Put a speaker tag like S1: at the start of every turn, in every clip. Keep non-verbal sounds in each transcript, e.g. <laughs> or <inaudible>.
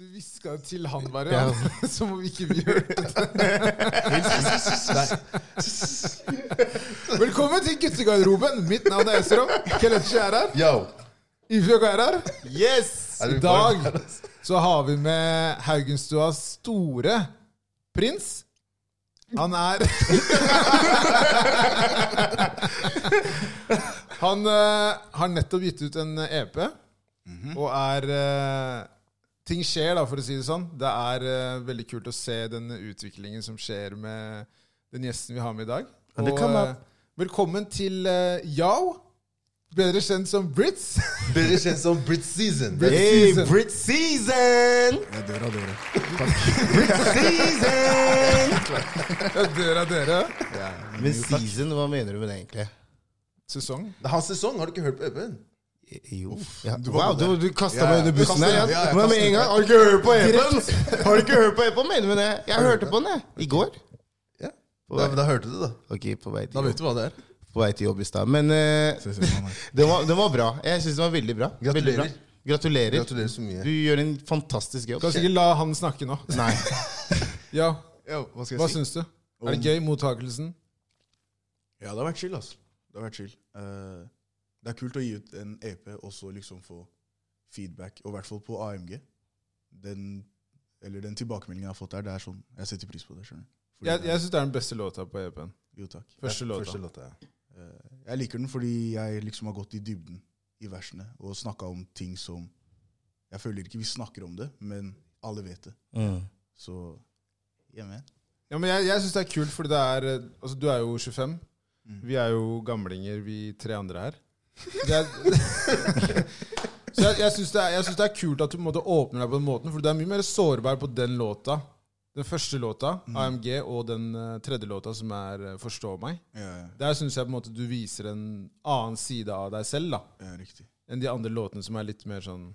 S1: Du hviska jo til han bare,
S2: Ja.
S1: ja. <laughs> som om ikke vi hørte det. Velkommen til guttegarderoben. Mitt navn er Esrom. Kelechi er her.
S2: Yo!
S1: Ifjok er her. Yes!
S2: Er
S1: I
S2: vi på?
S1: dag så har vi med Haugenstuas store prins. Han er <laughs> Han eh, har nettopp gitt ut en EP,
S2: Mhm.
S1: og er eh, Ting skjer, da, for å si det sånn. Det er eh, veldig kult å se den utviklingen som skjer med den gjesten vi har med i dag.
S2: Ja, det
S1: Og,
S2: kan man-
S1: eh, velkommen til eh, Yao, bedre kjent som Brits. <laughs>
S2: Bedre kjent som Brit Season.
S1: Brit
S3: Hey,
S1: Season.
S3: Brit season!
S4: Jeg dør av dere.
S3: Season!
S1: Jeg dør av dere.
S4: Men season, hva mener du med det egentlig?
S1: Sesong.
S2: Det er hans sesong, har du ikke hørt på Eben?
S4: Jo. Ja.
S2: du var
S4: Wow,
S2: med
S4: du, du kasta meg under bussen
S2: kastet-
S4: der. Ja.
S2: ja, jeg
S4: Hva med
S2: kastet-
S4: en gang? Har du ikke hørt på Epen? Har du ikke hørt på Epen, mener du det? Jeg hørte på den, jeg. I går.
S2: Ja. Da, da hørte du det, da.
S4: Ok, på vei
S2: Da
S4: til
S2: vet
S4: jobb,
S2: du hva det er.
S4: på vei til jobb i stad. Men eh,
S3: Ses igjen, Anna.
S4: <laughs> den, var, den var bra. Jeg syns den var veldig bra. Veldig bra.
S2: Gratulerer.
S4: Gratulerer.
S2: Gratulerer så mye.
S4: Du gjør en fantastisk jobb.
S1: Kan ikke la han snakke nå.
S4: Nei.
S1: <laughs> Ja,
S3: Yo, hva skal
S1: Hva
S3: jeg si?
S1: syns du? Er det gøy? Mottakelsen?
S3: Ja, det har vært chill, altså. Det har vært chill. Eh, det er kult å gi ut en EP og så liksom få feedback, og i hvert fall på AMG. Den, eller den tilbakemeldingen jeg har fått der, det er sånn Jeg setter pris på det, skjønner du. Fordi
S1: Jeg,
S3: det er-
S1: jeg syns det er den beste låta på EP-en.
S3: Jo, takk.
S1: Første låta.
S2: Første låta, ja.
S3: Eh, jeg liker den fordi jeg liksom har gått i dybden i versene og snakka om ting som Jeg føler ikke vi snakker om det, men alle vet det.
S4: Mm.
S3: Så yeah, man.
S1: Ja, men jeg, jeg syns det er kult, fordi det er eh, Altså, du er jo 25.
S4: Mm.
S1: Vi er jo gamlinger, vi tre andre her. Det er, <laughs> så jeg, jeg syns det, er- jeg syns det er kult at du på en måte åpner deg på den måten, for du er mye mer sårbar på den låta. Den første låta,
S4: Mm.
S1: AMG, og den eh, tredje låta, som er eh, Forstå meg.
S3: Ja,
S1: Der syns jeg på en måte du viser en annen side av deg selv, da.
S3: ja, riktig.
S1: enn de andre låtene som er litt mer sånn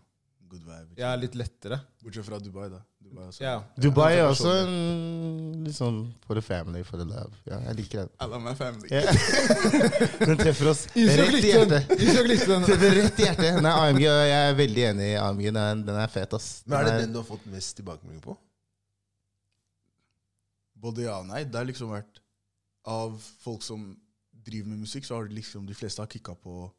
S3: Good vibe.
S1: Ja, litt lettere.
S3: Bortsett fra Dubai, da. Dubai også.
S1: Ja.
S4: Dubai er også en litt sånn for the family, for the love. Ja, jeg liker den.
S3: I love my family.
S4: Ja. <laughs> Den treffer oss rett i
S1: likte
S4: hjertet.
S1: den. Isjok likte den.
S4: Treffer rett i hjertet. Nei, AMG, jeg er veldig enig i AMG. Den er, den er fet, ass.
S2: Men er det den du har fått mest tilbakemelding på?
S3: Både ja og nei. Det har liksom vært Av folk som driver med musikk, så har det liksom de fleste har kicka på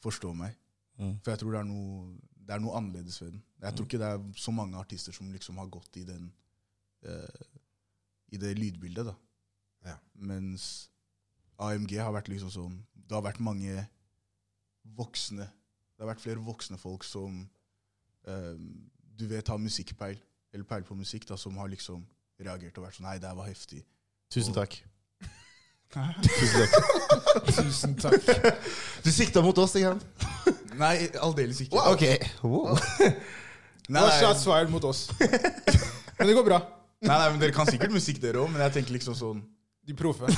S3: 'Forstå meg'.
S4: Mm.
S3: For jeg tror det er noe, det er noe annerledes ved den. Jeg tror ikke det er så mange artister som liksom har gått i den eh, I det lydbildet, da.
S2: Ja.
S3: Mens AMG har vært liksom sånn Det har vært mange voksne Det har vært flere voksne folk som eh, du vet har musikkpeil, eller peil på musikk, da, som har liksom reagert og vært sånn Nei, det her var heftig.
S4: Tusen takk.
S2: <laughs>
S1: Tusen takk.
S4: Du sikta mot oss, ikke sant?
S3: Nei, aldeles ikke.
S4: Ok. Wow.
S1: Det
S3: Nei,
S1: var
S3: nei,
S1: shots fired mot
S4: <laughs>
S1: oss. Men det går bra.
S3: nei, nei, men Dere kan sikkert musikk, dere òg, men jeg tenker liksom sånn
S1: De proffe.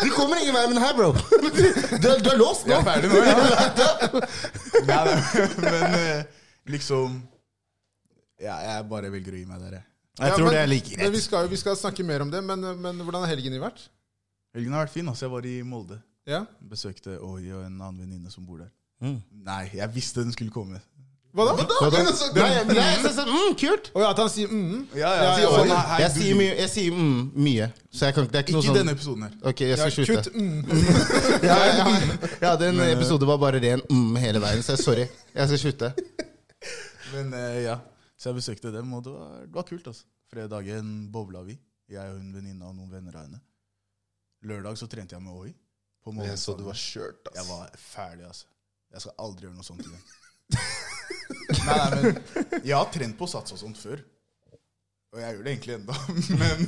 S4: Du kommer ingen vei med den her, bro. Du, du er låst nå.
S3: Jeg er ferdig nå, ja. nei, nei, men eh, liksom ja, Jeg bare velger å gi meg der, jeg.
S4: Jeg
S1: Ja, men-
S4: tror det er like
S1: Men vi
S4: greit.
S1: skal, jo- vi skal snakke mer om det. Men, men hvordan har helgen din vært?
S3: Helgen har vært fin. altså Jeg var i Molde.
S1: Ja.
S3: Besøkte Oi og en annen venninne som bor der.
S4: Mm.
S3: Nei, jeg visste den skulle komme.
S1: Hva da?
S4: Hva da? Nei, nei, jeg synes det- mm, kult.
S1: Å ja, at han sier mm.
S3: Ja, ja,
S1: Ja, ja,
S3: sånn,
S1: ja.
S3: hei, hei,
S4: Jeg
S3: du-
S4: sier mye, jeg sier, mm, mye. så jeg kan ikke Det er ikke
S3: Ikke
S4: noe
S3: i
S4: sånn
S3: denne episoden her.
S4: Ok, jeg
S1: Ja, kutt
S4: skal <laughs> slutte.
S1: mm.
S4: Ja, ja, ja, den episoden var bare ren mm hele veien, så jeg sorry. Jeg skal slutte.
S3: Men eh, ja, Så jeg besøkte dem, og det var, det var kult. altså. Fredagen bobla vi. Jeg og en venninne og noen venner av henne. Lørdag så trente jeg med Oi. På Molde
S2: Jeg så du
S3: stadion.
S2: var skjørt,
S3: Jeg
S2: ass.
S3: var ferdig, altså. Jeg skal aldri gjøre noe sånt
S2: <laughs>
S3: igjen. nei, nei, men Jeg har trent på sats og sånt før. Og jeg gjør det egentlig enda, <laughs> men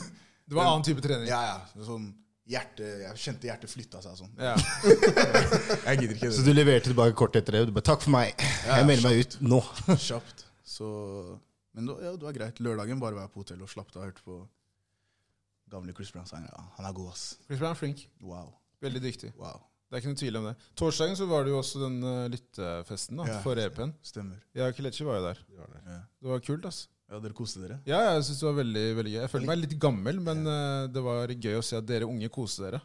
S1: Det var annen type trening.
S3: ja, ja. Sånn hjerte, jeg kjente hjertet flytta seg sånn.
S1: Ja.
S3: Jeg gidder <laughs> ikke
S4: Så
S3: det.
S4: du leverte tilbake kort etter det. og Du bare 'takk for meg'. Jeg melder meg ut nå.
S3: Kjapt. Så Men det var- ja, det var greit. Lørdagen bare var jeg på hotellet og slappet av og hørte på gamle Chris Brown-sanger. Ja, han er god, ass.
S1: Chris Brown er flink.
S3: Wow.
S1: Veldig dyktig.
S3: Wow.
S1: Det er ikke noe tvil om det. Torsdagen så var det jo også den eh, lyttefesten da,
S3: Ja.
S1: for EP-en.
S3: Stemmer.
S1: Ja, Kelechi var jo der.
S2: Det var det.
S3: Ja,
S1: Det var kult, ass.
S3: ja dere koste dere?
S1: Ja, jeg synes det var veldig, veldig gøy. Jeg følte meg litt gammel, men eh, det var gøy å se at dere unge koste dere.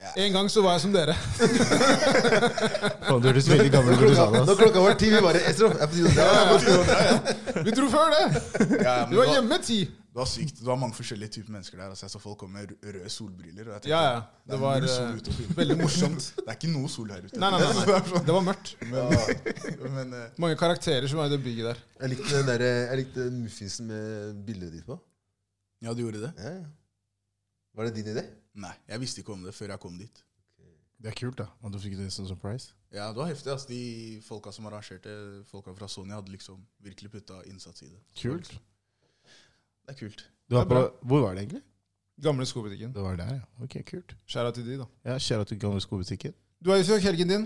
S3: Ja,
S1: En gang så var jeg som dere.
S4: <laughs> Faen, Du hørtes veldig gammel ut da du sa
S2: Klokka,
S4: det.
S2: når
S4: ass.
S2: klokka var ti, vi bare Estrop, jeg er på tide å dra.
S1: Vi dro før det!
S3: <laughs> Ja, ja, men
S1: Du var hjemme ti.
S3: Det var sykt. Det var mange forskjellige typer mennesker der. Altså, jeg så folk komme med rø- røde solbriller. Og jeg tenkte,
S1: Ja, ja. Det var
S3: null sol ute og
S1: eh,
S3: filme.
S1: veldig morsomt.
S3: <laughs> Det er ikke noe sol her ute.
S1: Nei,
S3: <laughs>
S1: nei, nei, nei. Det var mørkt.
S3: Men, <laughs> men eh,
S1: Mange karakterer som var i det bygget der.
S2: Jeg likte den der, eh, jeg likte den muffinsen med bildet ditt på.
S3: ja, du gjorde det?
S2: Ja, ja. Var det din idé?
S3: Nei, jeg visste ikke om det før jeg kom dit.
S4: Det er kult, da. At du fikk det som surprise.
S3: Ja, det var heftig. Altså. De folka som arrangerte, folka fra Sony, hadde liksom virkelig putta innsats i det.
S4: Kult.
S3: Det er kult.
S4: Du
S1: Det
S4: var
S1: er
S4: på,
S1: bra.
S4: hvor var det egentlig?
S1: Gamle skobutikken.
S4: Det var der, ja. Ok, kult.
S1: Skjæra til de, da.
S4: Ja, Kjære at du gamle skobutikken.
S1: Du har jo søkt helgen din.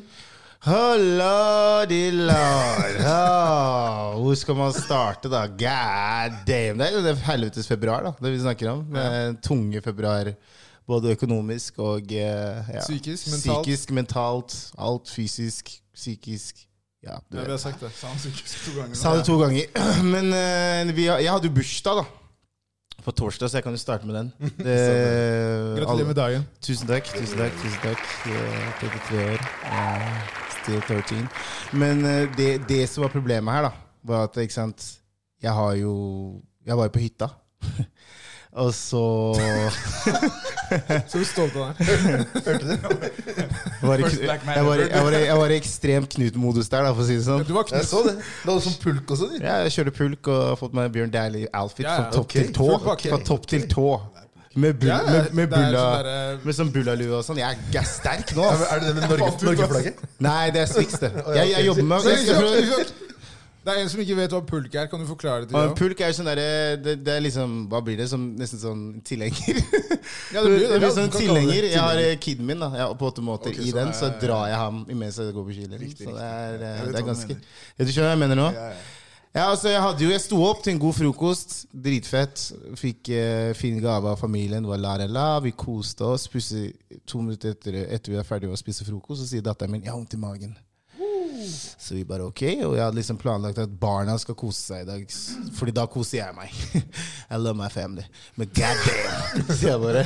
S4: Hallo, de lar. Ja, Hvor skal man starte, da? God damn. Det er jo det helvetes februar, da. Det vi snakker om. Med tunge februar. Både økonomisk og eh, ja.
S1: Psykisk, mentalt.
S4: Psykisk, mentalt. Alt fysisk, psykisk. Ja, du
S1: Ja,
S4: vet.
S1: vi har sagt det.
S3: Sa han psykisk to ganger.
S4: Sa det to ganger. <clears throat> Men eh, vi, har- jeg hadde jo bursdag, da. På torsdag, så jeg kan jo starte med
S1: <laughs>
S4: den. Det,
S1: Gratulerer med dagen.
S4: Tusen takk. tusen takk, tusen takk. Eh, 33 år. eh, Still 13. Men eh, det, det som var problemet her, da, var at ikke sant, jeg har jo Jeg var jo på hytta. <laughs> Og så
S1: Så er vi stolte av deg.
S4: var jeg,
S3: First Black Man
S4: jeg, var, jeg, var, jeg var i ekstrem Knut-modus der, da, for å si det sånn.
S1: Du var
S2: Jeg
S1: knust.
S2: så det. Det var sånn pulk og sånn. i.
S4: Ja, jeg kjører pulk og har fått meg Bjørn Dæhlie-outfit
S1: Ja, ja,
S4: fra topp
S2: ok.
S4: til tå.
S1: Full pakke.
S4: Fra topp til tå. Med, bull,
S1: Ja, ja,
S4: med, med
S1: det er
S4: bulla
S1: sånn derre-
S4: Med sånn bullalue og sånn. Jeg er- jeg er sterk nå,
S2: Ja, men
S4: ass.
S2: Er det det med Norge- Norge-flagget?
S4: Nei, det er Swix, det. Jeg, jeg jobber med
S1: Så
S4: jeg skal prøve-
S1: ikke sant? Det er en som ikke vet hva pulk er. Kan du forklare det til
S4: og en
S1: dem?
S4: pulk er jo sånn derre det, det er liksom Hva blir det? Som, nesten sånn tilhenger.
S1: Ja,
S4: <laughs>
S1: det
S4: Det
S1: blir det.
S4: blir
S1: Ja, du kan kalle
S4: sånn
S1: det
S4: tilhenger. Jeg har eh, kiden min da, jeg er på åtte måter
S3: Ok,
S4: i
S3: så
S4: den,
S3: det
S4: så
S3: er-
S4: drar jeg ham imens jeg går på skilen.
S3: Riktig,
S4: Så det
S3: riktig.
S4: er, eh,
S3: Jeg vet
S4: det er
S3: hva du
S4: ganske
S3: mener.
S4: Ja, Du skjønner hva jeg mener nå?
S3: Ja, ja.
S4: Ja, altså jeg hadde jo Jeg sto opp til en god frokost. Dritfett. Fikk eh, fin gave av familien. Det var la la la. Vi koste oss. Plutselig, to minutter etter, etter vi var ferdige med å spise frokost, så sier datteren min 'jeg har vondt i magen'. Så vi bare ok, og jeg hadde liksom planlagt at barna skal kose seg i dag. Fordi da koser jeg meg. <laughs> I love my family. Men god damn! Så jeg bare.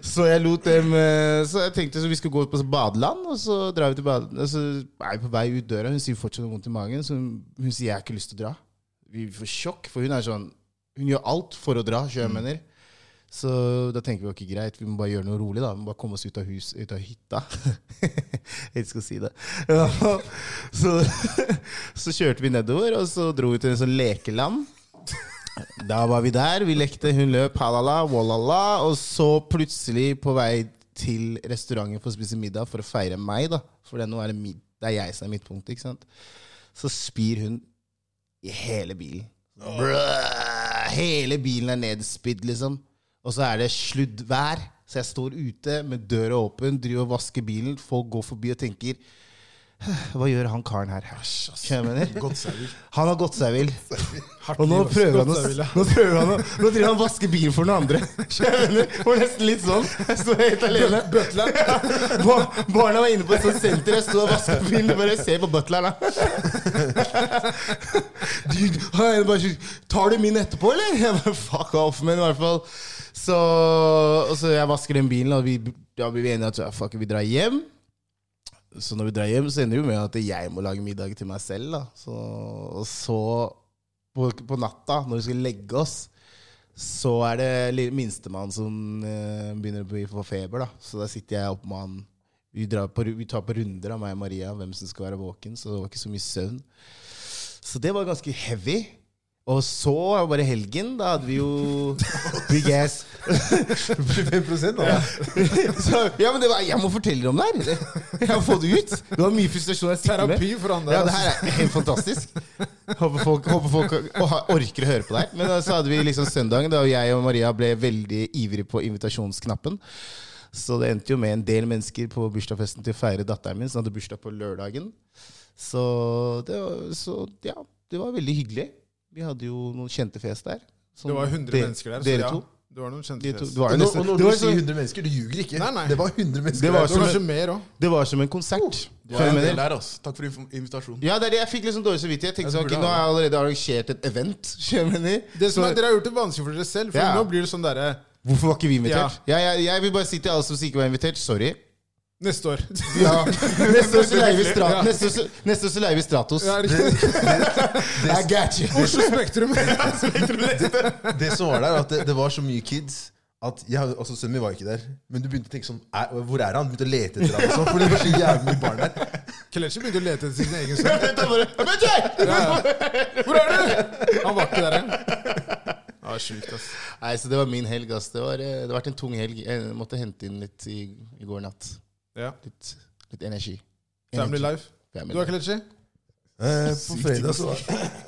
S4: Så jeg lot dem eh, Så jeg tenkte så vi skulle gå på badeland, og så drar vi til badeland. Og så er vi på vei ut døra, hun sier fortsatt vondt i magen, så hun, hun sier jeg har ikke lyst til å dra. Vi får sjokk, for hun er sånn Hun gjør alt for å dra, sjø, mener. Så da tenker vi ok, greit, vi må bare gjøre noe rolig, da. Vi må bare komme oss ut av hus, ut av hytta. <laughs> jeg elsker å si det. <laughs> Ja, så, <laughs> så kjørte vi nedover, og så dro vi til en sånn lekeland. Da var vi der, vi lekte, hun løp, halala, walala, og så plutselig på vei til restauranten for å spise middag for å feire meg, da. For det, nå er det, mid det er jeg som er midtpunktet, ikke sant. Så spyr hun i hele bilen. Brø! Hele bilen er nedspydd, liksom. Og så er det sluddvær. Så jeg står ute med døra åpen, driver og vasker bilen. Folk går forbi og tenker Hva gjør han karen her? Skjønner jeg mener?
S3: Godt sauer.
S4: Han har gått seg vill. Og nå prøver han å
S1: Gått seg vill, ja.
S4: Nå prøver han å Nå driver han og vasker bilen for noen andre. Skjønner du? Det var nesten litt sånn. Jeg sto helt alene.
S1: Bøtler.
S4: Bar- Barna var inne på et sånt senter. Jeg sto og vasket bilen. Du bare ser på butleren, da. Du- han bare sier, Tar du min etterpå, eller? Jeg bare, Fuck off, men i hvert fall. Så, og så jeg vasker den bilen, og vi, da blir vi enige at ja, fuck, vi drar hjem. Så når vi drar hjem, så ender det jo med at jeg må lage middag til meg selv. Da. Så, og så på, på natta, når vi skal legge oss, så er det lille minstemann som eh, begynner å bli- få feber. Da. Så da sitter jeg opp med han. Vi, drar på, ru- vi tar på runder av meg og Maria hvem som skal være våken, så det var ikke så mye søvn. Så det var ganske heavy. Og så var det bare helgen. Da hadde vi jo big ass.
S2: 5 da.
S4: <laughs> så, ja, men det var, jeg må fortelle dere om det her. Jeg må få det ut. Det var mye frustrasjon jeg sitter med.
S1: Terapi for han der.
S4: Ja, det
S1: altså.
S4: her er helt fantastisk. Håper folk, håper folk å ha- orker å høre på det her. Men da så hadde vi liksom søndagen, da jeg og Maria ble veldig ivrige på invitasjonsknappen. Så det endte jo med en del mennesker på bursdagsfesten til å feire datteren min, som hadde bursdag på lørdagen. Så, det var, så ja, det var veldig hyggelig. Vi hadde jo noen kjente fjes der. Som
S1: Det var 100
S4: de-
S1: mennesker der.
S4: sånn
S1: så
S4: Dere
S1: ja,
S4: to.
S1: Det var noen
S4: De
S1: kjente
S4: to.
S1: fjes.
S4: Det var,
S2: Og
S4: jo
S2: når,
S4: nesten,
S2: og når
S4: det
S2: du
S4: var,
S2: sier
S4: som,
S2: 100 mennesker, du ljuger ikke.
S1: Nei, nei.
S2: Det var 100 mennesker.
S4: Det var
S1: Det var
S2: der.
S4: som
S1: kanskje mer òg.
S4: det var som en
S1: Oh.
S4: konsert.
S3: Du
S4: Skjønner du hva
S3: er en
S4: jeg
S3: del
S4: mener?
S3: der, altså. Takk for inf- invitasjonen.
S4: Ja, det er det jeg fikk litt sånn dårlig samvittighet. Jeg tenkte
S3: Ja,
S4: sånn, ok,
S3: du burde
S4: Nå
S3: ha
S4: har jeg allerede arrangert et event. <laughs> skjønner du hva jeg mener?
S1: Det som
S4: Så-
S1: er, dere har gjort det vanskelig for dere selv. For
S4: Ja.
S1: nå blir det sånn derre
S4: Hvorfor var ikke vi invitert? Jeg, jeg, jeg vil bare si til alle som ikke var invitert, sorry.
S1: Neste
S4: <laughs>
S1: år.
S4: Ja. Neste år så leier vi Strat- neste år så- neste år så leier vi Stratos.
S1: Det er ikke
S4: I got you.
S1: Oslo
S4: <laughs>
S1: Spektrum.
S2: <laughs> Det som var der, at det, det var så mye kids at jeg, altså Sønnen min var jo ikke der. Men du begynte å tenke sånn "Æ, Hvor er han? Begynte å lete etter ham. og sånn, For det var så jævlig mye barn der.
S1: Kelechi begynte å lete etter sin egen sønn.
S4: Da bare, «Men jeg!»
S1: Ja, ja. Hvor er du? Han var ikke der engang. Ja, sjukt, ass.
S4: Nei, så Det var min helg. ass. Det, var, eh, det har vært en tung helg. Jeg måtte hente inn litt i, i går natt.
S1: Ja.
S4: Litt, litt energi.
S1: Family
S4: Energi.
S1: life.
S4: Family
S1: Du da,
S4: life.
S1: Kelechi?
S2: Eh, på fredag så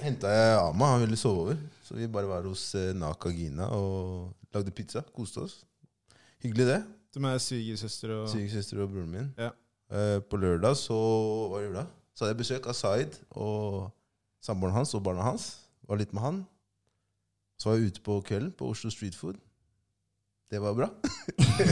S2: henta jeg Ama. Han ville sove over. Så vi bare var hos eh, Naka Gina og lagde pizza. Koste oss. Hyggelig, det.
S1: Som er svigersøster og
S2: Sykesøster og broren min.
S1: Ja.
S2: Eh, på lørdag så var det lørdag. Så hadde jeg besøk av Zaid og samboeren hans og barna hans. Var litt med han. Så var jeg ute på kvelden på Oslo Street Food. Det var bra. <laughs>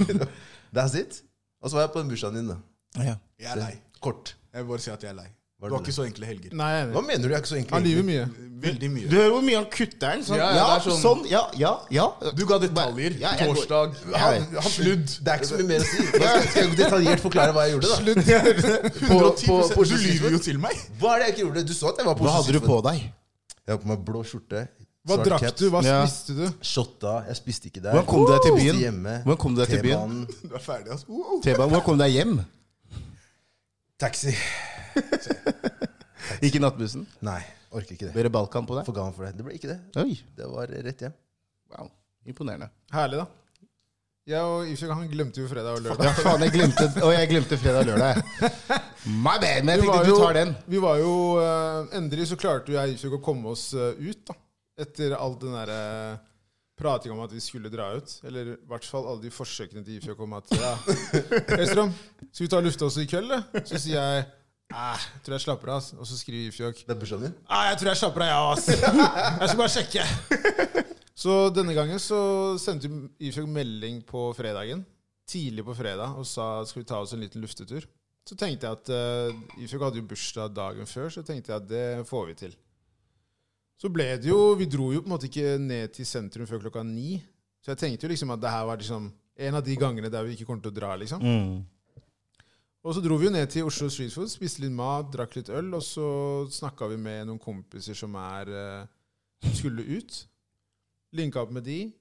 S2: That's it. Og så var jeg på den bursdagen din, da.
S4: Ja.
S3: Jeg er lei.
S2: Kort.
S3: Jeg vil bare si at jeg er lei.
S2: Var
S3: Du har
S2: det
S3: ikke så enkle helger.
S1: Nei, jeg er
S2: Hva
S1: enig.
S2: mener du? Jeg er ikke så enkel.
S1: Han lyver mye.
S3: Veldig
S4: Du
S3: mye.
S4: hører hvor mye han kutter den? Sånn,
S3: Ja,
S4: ja,
S3: ja, det er
S4: sånn.
S3: sånn.
S4: ja, ja, ja.
S3: Du ga detaljer.
S4: Ja, jeg går-
S3: Torsdag.
S2: Han,
S4: Jeg
S2: han, sludd. Det er ikke så mye mer å si. Hva Skal skal jeg detaljert forklare hva jeg gjorde, da?
S3: Slutt.
S2: på- på
S3: 110 Du
S2: Oslo
S3: lyver jo
S2: Street
S3: til meg.
S2: Hva er det jeg ikke gjorde? Du så at jeg var på
S4: Hva
S2: Oslo
S4: hadde du
S2: Street Food.
S4: på deg?
S2: Jeg hadde på meg blå skjorte.
S1: Hva
S2: svart
S1: drakk
S2: caps.
S1: du? Hva
S4: Ja.
S1: spiste du?
S2: Shotta. Jeg spiste ikke der.
S4: Hvordan kom du deg til
S2: Spiste
S4: byen?
S2: hjemme.
S4: Hvordan kom du deg til
S2: T-banen.
S4: byen?
S3: Du er ferdig, altså. Wow.
S4: T-banen, Hvordan kom du deg hjem?
S2: Taxi.
S4: Ikke nattbussen?
S2: Nei, orker ikke det.
S4: Ble det Balkan på deg?
S2: For gammel for det. Det ble ikke det.
S4: Oi,
S2: Det var rett hjem.
S4: wow. Imponerende.
S1: Herlig, da. Jeg og Ifjok, han glemte jo fredag og lørdag.
S4: Ja, <laughs> faen, jeg glemte, og jeg glemte fredag og lørdag. My bad, men jeg
S1: Vi var
S4: tenkte du
S1: jo-
S4: tar den.
S1: Vi var jo eh, Endelig så klarte jo jeg og Ifjok å komme oss eh, ut, da. Etter all den derre prating om at vi skulle dra ut. Eller i hvert fall alle de forsøkene til Ifjok om at
S4: <laughs>
S1: ja, Hellstrøm, skal vi ta og lufte oss i kveld, eller? Så sier jeg Æh, tror jeg slapper av. ass. Og så skriver Ifjok
S2: Det er bursdagen din.
S1: Nei, jeg tror jeg slapper av, jeg òg. Jeg skal bare sjekke. Så denne gangen så sendte vi Ifjok melding på fredagen, tidlig på fredag, og sa skal vi ta oss en liten luftetur. Så tenkte jeg at uh, Ifjok hadde jo bursdag dagen før, så tenkte jeg at det får vi til. Så ble det jo Vi dro jo på en måte ikke ned til sentrum før klokka ni. Så jeg tenkte jo liksom at det her var liksom en av de gangene der vi ikke kommer til å dra, liksom. Og så dro vi jo ned til Oslo Street Food, spiste litt mat, drakk litt øl, og så snakka vi med noen kompiser som er eh, som skulle ut. Linka opp med de.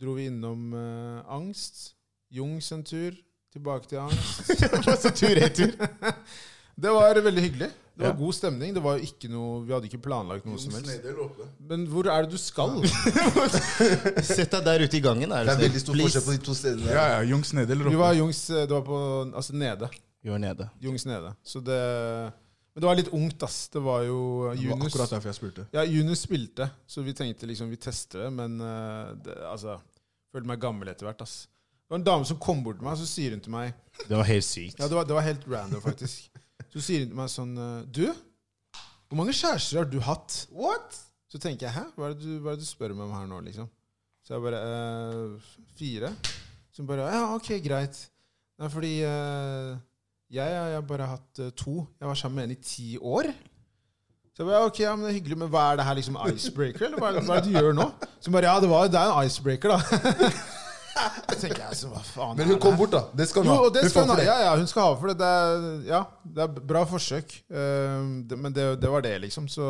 S1: Dro vi innom eh, Angst. Jungs en tur. Tilbake til Angst.
S4: Så tur-retur.
S1: Det var veldig hyggelig. Det var god stemning. Det var jo ikke noe, vi hadde ikke planlagt noe som helst. Men hvor er det du
S3: <laughs>
S1: skal?
S4: Sett deg der ute i gangen. Er
S2: Det
S4: du
S2: er veldig
S4: snill.
S2: stor forskjell på de to stedene.
S3: Ja, ja. Jungs nede eller
S1: Vi
S3: oppe?
S1: var Jungs eh, Det var på Altså nede.
S4: Gjør nede.
S1: Jungs nede. Så det Men det var litt ungt, ass. Det var jo
S3: Det var
S1: Junus.
S3: akkurat derfor jeg spurte.
S1: Ja, Junus spilte, så vi tenkte liksom vi tester det, men eh, det, altså Følte meg gammel etter hvert, ass. Det var en dame som kom bort til meg, så sier hun til meg
S4: Det var helt sykt.
S1: Ja, det var, det var helt random, faktisk. Så sier hun til meg sånn eh, Du, hvor mange kjærester har du hatt? What? Så tenker jeg hæ, hva er det du, hva er det du spør meg om her nå, liksom? Så jeg bare eh, Fire. Så hun bare Ja, ok, greit. Nei, fordi eh, jeg, har- jeg har bare hatt eh, to. Jeg var sammen med en i ti år. Så jeg bare, ja, ok, ja, men det er hyggelig, men hva er det her liksom icebreaker, eller hva er det, hva er det du gjør nå? Så hun bare, ja, det, var, det er en icebreaker, da. <laughs> Så tenker jeg, så hva faen
S2: Men hun
S1: er det
S2: kom
S1: her?
S2: bort, da. Det skal hun
S1: Jo,
S2: ha.
S1: og det
S2: Hun
S1: skal
S2: får
S1: hun ha.
S2: for det.
S1: Ja, ja, hun skal ha for det. Det er, ja, det er bra forsøk. Eh, det, men det, det var det, liksom. Så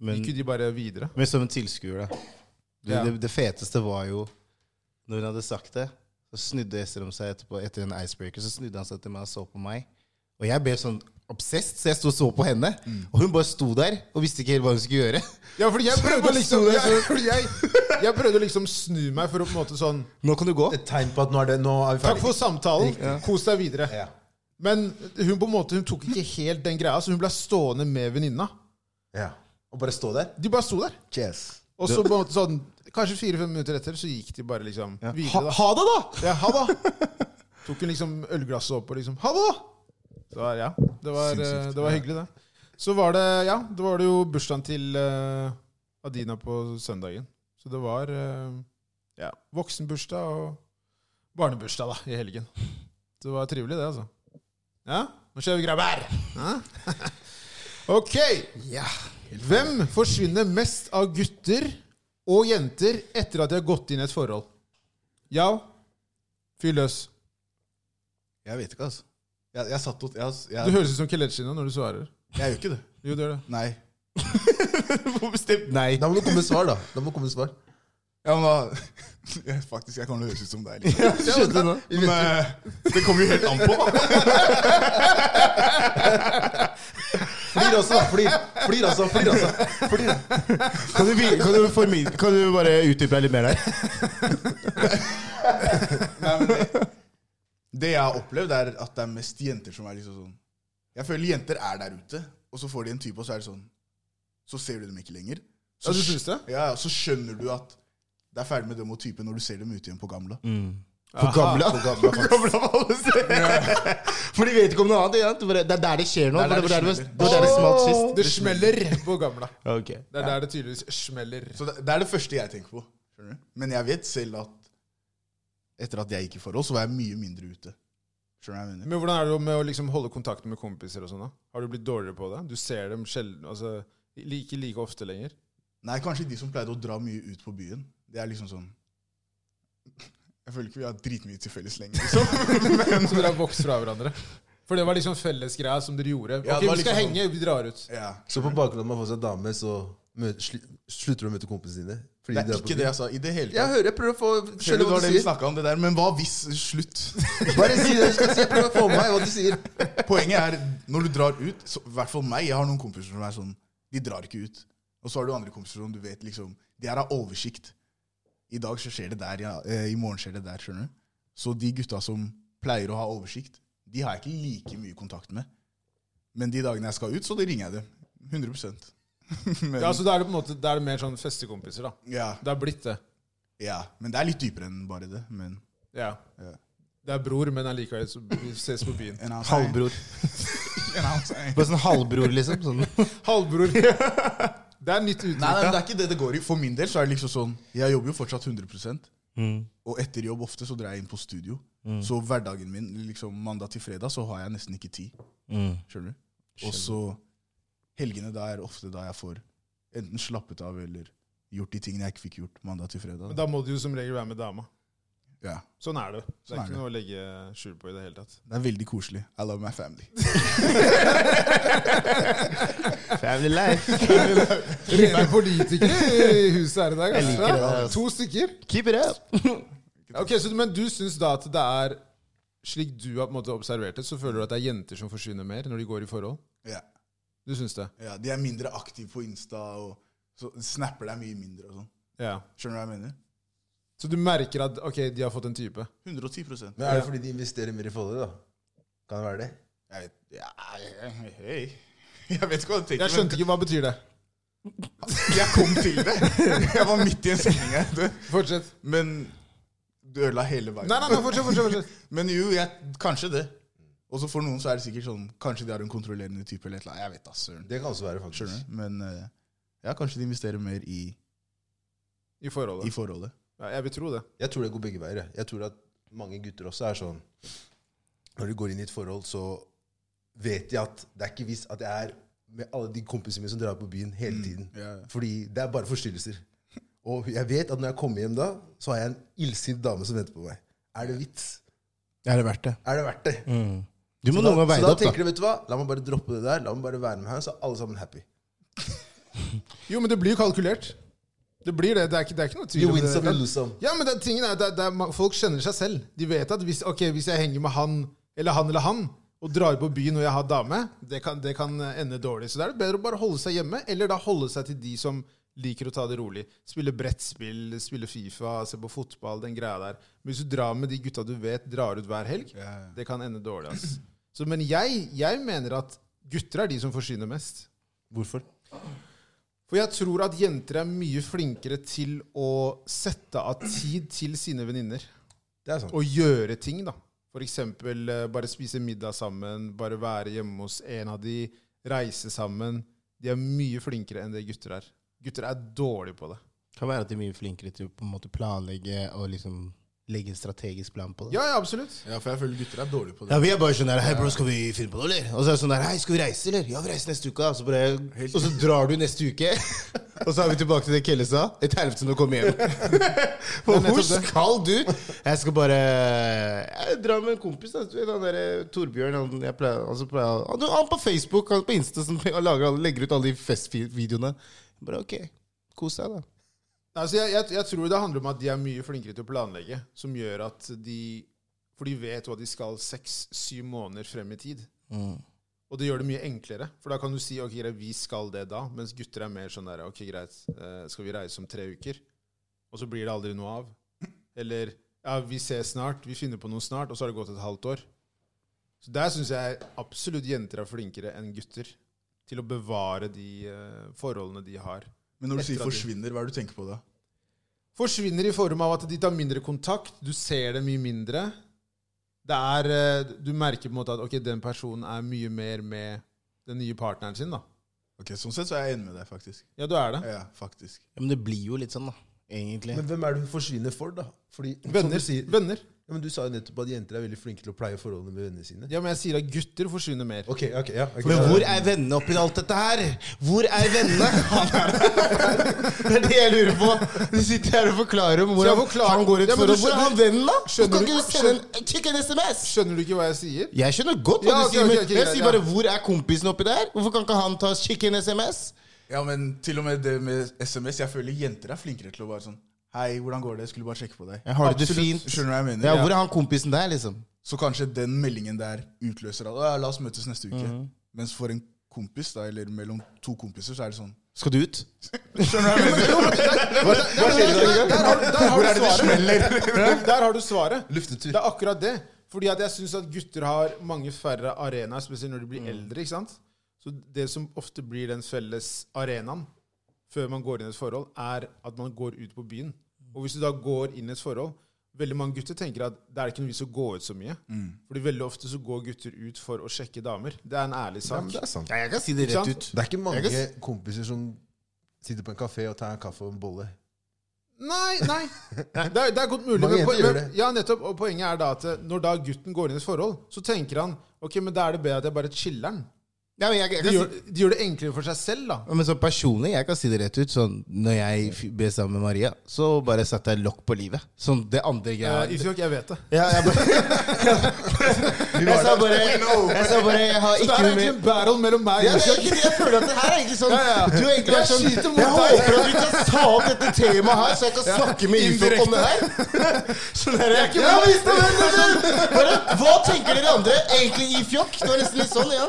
S4: Men,
S1: gikk jo de bare videre.
S4: men som en tilskuer, da. Du,
S1: Ja.
S4: det, det feteste var jo når hun hadde sagt det, så snudde Esterom seg etterpå etter en icebreaker. Så snudde han seg til meg og så på meg. Og jeg ble sånn obsessed, så jeg sto og så på henne. Og hun bare sto der og visste ikke helt hva hun skulle <laughs> gjøre.
S1: Ja, fordi
S2: <laughs>
S1: jeg prøvde
S4: bare sto
S1: liksom
S4: der,
S1: jeg, fordi jeg, jeg prøvde liksom snu meg for å på en måte sånn
S4: Nå kan du gå.
S2: Et tegn på at nå er, det, nå er vi
S1: Takk
S2: ferdige.
S1: for samtalen. Kos deg videre.
S2: Ja.
S1: Men hun på en måte, hun tok ikke helt den greia, så hun ble stående med venninna.
S2: Ja. Og bare stå der.
S1: De bare sto der.
S2: Cheers.
S1: Og så på en måte sånn Kanskje fire-fem minutter etter så gikk de bare liksom
S4: Ha,
S1: videre. da.
S4: ha det, da!
S1: Ja, ha det! Tok hun liksom ølglasset opp og liksom Ha det! Så var, ja, det var, eh, det var hyggelig, det. Så var det ja, det var det jo bursdagen til eh, Adina på søndagen. Så det var eh, ja, voksenbursdag og barnebursdag da, i helgen. Så det var trivelig, det, altså. Ja, nå kjører vi grabber! Ja? <laughs> Ok! Hvem forsvinner mest av gutter og jenter etter at de har gått inn i et forhold? Ja, Fyr løs.
S3: Jeg vet ikke, altså. Jeg, jeg satt og jeg,
S1: Du
S3: jeg,
S1: høres ut som Kelechi nå når du svarer.
S3: jeg gjør ikke det.
S1: Jo, du gjør det.
S3: Nei.
S4: Nei.
S2: Da må det komme et svar, da. Da må det komme et svar.
S3: Ja, men da <laughs> jeg, Faktisk, jeg kommer til å høres ut som deg. Liksom.
S4: Skjønte du nå?
S3: Men eh, det kommer jo helt an på, da.
S2: Flir også, da. Flir, flir også. Flir også. Flir.
S4: Kan du, vi- kan, du formid, kan du bare utdype deg litt mer der?
S3: Nei, men det, det jeg har opplevd, er at det er mest jenter som er liksom sånn Jeg føler jenter er der ute, og så får de en type, og så er det sånn Så ser du dem ikke lenger. Så,
S1: Ja, du
S3: skj-
S1: synes det?
S3: Ja, ja, så skjønner du at det er ferdig med dem og typen når du ser dem ute igjen på gamla.
S4: På gamla?
S2: På gamle, faktisk.
S4: <laughs> For de vet ikke om noe annet. Ja. Det er bare- det er der det skjer nå.
S3: Det er der
S4: for
S3: det
S4: det, var der det,
S3: smeller.
S4: var der det smalt sist.
S1: Det smeller på gamla.
S4: Ok.
S1: Det er der det tydeligvis smeller.
S3: Så det, det er det første jeg tenker på. Skjønner du? Men jeg vet selv at etter at jeg gikk i forhold, så var jeg mye mindre ute. Skjønner du hva jeg mener?
S1: Men hvordan er det med å liksom holde kontakten med kompiser og sånn? da? Har du blitt dårligere på det? Du ser dem sjelden, altså ikke like ofte lenger.
S3: <laughs> Nei, kanskje de som pleide å dra mye ut på byen. Det er liksom sånn Jeg føler ikke vi har dritmye til felles
S2: <laughs>
S3: lenger. Liksom. Men,
S1: Så dere har vokst fra hverandre. For det var liksom fellesgreia som dere gjorde.
S3: Ja,
S1: Ok,
S3: det var
S1: vi skal
S3: liksom-
S1: henge, vi drar ut.
S3: ja.
S2: Så på bakgrunn av at man får seg dame, så mø- slu- slutter du å møte kompisene dine?
S3: Det er ikke det altså. jeg sa i det hele
S2: Jeg
S3: tatt.
S2: hører, jeg prøver å få
S3: Selv
S2: skjønne
S3: om det
S2: hva
S3: var
S2: du
S3: det vi
S2: sier.
S3: snakket om, det der, men hva hvis Slutt.
S2: <laughs> Bare si det, jeg skal prøve å få med meg hva du sier.
S3: Poenget er, når du drar ut, så, i hvert fall meg, jeg har noen kompiser som er sånn, de drar ikke ut. Og så har du andre kompiser som du vet liksom, de er av oversikt. I dag så skjer det der, ja, eh, i morgen skjer det der, skjønner du. Så de gutta som pleier å ha oversikt, de har jeg ikke like mye kontakt med. Men de dagene jeg skal ut, så ringer jeg dem. 100 <laughs> men,
S1: Ja, altså- så da er det på en måte da er det mer sånn festekompiser, da.
S3: ja,
S1: Det er blitt det.
S3: ja, men det er litt dypere enn bare det. Men
S1: Ja.
S3: Ja.
S1: Det er bror, men allikevel så vi ses på byen.
S3: en annen seg-
S4: Halvbror.
S3: en annen seg.
S4: Bare sånn halvbror, liksom. Sånn.
S1: Halvbror. <laughs> Det er nytt
S3: Nei,
S1: uttrykk.
S3: nei, men det er ikke det det går i. For min del så er det liksom sånn Jeg jobber jo fortsatt 100 Og etter jobb ofte så drar jeg inn på studio. Så hverdagen min, liksom mandag til fredag, så har jeg nesten ikke tid. Skjønner du? Og så helgene, da er ofte da jeg får enten slappet av eller gjort de tingene jeg ikke fikk gjort mandag til fredag.
S1: Men da må du jo som regel være med dama.
S3: ja.
S1: Sånn er det. Det
S3: Sånn
S1: er
S3: er det.
S1: ikke noe å legge skjul på i det hele <laughs> tatt.
S3: Det er veldig koselig. I love my family.
S4: <laughs>
S3: <laughs>
S4: Family life.
S1: Rene politikere i huset her i dag. ass.
S4: Jeg liker det,
S1: Ja,
S4: ass.
S1: To stykker.
S4: Keep it up.
S1: Ok, så, Men du syns da at det er slik du har på en måte observert det, så føler du at det er jenter som forsvinner mer når de går i forhold?
S3: Ja.
S1: Du syns det?
S3: ja, De er mindre aktive på Insta, og så snapper deg mye mindre og sånn.
S1: Ja.
S3: Skjønner du hva jeg mener?
S1: Så du merker at ok, de har fått en type?
S3: 110
S2: <laughs> Men er det fordi de investerer mer i forholdet, da? Kan det være det?
S3: Jeg vet ja, jeg- Hei. Jeg vet ikke hva du tenker.
S1: Jeg skjønte
S3: men-
S1: ikke, Hva betyr det?
S3: Jeg kom til det. Jeg var midt i en sending her. du.
S1: Fortsett.
S3: Men du ødela hele veien.
S1: Nei, nei, nei fortsett. fortsett, fortsett.
S3: Men jo, jeg, kanskje det. Og så for noen så er det sikkert sånn Kanskje de har en kontrollerende type eller et eller annet. Jeg vet da søren.
S2: Det kan også være, faktisk.
S3: Skjønner du? Men eh, ja, kanskje de investerer mer i,
S1: I forholdet.
S3: i forholdet.
S1: Ja, jeg vil tro det.
S2: Jeg tror det går begge veier. jeg. Jeg tror at mange gutter også er sånn Når de går inn i et forhold, så vet de at det er ikke visst at jeg er med alle de kompisene mine som drar på byen hele tiden.
S3: ja, ja.
S2: Fordi det er bare forstyrrelser. Og jeg vet at når jeg kommer hjem da, så har jeg en illsint dame som venter på meg. Er det vits?
S4: Er det verdt det?
S2: Er det verdt det?
S4: Du må
S2: Da,
S4: noen gang
S2: så
S4: veie det
S2: da
S4: opp, da.
S2: tenker de, vet du hva, la meg bare droppe det der. La meg bare være med her, så er alle sammen happy.
S1: Jo, men det blir jo kalkulert. Det blir det. Det er ikke, det er ikke noe tvil
S2: You
S1: om
S2: win
S1: det.
S2: some, you lose some.
S1: Ja, men det, er tingen er, at det, er- det er, ma- Folk kjenner seg selv. De vet at hvis, ok, hvis jeg henger med han eller han eller han, og drar på byen og jeg har dame, det kan, det kan ende dårlig. Så da er det bedre å bare holde seg hjemme, eller da holde seg til de som liker å ta det rolig. Spille brettspill, spille Fifa, se på fotball, den greia der. Men hvis du drar med de gutta du vet drar ut hver helg, det kan ende dårlig. ass. Så, men jeg, jeg mener at gutter er de som forsyner mest.
S2: Hvorfor?
S1: For jeg tror at jenter er mye flinkere til å sette av tid til sine venninner.
S2: Det er sant.
S1: Og gjøre ting, da. For eksempel eh, bare spise middag sammen, bare være hjemme hos en av de, reise sammen. De er mye flinkere enn det gutter er. Gutter er dårlige på det.
S4: Kan være at de er mye flinkere til å på en måte planlegge og liksom legge en strategisk plan på det.
S1: Ja, ja, absolutt.
S3: Ja, for jeg føler gutter er dårlige på
S4: Ja, vi er bare sånn der Hei, bro, skal vi finne på noe, eller? Og så er det sånn der Hei, skal vi reise, eller? Ja, vi reiser neste uke. da. Og så, bare, og så drar du neste uke. <laughs> Og så er vi tilbake til det Kelle sa. Et helvete når du kommer <laughs> hjem. For hvor skal du? Jeg skal bare jeg drar med en kompis. Da. Du vet Han der, eh, Torbjørn han, jeg pleier, han, som pleier, han, han på Facebook han på Insta som pleier å lage- han legger ut alle de festvideoene. Jeg Bare ok, kos deg, da.
S1: Altså, jeg, jeg, jeg tror det handler om at de er mye flinkere til å planlegge, som gjør at de For de vet hva de skal seks-syv måneder frem i tid. Og det gjør det mye enklere, for da kan du si ok, greit, vi skal det da, mens gutter er mer sånn der ok, greit, eh, skal vi reise om tre uker? Og så blir det aldri noe av. Eller ja, vi ses snart, vi finner på noe snart, og så har det gått et halvt år. Så der syns jeg absolutt jenter er flinkere enn gutter til å bevare de eh, forholdene de har.
S3: Men når du
S1: Etter
S3: sier
S1: at de-
S3: forsvinner, hva er det du tenker på da?
S1: Forsvinner i form av at de tar mindre kontakt, du ser dem mye mindre. Det er, eh, du merker på en måte at ok, den personen er mye mer med den nye partneren sin. da.
S3: Ok, Sånn sett så er jeg enig med deg, faktisk.
S1: Ja, du er det.
S3: Ja, faktisk.
S4: Ja, men det blir jo litt sånn, da. Egentlig.
S2: Men hvem er det hun forsvinner for, da? Fordi, som
S1: Venner.
S2: du, sier,
S1: venner.
S2: ja, men du sa jo nettopp at jenter er veldig flinke til å pleie forholdene med vennene sine.
S1: Ja, men jeg sier at gutter forsvinner mer.
S2: Ok, ok, ja. ok.
S4: Men hvor er vennene oppi alt dette her? Hvor er vennene? <laughs> Han er der. Det er det jeg lurer på. De sitter her og forklarer
S1: Så
S4: om
S1: jeg
S4: hvordan
S1: forklarer-
S4: han går ut
S1: Ja, men
S4: for
S1: du
S4: å Hvor er
S1: skjønner-
S4: han vennen, da?
S1: skjønner
S4: Hvorfor kan
S1: du-
S4: ikke du sende en kick en SMS?
S1: Skjønner du ikke hva jeg sier?
S4: Jeg skjønner godt hva
S1: Ja,
S4: du
S1: ok,
S4: sier, men
S1: ok, ok,
S4: jeg
S1: greit,
S4: sier
S1: ja.
S4: bare hvor er kompisen oppi der? Hvorfor kan ikke han ta kick en SMS?
S3: Ja, men til og med det med SMS. Jeg føler jenter er flinkere til å bare sånn Hei, hvordan går det? Jeg skulle bare sjekke på deg.
S4: Jeg har det
S1: Absolutt.
S4: fint.
S3: Skjønner du hva jeg mener?
S4: Ja, hvor er han kompisen der, liksom?
S3: Så kanskje den meldingen der utløser at «Å, ja, la oss møtes neste uke. Mens for en kompis, da, eller mellom to kompiser, så er det sånn.
S4: Skal du ut?
S3: Skjønner du hva jeg mener?
S1: Der, der, der, der, har- der har
S3: Hvor
S1: du
S3: er det det
S1: svaret.
S3: smeller?
S1: Der har du svaret.
S2: Luftetur.
S1: Det er akkurat det. Fordi at jeg syns at gutter har mange færre arenaer, spesielt når de
S2: Mm.
S1: blir eldre. ikke sant? Så det som ofte blir den felles arenaen før man går inn i et forhold, er at man går ut på byen. Og hvis du da går inn i et forhold Veldig mange gutter tenker at det er ikke noe vits å gå ut så mye.
S2: Mm.
S1: Fordi veldig ofte så går gutter ut for å sjekke damer. Det er en ærlig
S2: Ja, men
S1: sak.
S2: det er sant.
S4: Ja, jeg kan si det
S1: Ikke
S4: rett
S1: sant?
S4: ut.
S2: Det er ikke
S4: Jeg
S2: mange
S4: kan
S2: kompiser som sitter på en kafé og tar en kaffe og en bolle.
S1: Nei, <laughs> nei. Det er, det er godt mulig.
S2: Mange
S1: men-
S2: jenter gjør
S1: men-
S2: det.
S1: Ja, nettopp. Og poenget er da at eh, når da gutten går inn i et forhold, så tenker han ok, men da er det bedre at jeg bare chiller'n.
S4: Ja, men jeg, jeg
S1: De,
S4: kan si
S1: gjør- de gjør det enklere for seg selv, da.
S4: Ja, Men så personlig, jeg kan si det rett ut. Sånn, når jeg f- ble sammen med Maria, så bare satte jeg lokk på livet. Sånn det andre greia.
S1: Eh, Isak, jeg vet det.
S4: Ja, jeg, bare, jeg sa bare
S1: <laughs>
S4: Jeg sa bare Jeg har
S1: Så det
S4: ikke
S1: er
S4: noe
S1: egentlig
S4: mer
S1: en battle mellom meg
S4: ja,
S1: og
S4: det er
S1: Isak.
S4: egentlig- jeg føler at det her er egentlig sånn
S1: Ja, ja.
S4: Du er egentlig
S1: Jeg
S4: vært sånn
S1: skyter mot
S4: Jeg
S1: deg.
S4: håper at du kan ta opp dette temaet her, så jeg kan snakke med Isak om det
S1: <laughs>
S4: her. Sånn her
S1: ikke
S4: ja,
S1: bra.
S4: visst, det var det, sånn. Bare, Hva tenker dere andre egentlig i fjokk? Det var nesten litt sånn, ja.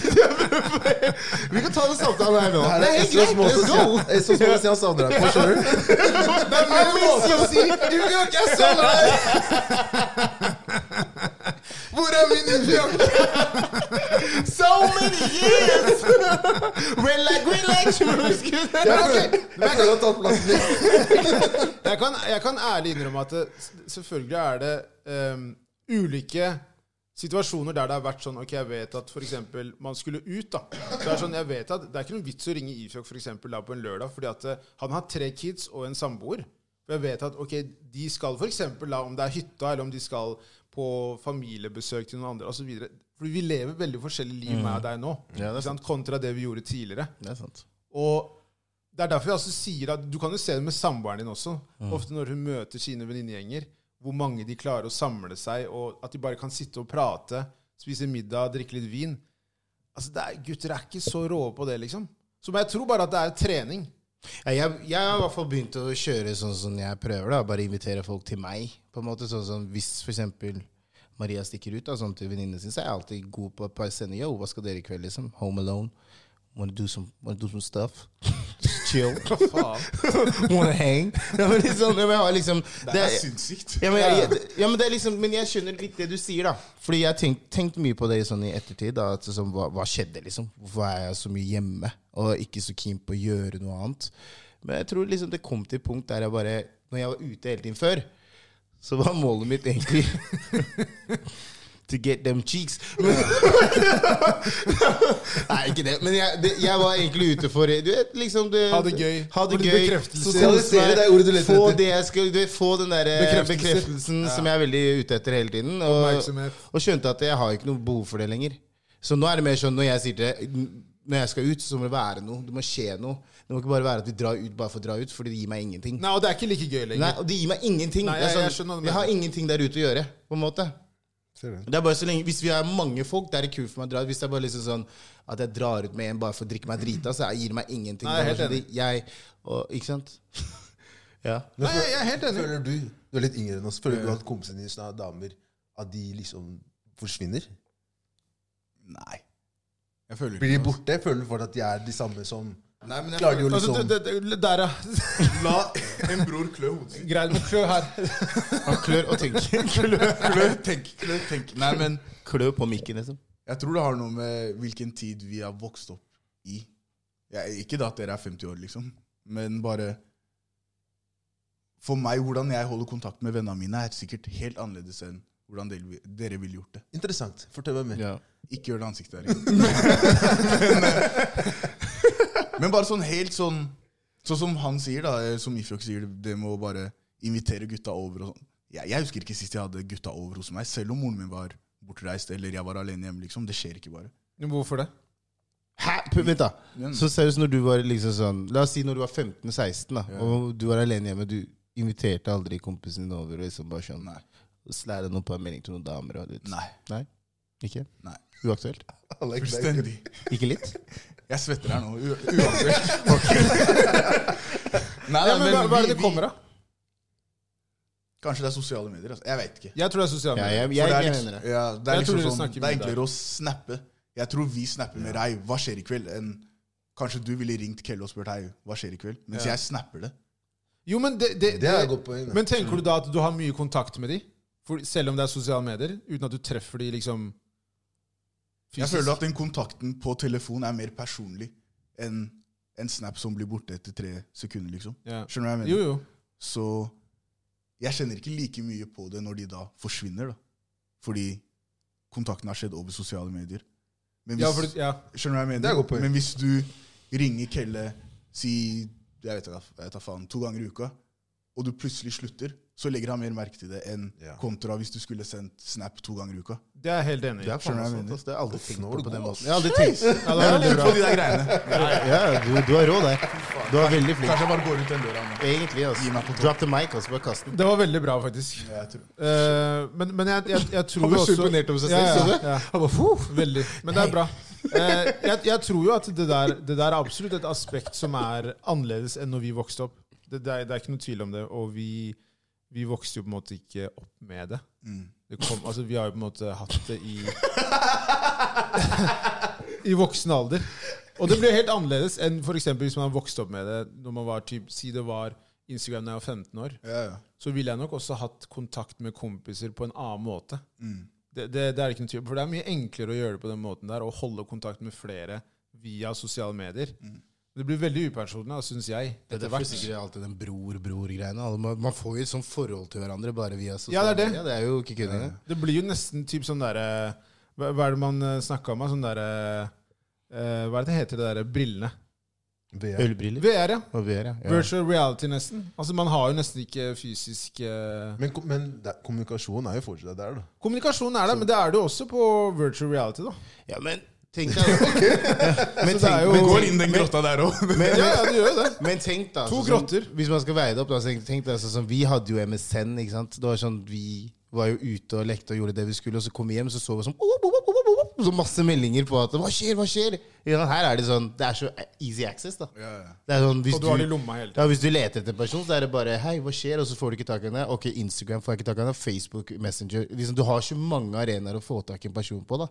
S4: Vi kan ta den samtalen her nå. Det er helt greit. Let's go.
S2: SOS måte å si han savner deg på, skjønner du?
S1: Det er min måte å si Isak, jeg savner deg! Hvor er min Isak?
S4: So many years! <laughs> Relax, <laughs> relax!
S2: Jeg føler- jeg føler han har tatt plassen din.
S1: Jeg kan, jeg kan ærlig innrømme at det, selvfølgelig er det ehm, ulike situasjoner der det har vært sånn Ok, jeg vet at f.eks. man skulle ut, da. Så det er sånn, jeg vet at det er ikke noen vits å ringe Ifjok for eksempel, da på en lørdag, fordi at eh, han har tre kids og en samboer. Og jeg vet at ok, de skal f.eks. da, om det er hytta, eller om de skal på familiebesøk til noen andre, osv. Fordi vi lever veldig forskjellige liv med deg nå,
S4: Mm. Ja, det er
S1: ikke sant? kontra det vi gjorde tidligere.
S4: Det er sant.
S1: Og det er derfor jeg også sier at du kan jo se det med samboeren din også. Ofte når hun møter sine venninnegjenger, hvor mange de klarer å samle seg, og at de bare kan sitte og prate, spise middag, drikke litt vin. Altså, det er, Gutter er ikke så rå på det, liksom. Så men jeg tror bare at det er trening.
S4: Ja, jeg, jeg har i hvert fall begynt å kjøre sånn som jeg prøver. da, Bare invitere folk til meg. på en måte, sånn som Hvis for eksempel Maria stikker ut da, sånn til venninnene sine, så er jeg alltid god på å bare sende Yo, hva skal dere i kveld? liksom? Home alone. Wanna do some, wanna do some stuff? <laughs> Just chill. <laughs> Wanna hang? <laughs> Ja, men liksom, ja, men jeg har liksom
S3: Det er sinnssykt.
S4: Ja, men, jeg, ja, men, det er liksom, men jeg skjønner litt det du sier, da. Fordi jeg har tenkt, tenkt mye på det sånn i ettertid. Da, at sånn, hva, hva skjedde, liksom? Hvorfor er jeg så mye hjemme og ikke så keen på å gjøre noe annet? Men jeg tror liksom det kom til et punkt der jeg bare Når jeg var ute hele tiden før, så var målet mitt egentlig To get them cheeks.
S1: <laughs>
S4: <laughs> Men, nei, ikke det. Men jeg, det, jeg var egentlig ute for du vet, liksom det,
S1: Ha det gøy.
S4: Ha det
S1: Få litt
S4: gøy.
S1: bekreftelse.
S4: Sosialisere,
S2: Sosialisere, det er ordet du leter
S4: Få
S2: etter.
S4: det jeg skal, du vet, få den der eh,
S1: Bekreftelse.
S4: bekreftelsen som jeg er veldig ute etter hele tiden. Og,
S1: Oppmerksomhet.
S4: og skjønte at jeg har ikke noe behov for det lenger. Så nå er det mer sånn når jeg sier til deg når jeg skal ut, så må det være noe. Det må skje noe. Det må ikke bare være at vi drar ut bare for å dra ut, fordi det gir meg ingenting.
S1: Nei, og det er ikke like gøy lenger.
S4: Nei, og det gir meg ingenting.
S1: Nei,
S4: Det er
S1: jeg- jeg
S4: sånn,
S1: skjønner hva du
S4: jeg har ingenting der ute å gjøre, på en måte.
S2: Ser den.
S4: Det er bare så lenge, Hvis vi er mange folk, det er det kult for meg å dra ut. Hvis det er bare liksom sånn at jeg drar ut med en bare for å drikke meg drita, så gir det meg ingenting.
S1: Nei, jeg er
S4: Det
S1: helt
S4: er bare sånn, Jeg, og, ikke sant? <laughs> ja.
S1: Nei, jeg er helt enig.
S2: Føler du Du er litt yngre enn oss. Føler du at kompisene dine som er damer, at de liksom forsvinner?
S3: Nei. Jeg føler
S2: Blir
S3: ikke
S2: de
S3: det, ass.
S2: borte? Føler du for at de er de samme som
S3: Nei, men jeg
S2: Klarer Altså. de å
S1: Altså,
S4: sånn.
S2: liksom
S1: det, det, det, der, ja. <laughs>
S3: føler- La en bror klø hodet sitt.
S1: Greit med klø her.
S4: Han <laughs> klør og tenker.
S1: <laughs>
S3: Klø, tenk, klø, tenk. Nei, men
S4: Klør på mikken, liksom.
S3: jeg tror det har noe med hvilken tid vi har vokst opp i. Jeg, ikke da at dere er 50 år, liksom, men bare For meg, hvordan jeg holder kontakt med vennene mine, er sikkert helt annerledes enn hvordan dere, dere ville gjort det.
S2: Interessant. Fortell meg mer.
S4: Ja.
S3: Ikke gjør det ansiktet der igjen. men, men bare sånn helt sånn Sånn som han sier, da, eh, som Ifjok sier, det med å bare invitere gutta over og sånn. Jeg, jeg husker ikke sist jeg hadde gutta over hos meg, selv om moren min var bortreist eller jeg var alene hjemme. liksom. Det skjer ikke bare.
S1: Hvorfor det?
S4: Hæ? P- Vent, da.
S3: Ja.
S4: Så seriøst, når du var liksom sånn La oss si når du var 15-16, da, og du var alene hjemme. Du inviterte aldri kompisen din over og liksom bare sånn
S3: Nei.
S4: Slære noen på en melding til noen damer og litt
S3: Nei.
S4: Nei? Ikke?
S3: Nei.
S4: Uaktuelt?
S3: Fullstendig.
S4: Ikke <laughs> litt?
S3: Jeg svetter her nå.
S1: <laughs>
S3: u- Uansett. Nei,
S1: Ja,
S3: nei,
S1: men hva, hva er det
S3: vi-
S1: det kommer av?
S3: vi- Kanskje det er sosiale medier. Altså. Jeg vet ikke.
S1: Jeg tror det er sosiale
S4: Ja,
S1: medier.
S4: jeg,
S3: For
S4: jeg,
S3: det er
S4: jeg
S3: liksom-
S4: mener det.
S3: Ja, det er,
S1: Jeg tror
S3: liksom
S1: dere
S3: sånn,
S1: snakker
S3: det er
S1: mye
S3: enklere å snappe. Jeg tror vi snapper med deg. Hva skjer i kveld? Enn kanskje du ville ringt Kelle og spurt hei, hva skjer i kveld? Mens
S1: Ja.
S3: jeg snapper det.
S1: Jo, men det, det,
S2: Det er et godt poeng. da.
S1: Men tenker du da at du har mye kontakt med de? For selv om det er sosiale medier, uten at du treffer de liksom
S3: Jeg føler at den kontakten på telefon er mer personlig enn en snap som blir borte etter tre sekunder, liksom.
S1: ja.
S3: Skjønner du hva jeg mener?
S1: Jo, jo.
S3: Så jeg kjenner ikke like mye på det når de da forsvinner, da. Fordi kontakten har skjedd over sosiale medier. Men
S1: Ja, for, ja.
S3: Skjønner du hva jeg mener?
S2: Det er godt poeng.
S3: Men hvis du ringer Kelle si, jeg vet ikke, jeg tar faen, to ganger i uka, og du plutselig slutter, så legger han mer merke til det enn
S2: Ja.
S3: kontra hvis du skulle sendt snap to ganger i uka.
S1: Det er jeg helt enig i.
S4: Det er faen
S3: Skjønner du hva jeg
S4: meg sant.
S3: mener?
S4: ass. Det har jeg aldri
S2: Uff,
S4: tenkt
S2: nå
S4: på
S2: er du
S4: på den
S2: god,
S4: måten. Jeg har aldri tenkt. Ja, det er veldig
S3: På
S4: bra.
S3: de der greiene.
S4: Ja, du, du har råd der. Du er veldig flink.
S3: Kanskje jeg bare går ut den døra nå.
S4: Egentlig,
S3: Gi meg
S4: altså.
S3: kontroll.
S4: Drop the mic, altså. Bare kast den.
S1: Det var veldig bra, faktisk.
S3: Ja, jeg tror.
S1: Eh, men, men jeg, jeg, jeg tror jo også
S4: over
S1: Ja, ja, ja. Veldig. Men det er bra. Eh, jeg, jeg tror jo at det der, det der er absolutt et aspekt som er annerledes enn når vi vokste opp. Det, det, er, det er ikke noe tvil om det. Og vi, vi vokste jo på en måte ikke opp med det.
S3: Mm.
S1: det kom, altså, vi har jo på en måte hatt det i <laughs> I voksen alder. Og det ble helt annerledes enn for eksempel hvis man har vokst opp med det når man var typ, Si det var Instagram da jeg var 15 år
S3: Ja, ja.
S1: så ville jeg nok også hatt kontakt med kompiser på en annen måte.
S3: Mm.
S1: Det, det, det er ikke noe tvil om, For det er mye enklere å gjøre det på den måten der, å holde kontakt med flere via sosiale medier. Det blir veldig upersonlig, syns jeg,
S4: Mm. Det
S1: etter
S4: er
S1: hvert.
S4: sikkert alltid den bror-bror-greiene. Alle- Man man får jo et sånt forhold til hverandre bare via
S1: Ja,
S4: sosiale
S1: det er det.
S4: medier. Det er jo ikke kødd engang.
S1: Det blir jo nesten typ sånn derre hva, hva er det man snakka om? da? Sånn derre eh, Hva er det det heter, det derre brillene?
S2: VR.
S4: Ølbriller
S1: VR, ja.
S4: og VR, ja. ja.
S1: Virtual reality, nesten. Altså, man har jo nesten ikke fysisk eh,
S2: Men, ko- men det, kommunikasjonen er jo fortsatt der, da.
S1: Kommunikasjon er der, men det er det jo også på virtual reality, da.
S4: Ja, men tenk deg <laughs>
S1: det er
S4: Men tenk-
S1: jo-
S4: men
S3: Vi går
S4: tenk-
S3: inn den grotta der òg.
S4: men-
S1: Ja, ja, det gjør jo det.
S4: Men tenk da
S1: To
S4: sånn-
S1: grotter.
S4: Hvis man skal veie det opp da, så tenk, tenk deg sånn som Vi hadde jo MSN, ikke sant Det var sånn Vi var jo ute og lekte og gjorde det vi skulle Og så kom vi hjem, så så vi sånn op, op, op, op, op, op, Så masse meldinger på at Hva skjer, hva skjer Ikke sant? Her er det sånn Det er så easy access da
S3: Ja, ja.
S4: Det er sånn hvis
S1: Og du har det i lomma hele tiden.
S4: ja, Hvis du leter etter en person, så er det bare Hei, hva skjer? Og så får du ikke tak i henne. Ok, Instagram får jeg ikke tak i henne. Facebook, Messenger liksom, Du har så mange arenaer å få tak i en person på, da.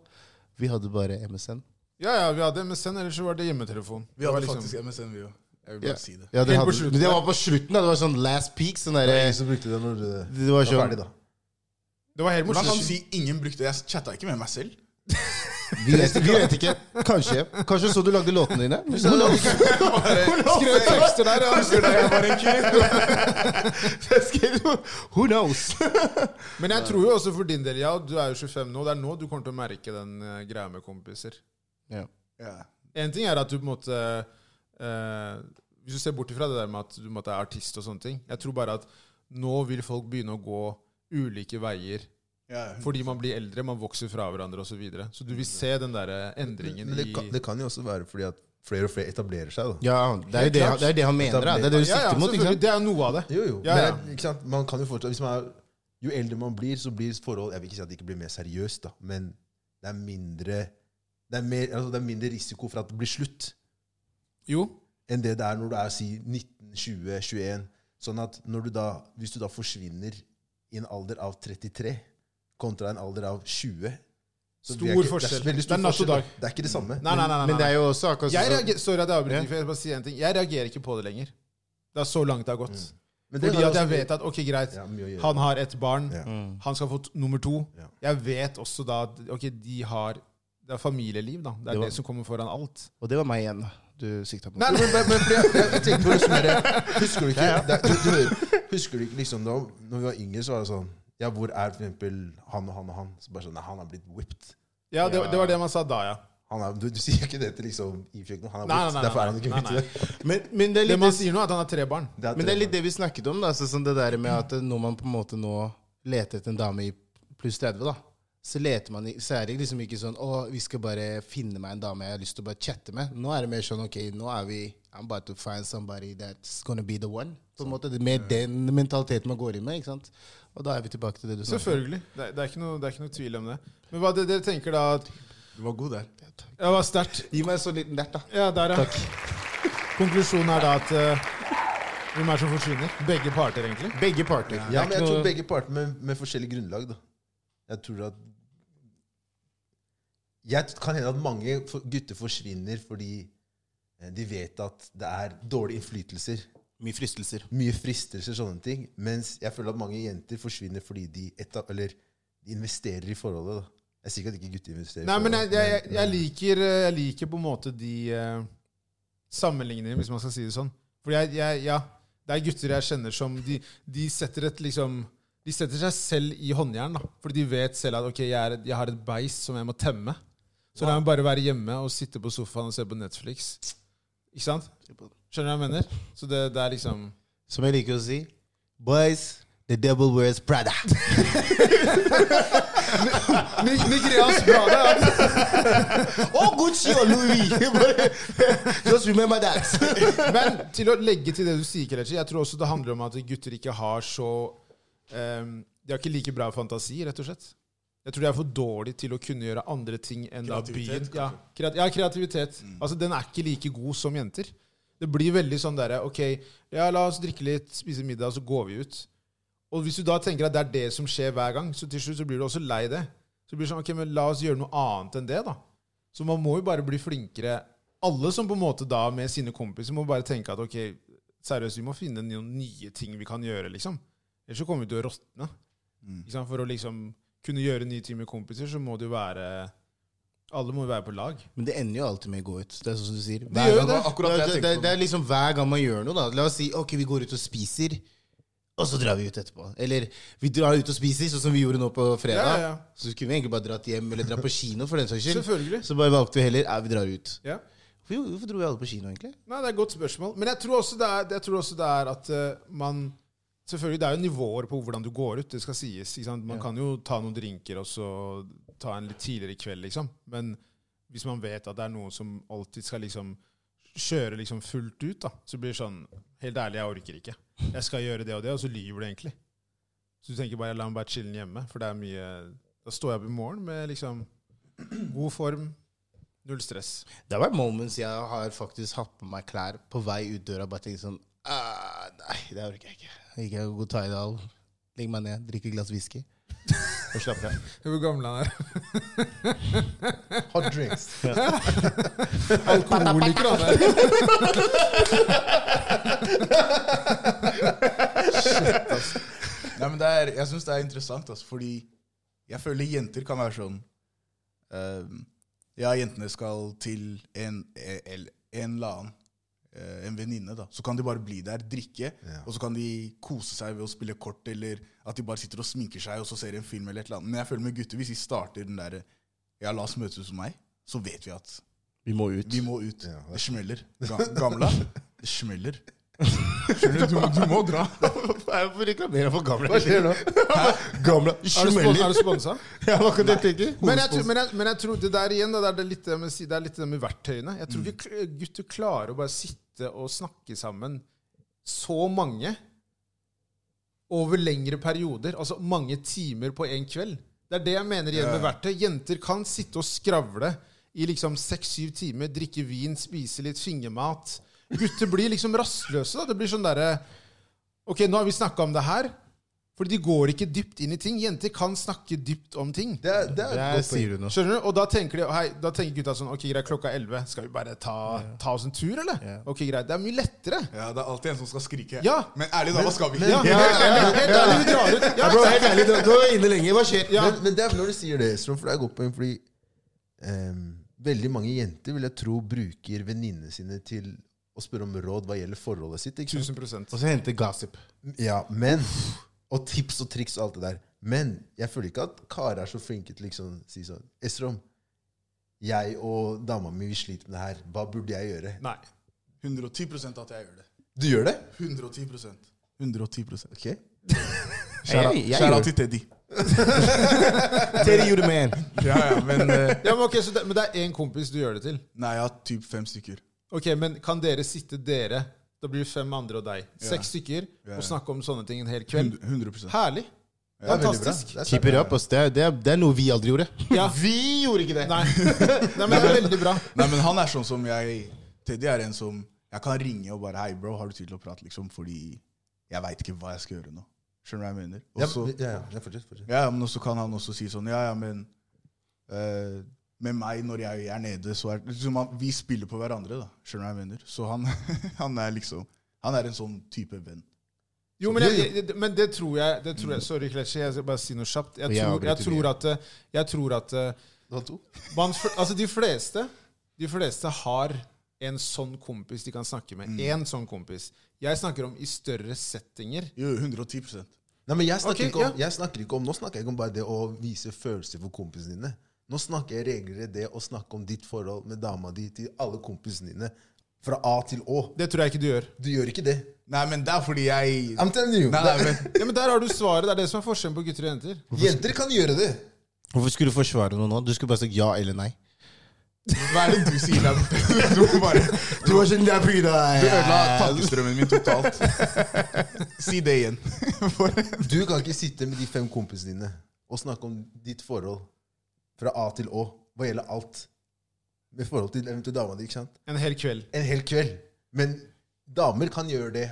S4: Vi hadde bare MSN.
S1: Ja, ja, vi hadde MSN, ellers så var det hjemmetelefon.
S3: Vi hadde
S1: Det var liksom-
S3: faktisk MSN, vi òg. Jeg vil bare
S4: liksom- Ja.
S3: si det.
S4: Ja, det,
S1: Helt på
S4: hadde,
S1: slutten,
S4: men det
S1: da.
S4: var på slutten, da. Det var sånn last peak. Sånn der,
S2: Ingen som brukte det når du
S4: det var
S2: var
S4: sånn,
S2: ferdig, da.
S1: Det var helt
S3: Hvordan kan
S1: <laughs>
S3: du
S1: morsomt.
S3: si ingen brukte det? Jeg chatta ikke med meg selv.
S4: vi, vet, vi vet ikke. Kanskje. Kanskje så du lagde låtene dine? Who knows?
S1: Skrev tekster der, ja.
S3: Jeg var en kid.
S4: Jeg skrev jo, Who knows?
S1: Men jeg tror jo også for din del, ja, du er jo 25 nå, det er nå du kommer til å merke den eh, greia med kompiser.
S4: Ja.
S3: Ja.
S1: En ting er at du på en måte eh, Hvis du ser bort ifra det der med at du på en måte er artist og sånne ting Jeg tror bare at nå vil folk begynne å gå ulike veier
S3: Ja,
S1: Fordi man blir eldre, man vokser fra hverandre osv. Så, videre. så du vil se den der eh, endringen
S2: Men det kan,
S1: i
S2: det kan jo også være fordi at flere og flere etablerer seg. da.
S4: Ja, det er jo det, han- det, er det han mener. Da. Det er det
S1: Ja,
S4: du
S1: ja,
S4: sikter mot. ikke
S1: selvfølgelig.
S4: sant?
S1: Det er noe av det.
S2: Jo, jo.
S1: Ja, ja.
S2: Men, ikke sant? Man kan jo fortsatt, hvis man er, jo eldre man blir, så blir forhold Jeg vil ikke si at det ikke blir mer seriøst, da, men det er mindre det er, mer, altså det er mindre risiko for at det blir slutt
S1: Jo,
S2: enn det det er når du er si 19, 20, 21. Sånn at når du da, hvis du da forsvinner i en alder av 33 kontra en alder av 20 så
S1: Stor
S2: blir jeg ikke-
S1: forskjell.
S2: Det er, veldig stor
S1: Det er natt og
S2: forskjell, da.
S1: dag.
S2: Det er ikke det samme.
S1: Nei, nei, nei. nei,
S4: Men det
S1: nei.
S4: er jo også akkurat
S1: Jeg
S4: sånn
S1: reagerer, sorry at jeg
S4: Ja.
S1: avbryter, for jeg bare sier en ting. Jeg reagerer ikke på det lenger. Det er så langt det har gått.
S2: Men
S1: Fordi
S2: har
S1: at jeg
S2: også-
S1: vet at ok, greit,
S2: altså, ja, mye å gjøre.
S1: han har et barn.
S2: Ja.
S4: Mm.
S1: Han skal få t- nummer to.
S2: Ja.
S1: Jeg vet også da at ok, de har Det er familieliv, da. Det
S4: Det
S1: er
S4: var-
S1: det som kommer foran alt.
S4: Og det var meg igjen du sikta på.
S1: Nei,
S2: Men, men, men fordi jeg, jeg tenkte på det som bare- <laughs> Husker du ikke
S4: Ja, ja.
S2: det er- du, du, hører- Husker du ikke liksom da Når vi var yngre, så var det sånn Ja, hvor er for eksempel han og han og han? Så bare sånn, nei, Han er blitt whipped.
S1: <laughs> Ja, det, det var det man sa da, ja.
S2: Han er, du, du sier ikke det til liksom Ifjøkno. Han er
S1: Nei, nei,
S2: whipped.
S1: nei,
S2: Derfor er han
S1: nei,
S2: ikke
S1: nei,
S2: whipped.
S1: nei.
S4: Men, men det er
S1: Det
S4: litt
S1: man sier nå, er at han har tre barn.
S2: <laughs> Det er
S4: Men det er litt
S2: det.
S4: det vi snakket om. da, så sånn Det der med at når man på en måte nå leter etter en dame i pluss 30, da, så leter man i, så er det liksom ikke sånn å, vi skal bare finne meg en dame jeg har lyst til å bare chatte med. Nå er det mer sånn ok, nå er vi I'm about to find somebody that's gonna be the one. på en måte, Det er mer den mentaliteten man går inn med. ikke sant? Og da er vi tilbake til det du sa.
S1: Selvfølgelig. Det er, det, er ikke noe, det er ikke noe tvil om det. Men hva det, dere tenker da at
S3: Du var god der.
S1: Det var sterkt.
S4: Gi meg en sånn liten dert, da.
S1: Ja, der, ja. <laughs> Konklusjonen er da at eh, hvem er det som forsvinner? Begge parter, egentlig.
S4: Begge parter.
S2: Ja, men jeg
S4: Det er ikke
S2: tror
S4: noe-
S2: begge parter med, med forskjellig grunnlag, da. Jeg tror at Jeg t- kan hende at mange for- gutter forsvinner fordi eh, de vet at det er dårlige innflytelser.
S4: Mye fristelser.
S2: mye fristelser og sånne ting. Mens jeg føler at mange jenter forsvinner fordi de, eta eller, de investerer i forholdet. Da. Jeg sier ikke at ikke gutter investerer. i
S1: Nei, men jeg,
S2: forholdet,
S1: jeg, jeg, jeg, liker, eh, jeg liker på en måte de eh, sammenligningene, hvis man skal si det sånn. For jeg, jeg, ja, det er gutter jeg kjenner som De, de setter et liksom De setter seg selv i håndjern, da. Fordi de vet selv at ok, jeg, er, et- jeg har et beist som jeg må temme. Så la meg bare være hjemme og sitte på sofaen og se på Netflix. Ikke sant? Skjønner du hva jeg mener? Så det, det er liksom
S4: Som jeg liker å si Boys, the devil wears Prada.
S1: Nigerias bra, det er
S4: oh, Gucci og Louis! Just remember that.
S1: Men til å legge til det du sier, Kelechi, jeg tror også det handler om at gutter ikke har så ehm, De har ikke like bra fantasi, rett og slett. Jeg tror de er for dårlige til å kunne gjøre andre ting enn da byen.
S3: Kreativitet,
S1: Ja, kreat ja, kreativitet. Altså, Den er ikke like god som jenter. Det blir veldig sånn derre OK, ja, la oss drikke litt, spise middag, så går vi ut. Og hvis du da tenker at det er det som skjer hver gang, så til slutt så blir du også lei det. Så blir det sånn, ok, men La oss gjøre noe annet enn det, da. Så man må jo bare bli flinkere. Alle som på en måte da med sine kompiser må bare tenke at ok, seriøst, vi må finne noen nye ting vi kan gjøre, liksom. Ellers så kommer vi til å råtne. Ikke sant? For å liksom kunne gjøre nye ting med kompiser, så må det jo være Alle må jo være på lag.
S4: Men det ender jo alltid med å gå ut. Det er sånn som du sier.
S1: gjør jo
S4: gang,
S1: det.
S3: Akkurat det
S4: det,
S3: jeg tenkte
S4: det,
S3: på.
S4: det er liksom hver gang man gjør noe, da. La oss si ok, vi går ut og spiser, og så drar vi ut etterpå. Eller vi drar ut og spiser, sånn som vi gjorde nå på fredag.
S1: Ja, ja, ja.
S4: Så kunne vi egentlig bare dratt hjem, eller dra på kino, for den saks skyld.
S1: Selvfølgelig.
S4: Så bare valgte vi heller ja, vi drar ut.
S1: Ja.
S4: Hvorfor, hvorfor dro vi alle på kino, egentlig?
S1: Nei, det er et godt spørsmål. Men jeg tror også det er, jeg tror også det er at eh, man Selvfølgelig, Det er jo nivåer på hvordan du går ut. det skal sies. Ikke sant? Man kan jo ta noen drinker og så ta en litt tidligere i kveld, liksom. Men hvis man vet at det er noen som alltid skal liksom kjøre liksom fullt ut, da, så blir det sånn Helt ærlig, jeg orker ikke. Jeg skal gjøre det og det, og så lyver du egentlig. Så du tenker bare la meg bare chille hjemme, for det er mye Da står jeg opp i morgen med liksom god form, null stress.
S4: Det har vært moments jeg har faktisk hatt på meg klær på vei ut døra bare tenkt sånn «Ah, Nei, det orker jeg ikke. Gikk jeg og god tie-dal, legger meg ned, drikker et glass whisky og slapper av.
S1: Hvor gammel han er.
S2: Hot
S1: <laughs>
S2: drinks.
S1: Alkoholiker, han der.
S3: <laughs> Nei, men det er, jeg syns det er interessant, altså, fordi jeg føler jenter kan være sånn ehm, Ja, jentene skal til en, en, en eller annen, eh, en venninne, da. Så kan de bare bli der, drikke,
S2: Ja.
S3: og så kan de kose seg ved å spille kort, eller at de bare sitter og sminker seg, og så ser de en film eller et eller annet. Men jeg føler med gutter, hvis de starter den derre Ja, la oss møtes hos meg, så vet vi at
S4: Vi må ut.
S3: vi må ut.
S2: Ja, det er-
S3: det smeller. Ga- Gamla, det smeller. Skjønner du, du, må- du må dra.
S4: Jeg får reklamere for gamle.
S2: Hva skjer nå?
S4: Gamle
S1: Er du spons-
S4: smeller.
S1: er du sponsa?
S4: Ja, hva kan jeg tenke?
S1: Men jeg, tror, men, jeg, men jeg tror det der igjen, da, det er det litt det med, si- det er litt det med verktøyene. Jeg tror ikke kl- gutter klarer å bare sitte og snakke sammen så mange over lengre perioder. Altså mange timer på én kveld. Det er det jeg mener igjen med verktøy. Jenter kan sitte og skravle i liksom seks-syv timer, drikke vin, spise litt fingermat. Gutter blir liksom rastløse. da. Det blir sånn derre Ok, nå har vi snakka om det her. Fordi de går ikke dypt inn i ting. Jenter kan snakke dypt om ting.
S2: Det er, det er et
S4: Der
S2: godt poeng.
S4: sier du noe.
S1: Skjønner du? Og da tenker, de, hei, da tenker gutta sånn Ok, greit, klokka er 11. Skal vi bare ta, ta oss en tur, eller?
S4: Ja.
S1: Ok, greit. Det er mye lettere.
S3: Ja, Det er alltid en som skal skrike.
S1: Ja.
S3: Men ærlig, da, hva skal vi?
S1: Ja, helt ærlig, helt ærlig, vi drar ut. Ja,
S4: Ja, bro, helt ærlig, du, du var inne lenge. Hva skjer?
S1: Ja.
S2: Men, men det er når du sier det, Strøm, for det er et godt poeng. Fordi ehm, veldig mange jenter vil jeg tro bruker venninnene sine til å spørre om råd hva gjelder forholdet sitt. Ikke sant?
S1: 1000
S4: Og så hente gossip.
S2: Ja, men Og tips og triks og alt det der. Men jeg føler ikke at karer er så flinke til liksom å si sånn Estrom, jeg og dama mi vi sliter med det her. Hva burde jeg gjøre?
S1: Nei.
S3: 110 at jeg gjør det.
S2: Du gjør det?
S3: 110 110
S2: Ok.
S4: Shout out- shout
S3: Skjæra
S4: out
S3: til Teddy.
S4: til- Teddy, you're the man.
S3: Ja, ja, <laughs> men eh,
S1: Ja, men, ok, så det, men det er én kompis du gjør det til.
S3: Nei, jeg har typ fem stykker.
S1: Ok, Men kan dere sitte dere? Da blir det fem andre og deg. Seks stykker. Og snakke om sånne ting en hel kveld.
S3: 100
S1: Herlig.
S2: Det er veldig bra.
S1: Fantastisk.
S2: Det er
S4: Keep it up, ass. Det er, det, er, det er noe vi aldri gjorde.
S1: Ja.
S4: Vi gjorde ikke det!
S1: Nei. <laughs> Nei, men det er veldig bra.
S3: Nei, men han er sånn som jeg Teddy er en som jeg kan ringe og bare Hei, bro, har du tid til å prate? Liksom, fordi jeg veit ikke hva jeg skal gjøre nå. Skjønner du hva jeg mener? Og
S2: Ja,
S3: så-
S2: ja, ja, ja, fortsett. fortsett.
S3: ja, ja, men også kan han også si sånn Ja, ja, men eh, med meg når jeg er nede, så er liksom, han, Vi spiller på hverandre, da. Skjønner du hva jeg mener? Så han, <laughs> han er liksom Han er en sånn type venn.
S1: Jo, men, jeg, jeg- men det tror jeg, det tror jeg Sorry, Klesje, jeg skal bare si noe kjapt. Jeg
S4: Og jeg
S1: tror, jeg
S4: avbryter
S1: tror at, eh, jeg tror at eh,
S2: Du har to?
S1: man, fl- altså de, fleste, de fleste har en sånn kompis de kan snakke med. Én sånn kompis. Jeg snakker om i større settinger.
S3: Jo, 110
S2: Nei, men jeg snakker,
S1: Ok,
S2: ikke om,
S1: ja.
S2: jeg snakker ikke om Nå snakker jeg ikke om bare det å vise følelser for kompisene dine. Nå snakker jeg regelrett det å snakke om ditt forhold med dama di til alle kompisene dine. Fra A til Å.
S1: Det tror jeg ikke du gjør.
S2: Du gjør ikke det.
S3: Nei, men det er fordi jeg
S2: I'm telling you.
S3: Nei, nei, men
S1: Ja, men Der har du svaret. Det er det som er forskjellen på gutter og jenter.
S2: Jenter kan gjøre det.
S4: Hvorfor skulle du forsvare noe nå? Du skulle bare sagt ja eller nei.
S3: Hva er det du sier der borte? <laughs> Du må bare
S4: Du var sånn der på
S3: Du ødela tankestrømmen min totalt. Si det igjen.
S2: Du kan ikke sitte med de fem kompisene dine og snakke om ditt forhold fra A til Å hva gjelder alt. Med forhold til eventuelt dama di. ikke sant?
S1: En hel kveld.
S2: En hel kveld. Men damer kan gjøre det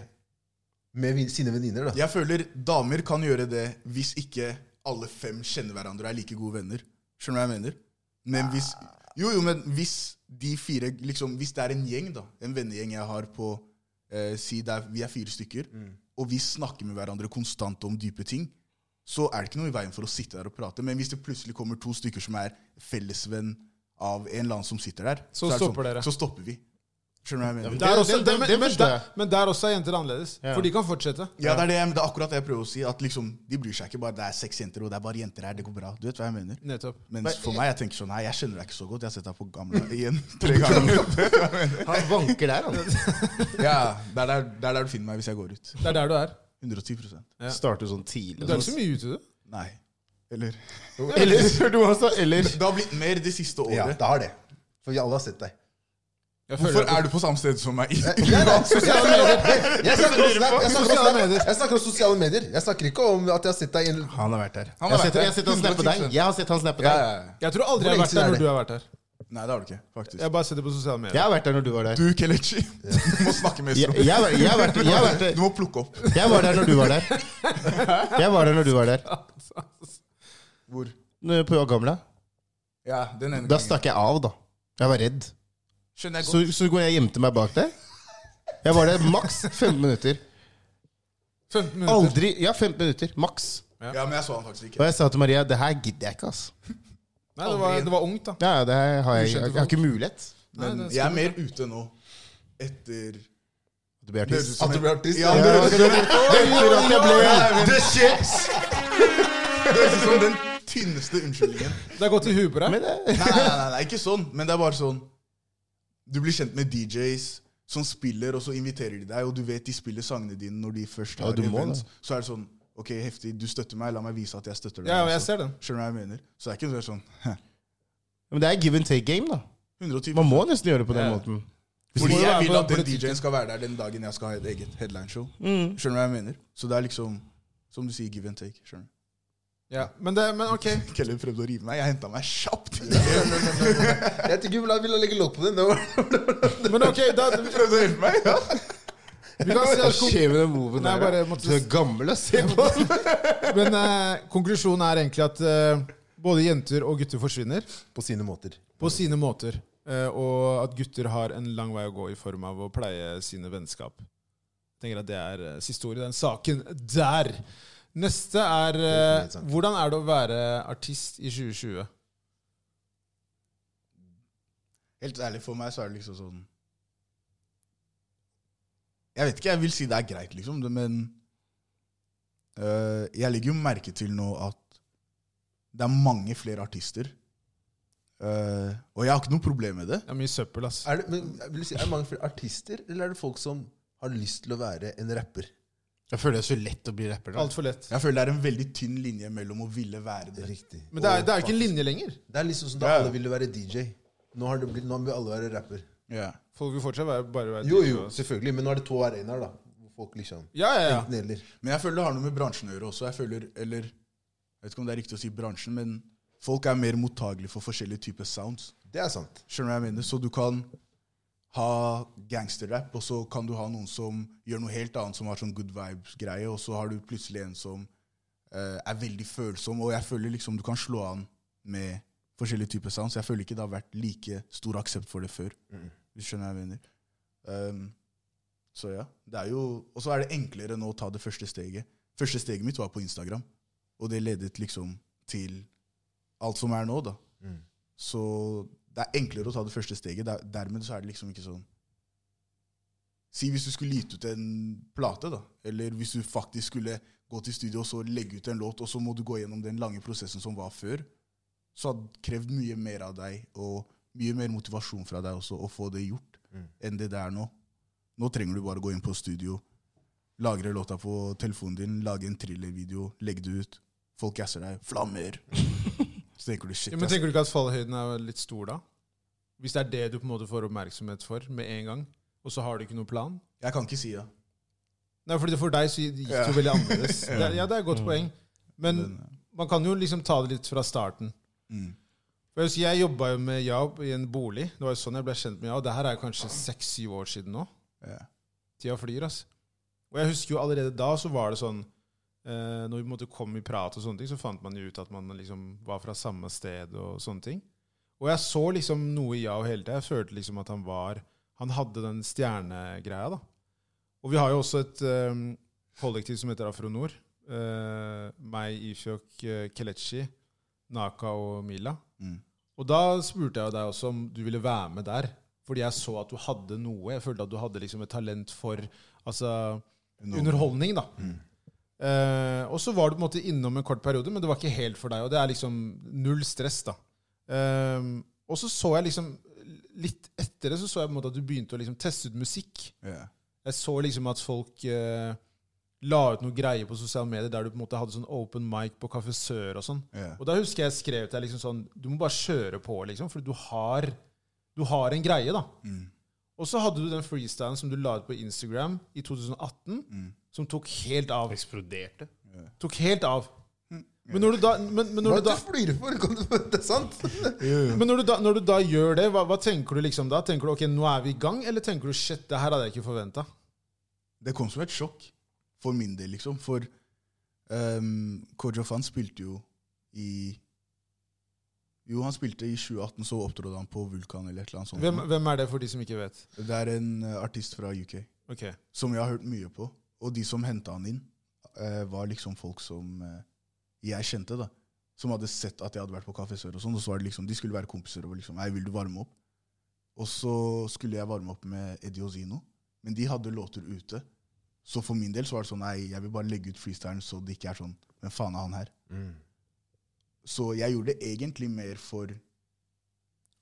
S2: med vin- sine venninner. da.
S3: Jeg føler damer kan gjøre det hvis ikke alle fem kjenner hverandre og er like gode venner. Skjønner du hva jeg mener? Men hvis Jo, jo, men hvis de fire liksom, Hvis det er en gjeng, da. En vennegjeng jeg har på eh, Si det er, vi er fire stykker, og vi snakker med hverandre konstant om dype ting. Så er det ikke noe i veien for å sitte der og prate. Men hvis det plutselig kommer to stykker som er fellesvenn av en eller annen som sitter der,
S1: Så
S3: er det sånn,
S1: stopper dere.
S3: Så stopper vi. Skjønner du hva jeg
S1: Der
S3: mener?
S4: Det-
S1: også,
S4: det-
S1: der,
S4: det- det
S1: men, men,
S4: forstår
S1: der,
S4: jeg.
S1: men der også er jenter annerledes. For de kan fortsette.
S3: Ja, det er, det, jeg- det er akkurat det jeg prøver å si. At liksom, De bryr seg ikke bare det er seks jenter og det er bare jenter her. Det går bra. Du vet hva jeg mener?
S1: Nettopp.
S3: Mens for meg, jeg tenker sånn Nei, jeg kjenner deg ikke så godt. Jeg har sett deg på <laughs> gamle igjen tre ganger.
S4: Han vanker der, han.
S3: <laughs> Ja, Det er der, det er der du finner meg hvis jeg går ut.
S1: Det er der du er.
S3: 110
S1: Ja.
S4: Starter sånn tidlig.
S1: Du er ikke så mye ute, du.
S3: Nei. Eller
S4: Eller, hørte du hva han sa? Eller
S3: <laughs> Det har blitt mer det siste
S2: Ja,
S3: året.
S2: det har det. For vi alle har sett deg.
S1: Jeg
S3: Hvorfor
S1: føler-
S3: er du på samme sted som <laughs> meg?
S2: Nei, nei, sosiale medier. Jeg snakker, om
S4: Hører
S2: Snap,
S4: på.
S2: jeg, snakker om Snap. jeg snakker om sosiale medier. Jeg snakker ikke om at jeg har sett deg i en
S4: Han har vært der.
S3: Han
S4: Jeg
S3: har
S4: har
S3: vært
S4: sett,
S3: der.
S4: jeg har sett han snappe deg.
S3: 110%.
S4: Jeg har sett han snappe
S3: Ja,
S4: deg.
S3: ja, ja.
S1: Jeg tror aldri
S2: Hvor
S1: jeg har
S2: lenge
S1: vært
S2: siden
S1: der
S2: er
S1: når
S2: det?
S1: du har vært der.
S3: Nei, det har du ikke. faktisk.
S1: Jeg har bare sett det på sosiale
S4: Jeg
S1: medier.
S4: har vært der når du var der.
S3: Du, Kelechi, <laughs> du må snakke med
S4: Jeg,
S3: Estrom.
S4: jeg, var- jeg, har vært-
S3: <laughs>
S4: jeg, har vært
S3: Du
S4: der-
S3: må plukke opp.
S4: jeg var der når du var der. Jeg var der når du var
S1: <laughs>
S4: der.
S3: Hvor?
S4: Nå På Gamla.
S3: Ja, den ene
S4: Da
S3: gangen.
S4: stakk jeg av, da. Jeg var redd.
S3: Skjønner jeg
S4: Så,
S3: godt.
S4: så går jeg og gjemte meg bak der. Jeg var der maks 15 minutter.
S1: 15 minutter.
S4: Aldri Ja, 15 minutter. Maks.
S3: Ja, men jeg så han faktisk ikke.
S4: Og jeg sa til Maria det her gidder jeg ikke, ass.
S1: Nei, det var, det var ungt, da.
S4: Ja, ja, det her har jeg, jeg, jeg har ikke mulighet.
S3: Men
S1: Nei, det er
S3: jeg er mer ute nå. Etter
S4: Du blir artist.
S3: At du ble artist? Ja,
S4: Ja,
S3: det høres
S4: det
S3: ut som-
S4: Etter at jeg ble
S3: Det skjeps! Det høres ut som den tynneste unnskyldningen.
S1: Det er godt i huet på deg.
S4: Men det-
S3: Nei, nei, nei, nei, ikke sånn. Men det er bare sånn Du blir kjent med DJs, som spiller, og så inviterer de deg, og du vet de spiller sangene dine når de først
S2: Ja,
S3: har
S2: du må
S3: event,
S2: det.
S3: så er det sånn Ok, heftig, du støtter meg, la meg vise at jeg støtter deg.
S1: Ja, og jeg
S3: også.
S1: ser den.
S3: Skjønner du hva jeg mener? Så det er ikke noe sånn <laughs>
S4: Men det er give and take game, da.
S3: 110
S4: Man må nesten gjøre det på den
S1: Ja.
S4: måten.
S1: Du
S3: Fordi
S1: må jo
S3: jeg
S1: være
S3: vil
S1: på
S3: at den
S1: politikken.
S3: DJ-en skal være der den dagen jeg skal ha et eget headlineshow. Skjønner du hva jeg mener? Så det er liksom, som du sier, give and take. skjønner du?
S1: Ja, men, det, men ok.
S3: <laughs> Kellen prøvde å rive meg. Jeg henta meg kjapt! <laughs>
S2: Jeg tror ikke Vlad ville legge lokk på det. Det var-
S1: Men ok, da,
S3: Du prøvde å hjelpe meg? Ja.
S1: vi kan
S2: <laughs>
S1: si
S4: Hva
S1: at
S4: skjer med den moven
S1: Nei,
S4: der?
S1: bare
S4: da?
S1: måtte-
S4: Du er gammel, ass. Se på den.
S1: Men eh, konklusjonen er egentlig at eh, både jenter og gutter forsvinner
S2: På sine måter.
S1: på sine måter. eh, og at gutter har en lang vei å gå i form av å pleie sine vennskap. Tenker at Det er eh, siste ord i den saken der. Neste er eh,
S2: Helt sant.
S1: Hvordan er det å være artist i 2020?
S3: Helt ærlig, for meg så er det liksom sånn Jeg vet ikke, jeg vil si det er greit, liksom, det- men øh, jeg legger jo merke til nå at det er mange flere artister. Øh, og jeg har ikke noe problem med det.
S1: Det er mye søppel, ass.
S2: Er det, men, jeg vil si, er det mange flere artister, eller er det folk som har lyst til å være en rapper?
S4: Jeg føler det er så lett å bli rapper. da.
S1: Altfor lett.
S3: Jeg føler det er en veldig tynn linje mellom å ville være det.
S2: Riktig.
S1: Men det er, det er jo ikke en linje lenger.
S2: Det er liksom som da
S3: Ja.
S2: alle ville være DJ. Nå, har det blitt, nå vil alle være rapper.
S3: Ja.
S1: Folk vil fortsatt være, bare være
S2: Jo, jo, selvfølgelig, men nå er det to arenaer, da. Hvor folk liksom
S1: Ja, ja, ja.
S2: Enten eller.
S3: Men jeg føler det har noe med bransjen å gjøre også. Jeg føler, eller jeg vet ikke om det er riktig å si bransjen, men folk er mer mottagelige for forskjellige typer sounds.
S2: Det er sant.
S3: Skjønner du hva jeg mener? Så du kan ha gangsterrap, og så kan du ha noen som gjør noe helt annet, som har sånn good vibes-greie, og så har du plutselig en som eh, er veldig følsom, og jeg føler liksom du kan slå an med forskjellige typer sounds. Jeg føler ikke det har vært like stor aksept for det før, hvis du skjønner hva jeg mener. Ehm, så ja, det er jo, og så er det enklere nå å ta det første steget. Første steget mitt var på Instagram, og det ledet liksom til alt som er nå, da. Så det er enklere å ta det første steget. Der, dermed så er det liksom ikke sånn Si hvis du skulle gitt ut en plate, da. Eller hvis du faktisk skulle gå til studio og så legge ut en låt, og så må du gå gjennom den lange prosessen som var før, så hadde det krevd mye mer av deg, og mye mer motivasjon fra deg også, å få det gjort,
S1: Mm.
S3: enn det det er nå. Nå trenger du bare gå inn på studio, lagre låta på telefonen din, lage en thrillervideo, legge det ut. Folk gasser deg.
S1: <laughs>
S3: Flammer! Så tenker du shit.
S1: Ja, men
S2: altså.
S3: ass.
S1: Tenker du ikke at fallhøyden er litt stor da? Hvis det er det du på en måte får oppmerksomhet for med en gang, og så har du ikke noen plan?
S3: Jeg kan ikke si ja.
S1: Nei, fordi For deg så gikk det
S3: Ja.
S1: jo veldig
S3: <laughs>
S1: annerledes. Det, er- ja, det er et godt poeng. Men man kan jo liksom ta det litt fra starten.
S3: Mm.
S1: For Jeg, husker jeg jobba jo med Jaob i en bolig. Det var jo sånn jeg ble kjent med Jaob. Det her er jo kanskje seks-syv år siden nå.
S3: Ja.
S1: Tida flyr, ass. Og jeg husker jo allerede da så var det sånn eh, Når vi på en måte kom i prat, og sånne ting, så fant man jo ut at man liksom var fra samme sted. Og sånne ting. Og jeg så liksom noe i Yao hele tida. Jeg følte liksom at han var Han hadde den stjernegreia. da. Og vi har jo også et eh, kollektiv som heter Afronor. Eh, meg, Ifjok, eh, Kelechi, Naka og Mila.
S3: Mm.
S1: Og da spurte jeg deg også om du ville være med der. Fordi jeg så at du hadde noe. Jeg følte at du hadde liksom et talent for altså, underholdning. da. Eh, og så var du på en måte innom en kort periode, men det var ikke helt for deg. Og det er liksom null stress, da. Eh, og så så jeg liksom Litt etter det så så jeg på en måte at du begynte å liksom teste ut musikk.
S3: Ja.
S1: Jeg så liksom at folk eh, la ut noe greier på sosiale medier der du på en måte hadde sånn open mic på Kafé Sør og sånn.
S3: Ja.
S1: Og da husker jeg skrev til deg liksom sånn Du må bare kjøre på, liksom, for du har, du har en greie, da.
S3: Mm.
S1: Og så hadde du den freestylen som du la ut på Instagram i 2018,
S2: Mm.
S1: som tok helt av.
S4: Eksploderte.
S1: Tok helt av. Men når du da, men, men
S2: Mm. Hva
S1: når
S2: er
S1: du
S2: det
S1: da
S2: du flirer for? Kan du Det er sant!
S1: men når du da, når du da gjør det, hva, hva tenker du liksom da? Tenker du ok, nå er vi i gang, eller tenker du shit, det her hadde jeg ikke forventa?
S3: Det kom som et sjokk for min del, liksom. For um, Kojo Fan spilte jo i Jo, han spilte i 2018, så opptrådte han på Vulkan eller et eller annet sånt.
S2: Mm.
S1: Hvem, hvem er det for de som ikke vet?
S3: Det er en eh, artist fra UK
S1: Ok.
S3: som jeg har hørt mye på. Og de som henta han inn, eh, var liksom folk som eh, jeg kjente, da. Som hadde sett at jeg hadde vært på Kafé Sør og sånn. Og så var det liksom, de skulle være kompiser og var liksom Hei, vil du varme opp? Og så skulle jeg varme opp med Eddie Ozino, men de hadde låter ute. Så for min del så var det sånn Nei, jeg vil bare legge ut freestylen så det ikke er sånn Hvem faen er han her?
S2: Mm.
S3: Så jeg gjorde det egentlig mer for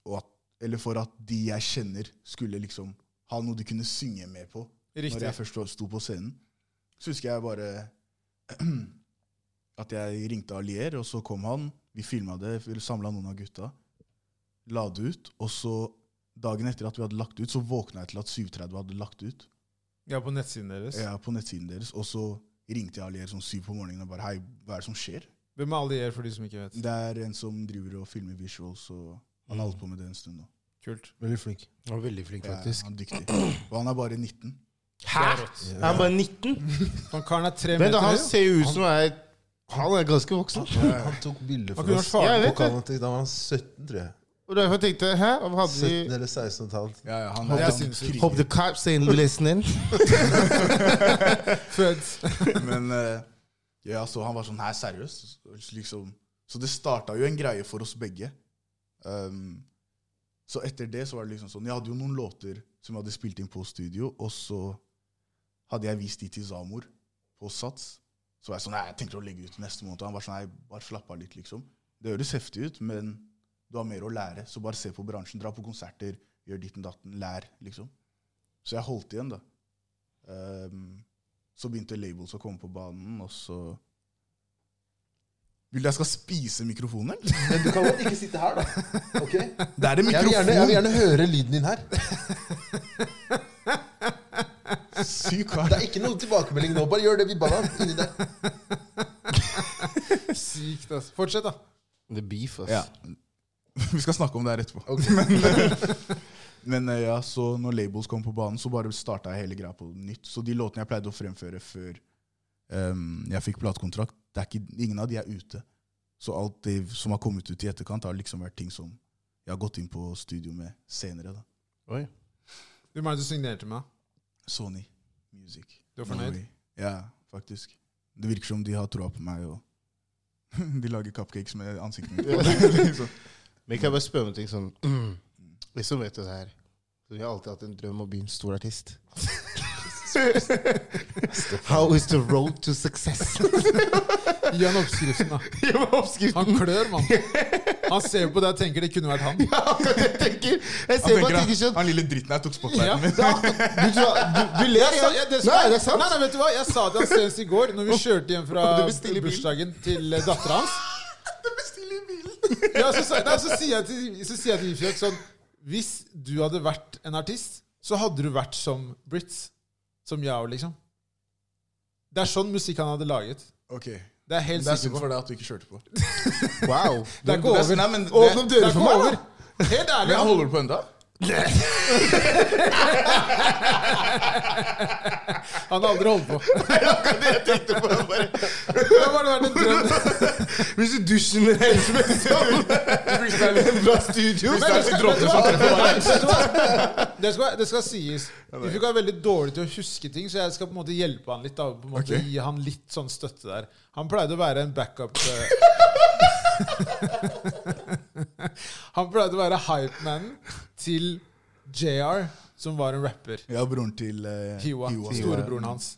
S3: og at, Eller for at de jeg kjenner, skulle liksom ha noe de kunne synge med på.
S1: Riktig.
S3: Når jeg først sto på scenen. Så husker jeg bare <clears throat> at jeg ringte Alier, og så kom han. Vi filma det, samla noen av gutta. La det ut. Og så, dagen etter at vi hadde lagt ut, så våkna jeg til at 7.30 hadde lagt ut.
S1: Ja, på nettsiden deres.
S3: Jeg er på nettsiden deres, og så ringte jeg Alier sånn syv på morgenen og bare Hei, hva er det som skjer?
S1: Hvem er Allier, for de som ikke vet?
S3: Det er en som driver og filmer visuals, og han har holdt på med det en stund nå.
S1: Kult.
S4: Veldig flink. Han var veldig flink,
S3: Ja,
S4: faktisk.
S3: han er dyktig. Og han er bare 19.
S1: Det
S4: Hæ?!
S1: er rått.
S4: Er han bare 19?
S1: Han karen er tre
S4: Vent, da,
S1: meter
S4: han
S1: høy.
S4: ser jo ut som er Han er ganske voksen.
S2: Han tok bilde
S1: Han
S2: for
S1: kunne
S2: oss.
S1: vært
S4: Jeg
S1: faren.
S4: vet det.
S2: Pokalen til- Da var han 17, tror jeg.
S4: Og derfor tenkte jeg Hæ? Hva hadde
S2: 17
S4: de
S2: eller 16 og et halvt.
S3: Ja, ja, han
S1: Det
S3: er
S1: er
S3: en
S1: sinnssykt.
S4: Hope the cops ain't
S1: <laughs>
S4: listening.
S1: Født.
S3: Men eh, ja, så han var sånn Nei, seriøst? Liksom. Så det starta jo en greie for oss begge. Um, så etter det så var det liksom sånn Jeg hadde jo noen låter som jeg hadde spilt inn på studio, og så hadde jeg vist de til Zamor på Sats. Så var jeg sånn Nei, jeg tenker å legge ut neste måned. Og han var sånn Nei, bare slapp av litt, liksom. Det høres heftig ut, men du har mer å lære. Så bare se på bransjen. Dra på konserter. Gjør ditten datten. Lær, liksom. Så jeg holdt igjen, da. Um, så begynte labels å komme på banen, og så Vil du jeg skal spise mikrofonen? eller?
S2: <laughs> Men du kan godt ikke sitte her, da. <laughs> Ok?
S3: Det
S2: Jeg
S3: er en
S2: vil
S3: mikrofon!
S2: gjerne, jeg vil gjerne høre lyden din her. <laughs>
S3: Syk
S2: Det
S3: kar.
S2: er ikke noe tilbakemelding nå. Bare gjør det vi ba deg om. Inni der.
S1: Sykt, ass. Fortsett, da.
S4: The beef, ass.
S3: Ja. Vi skal snakke om det her etterpå. <laughs> Men eh, ja, så når labels kom på banen, så bare starta jeg hele greia på nytt. Så de låtene jeg pleide å fremføre før ehm, jeg fikk platekontrakt, det er ikke- ingen av de er ute. Så alt det som har kommet ut i etterkant, har liksom vært ting som jeg har gått inn på studio med senere. da.
S4: Oi.
S1: Hvem er det du signerte med?
S3: Sony Music.
S1: Du er fornøyd?
S3: Norway. Ja, faktisk. Det virker som de har troa på meg, og <laughs> de lager cupcakes med ansiktet mitt. <laughs> liksom.
S4: Men kan jeg bare spørre om en ting sånn Liksom vet du det her Vi har alltid hatt en drøm om å bli en stor
S1: <laughs>
S4: artist. How is the road to
S1: <laughs>
S4: success?
S1: Gi han oppskriften, da.
S4: Det var
S1: Han
S4: oppskriften.
S1: klør,
S4: <laughs>
S1: mann. Han ser på deg og tenker det kunne vært han.
S4: Ja, akkurat det jeg tenker. Jeg
S3: Han,
S4: ser på
S3: tenker,
S4: at
S3: han,
S4: ikke skjønner.
S3: han lille dritten her tok
S1: Ja.
S3: spotlighten min.
S4: Du, tror- du, du
S1: Jeg
S4: ler, ja.
S1: sa, ja, det som
S4: Nei,
S1: er-
S4: det er sant.
S1: Nei, nei, vet du hva? Jeg sa til han senest i går, når vi kjørte hjem fra
S4: Du bestiller bil.
S1: bursdagen til eh, datteren
S4: <laughs>
S1: hans.
S4: Stille i bilen.
S1: Ja, så, sa- nei, så sier jeg til, så sier jeg til Ifjøk sånn Hvis du hadde vært en artist, så hadde du vært som Brits. Som jeg òg, liksom. Det er sånn musikk han hadde laget.
S3: Ok,
S1: Det er jeg helt
S3: Det er
S1: sikker
S3: synd
S1: på.
S3: for deg at du ikke kjørte på.
S4: <laughs> Wow.
S1: Det er ikke
S3: Det er-
S1: over.
S3: Nei, men det-
S1: Åpne opp
S4: det
S1: dører
S4: er
S1: for
S4: ikke
S1: meg,
S4: over.
S1: da. Helt ærlig.
S3: Men
S1: han-
S3: holder du på enda?
S1: Han har aldri holdt på. Det har bare vært en drøm.
S4: Hvis du dusjer med
S1: <laughs>
S4: helsemessig fra studio
S1: Men det skal- vet du
S4: <laughs>
S1: hva? Vet du hva? Det skal, det skal sies. Ufuk er veldig dårlig til å huske ting, så jeg skal på en måte hjelpe han litt. Da, på en måte
S3: Ok.
S1: Gi han litt sånn støtte der. Han pleide å være en backup eh. Han pleide å være hypemanen til JR, som var en rapper.
S3: Ja, broren til eh,
S1: Hiwa.
S3: Storebror.
S1: Storebroren hans.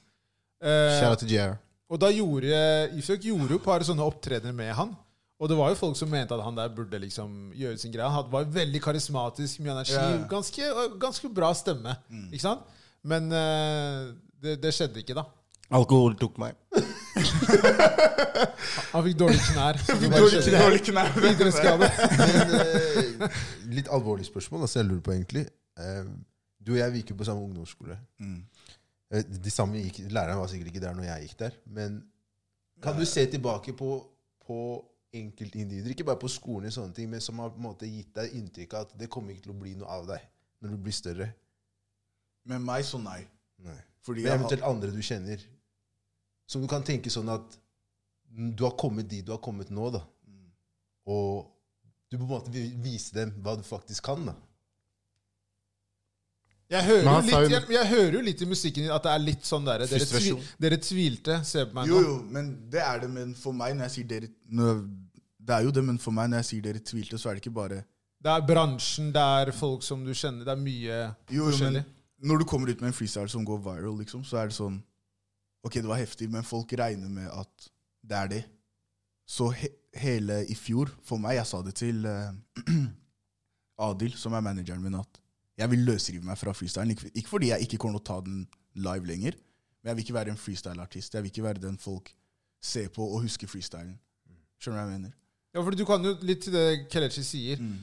S1: Eh,
S4: Shout out til JR.
S1: Og da gjorde Ifjok gjorde jo et par sånne opptredener med han. Og det var jo folk som mente at han der burde liksom gjøre sin greie. Han hadde- var jo veldig karismatisk, mye energi,
S3: Ja.
S1: ganske, og ganske bra stemme. Ikke sant? Men eh, det, det skjedde ikke, da.
S4: Alkohol tok meg.
S1: Han fikk dårlig knær. så det bare
S3: <laughs> Dårlig
S1: skjedde.
S3: knær, dårlig knær.
S1: Idrettsskade.
S2: Men, eh, litt alvorlig spørsmål, altså jeg lurer på egentlig. Eh, du og jeg vi gikk jo på samme ungdomsskole.
S3: Mm.
S2: Eh, De samme gikk, Læreren var sikkert ikke der når jeg gikk der. Men kan du se tilbake på, på enkeltindivider, ikke bare på skolen, og sånne ting, men som har på en måte gitt deg inntrykk av at det kommer ikke til å bli noe av deg når du blir større?
S3: Med meg, så nei.
S2: Nei.
S3: Fordi
S2: Men
S3: jeg har-
S2: eventuelt andre du kjenner. Som du kan tenke sånn at mm, du har kommet dit du har kommet nå, da.
S3: Mm.
S2: Og du på en måte vil vise dem hva du faktisk kan, da.
S1: Jeg hører,
S4: Men
S1: jo
S4: han sa
S1: litt,
S4: jo-
S1: jeg, jeg hører jo litt i musikken din at det er litt sånn derre dere, tvi,
S4: Frustrasjon.
S1: dere tvilte. Se på meg
S3: Jo,
S1: nå.
S3: jo, men det er det. Men for meg, når jeg sier dere når- Det er jo det, men for meg, når jeg sier dere tvilte, så er det ikke bare
S1: Det er bransjen, det er folk som du kjenner. Det er mye
S3: Jo, jo,
S1: forskjellig.
S3: men når du kommer ut med en freestyle som går viral, liksom, så er det sånn Ok, det var heftig, men folk regner med at det er det. Så he hele <clears throat> i fjor, for meg Jeg sa det til eh, Adil, som er manageren min, at Jeg vil løsrive meg fra freestylen. Ikke, ikke fordi jeg ikke kommer til å ta den live lenger, men jeg vil ikke være en freestyle-artist. Jeg vil ikke være den folk ser på og husker freestylen. Skjønner du hva jeg mener?
S1: Ja, for du kan jo litt til det Kelechi sier.
S3: Mm.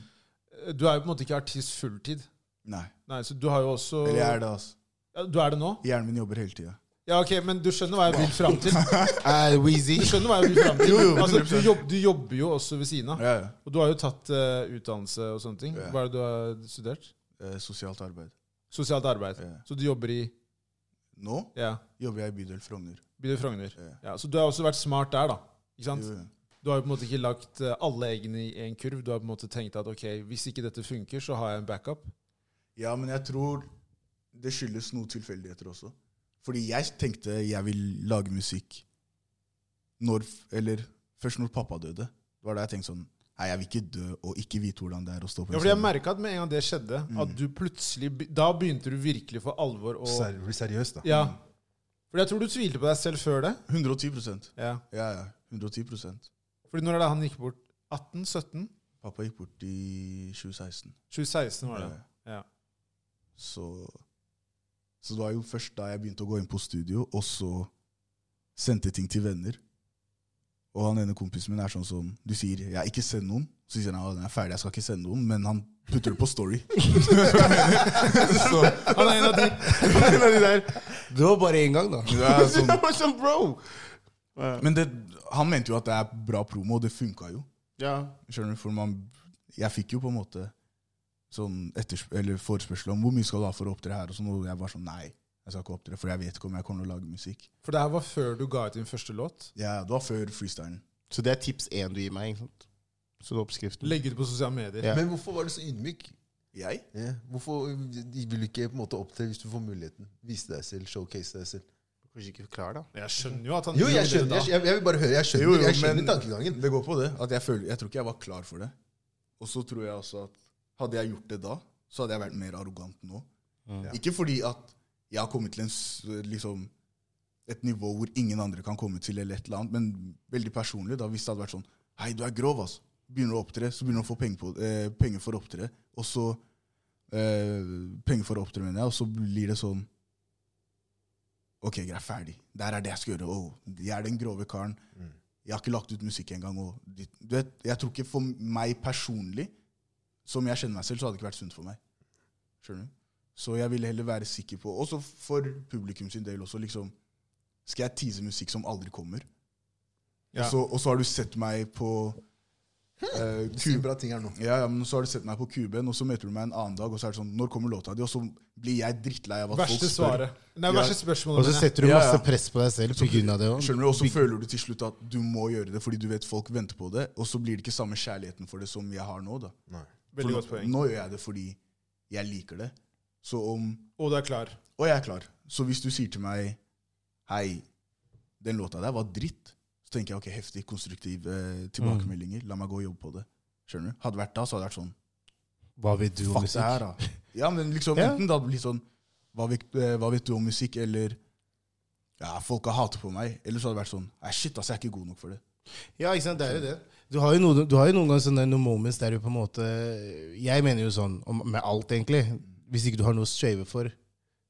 S1: Du er jo på en måte ikke artist fulltid.
S3: Nei.
S1: Nei, så du har jo også
S3: Eller jeg er det, altså.
S1: Ja, Du er det nå?
S3: Hjernen min jobber hele tida.
S1: Ja, ok, men du skjønner hva jeg vil fram
S3: <laughs>
S1: til.
S4: Er Ah,
S1: <laughs>
S4: Weezy.
S1: Du skjønner hva jeg vil fram til.
S3: Jo, jo,
S1: altså, du,
S3: 100%.
S1: jobb, du jobber jo også ved siden av.
S3: Ja, ja.
S1: Og du har jo tatt eh, utdannelse og sånne ting.
S3: Ja.
S1: Hva er det du har studert?
S3: Eh, sosialt arbeid.
S1: Sosialt arbeid.
S3: Ja.
S1: Så du jobber i
S3: Nå
S1: ja,
S3: jobber jeg i bydel Frogner.
S1: Bydel Frogner.
S3: Ja.
S1: Ja, så du har også vært smart der, da. Ikke sant?
S3: Jo, jo.
S1: Du har jo på en måte ikke lagt eh, alle eggene i én kurv. Du har på en måte tenkt at ok, hvis ikke dette funker, så har jeg en backup.
S3: Ja, men jeg tror det skyldes noen tilfeldigheter også. Fordi jeg tenkte jeg vil lage musikk når, eller først når pappa døde. Det var da jeg tenkte sånn Nei, jeg vil ikke dø og ikke vite hvordan det er å stå på
S1: Ja,
S3: en
S1: fordi jeg
S3: scene.
S1: merka at med en gang det skjedde, at du plutselig be- Da begynte du virkelig for alvor å
S2: Ser, bli seriøs, da.
S1: Ja. Fordi jeg tror du tvilte på deg selv før det.
S3: 110
S1: Ja.
S3: Ja, ja. 110
S1: Fordi når er det han gikk bort? 18-17?
S3: Pappa gikk bort i 2016.
S1: 2016 var det. Ja.
S3: Så, så det var jo først da jeg begynte å gå inn på studio, og så sendte ting til venner. Og han ene kompisen min er sånn som Du sier 'jeg har ikke sendt noen', så sier han «Ja, 'den er ferdig, jeg skal ikke sende noen', men han putter det på Story.
S4: <laughs>
S3: så,
S1: Han er en av de
S4: En av de der. Det var bare én gang, da.
S3: ja,
S4: <laughs>
S3: sånn.
S4: Det var sånn, bro.
S3: Men det, han mente jo at det er bra promo, og det funka jo.
S4: Ja.
S3: Skjønner du? For man, jeg fikk jo på en måte sånn etterspø- eller forespørsel om hvor mye skal du ha for å opptre her, og sånn, og jeg var sånn nei, jeg skal ikke opptre, for jeg vet ikke om jeg kommer til å lage musikk.
S1: For det her var før du ga ut din første låt.
S3: Ja, Det var før freestylen.
S4: Så det er tips én du gir meg. ikke sant? Så det er oppskriften.
S1: Legge det på sosiale medier.
S4: Ja.
S2: Men hvorfor var du så ydmyk?
S3: Jeg?
S2: Ja. Hvorfor de vil du ikke på en måte opptre hvis du får muligheten? Vise deg selv, showcase deg selv.
S4: Kanskje ikke klar, da.
S1: Jeg skjønner jo at han
S2: Jo,
S1: gjorde
S2: jeg
S1: det
S2: skjønner,
S1: da.
S2: jeg, jeg vil bare høre. Jeg skjønner,
S3: Jo, jo,
S2: jeg skjønner
S3: men-
S2: tankegangen.
S3: Det går på det. At jeg, føler, jeg tror ikke jeg var klar for det. Og så tror jeg også at hadde jeg gjort det da, så hadde jeg vært mer arrogant nå. Ikke fordi at jeg har kommet til en, s- liksom, et nivå hvor ingen andre kan komme til, eller et eller annet, men veldig personlig. da, Hvis det hadde vært sånn Hei, du er grov, ass. Begynner å opptre, så begynner du å få penger, på, eh, penger for å opptre. Og så eh, Penger for å opptre, mener jeg, og så blir det sånn Ok, greit, ferdig. Der er det jeg skal gjøre. Åh, jeg er den grove karen. Jeg har ikke lagt ut musikk engang. og de- Du vet, jeg tror ikke for meg personlig, som jeg kjenner meg selv, så hadde det ikke vært sunt for meg. Skjønner du? Så jeg ville heller være sikker på, også for publikum sin del også, liksom Skal jeg tease musikk som aldri kommer?
S1: Ja.
S3: Og så- og så har du sett meg på eh,
S2: Du
S3: Cuba-
S2: sier bra ting her nå.
S3: ja, ja, men så har du sett meg på kuben, og så møter du meg en annen dag, og så er det sånn Når kommer låta di? Og så blir jeg drittlei av at
S1: Verste
S3: folk spør.
S1: svaret. Nei,
S3: Ja.
S1: verste spørsmålet.
S4: Og så
S1: mener jeg.
S4: setter du
S3: Ja, ja.
S4: masse press på deg selv pga. det òg.
S3: Skjønner du, Og så føler du til slutt at du må gjøre det fordi du vet folk venter på det, og så blir det ikke samme kjærligheten for det som jeg har nå. da. For
S1: Veldig
S3: nå,
S1: godt poeng.
S3: nå gjør jeg det fordi jeg liker det. Så om,
S1: Og du er klar.
S3: Og jeg er klar. Så hvis du sier til meg Hei, den låta der var dritt, så tenker jeg ok, heftig, konstruktive eh, tilbakemeldinger. La meg gå og jobbe på det. Skjønner du? Hadde det vært da, så hadde det vært sånn.
S4: Hva vet du om
S3: Fuck det her,
S4: musikk?
S3: da. Ja, men liksom,
S4: Ja.
S3: Enten da blir det sånn hva vet, eh, hva vet du om musikk, eller ja, folk har hatet på meg. Eller så hadde det vært sånn Nei, shit, ass, jeg er ikke god nok for det.
S4: Ja, ikke sant, det er jo det. Du har jo, noen, du har jo noen ganger sånne noen moments der du på en måte Jeg mener jo sånn om, med alt, egentlig. Hvis ikke du har noe å streve for,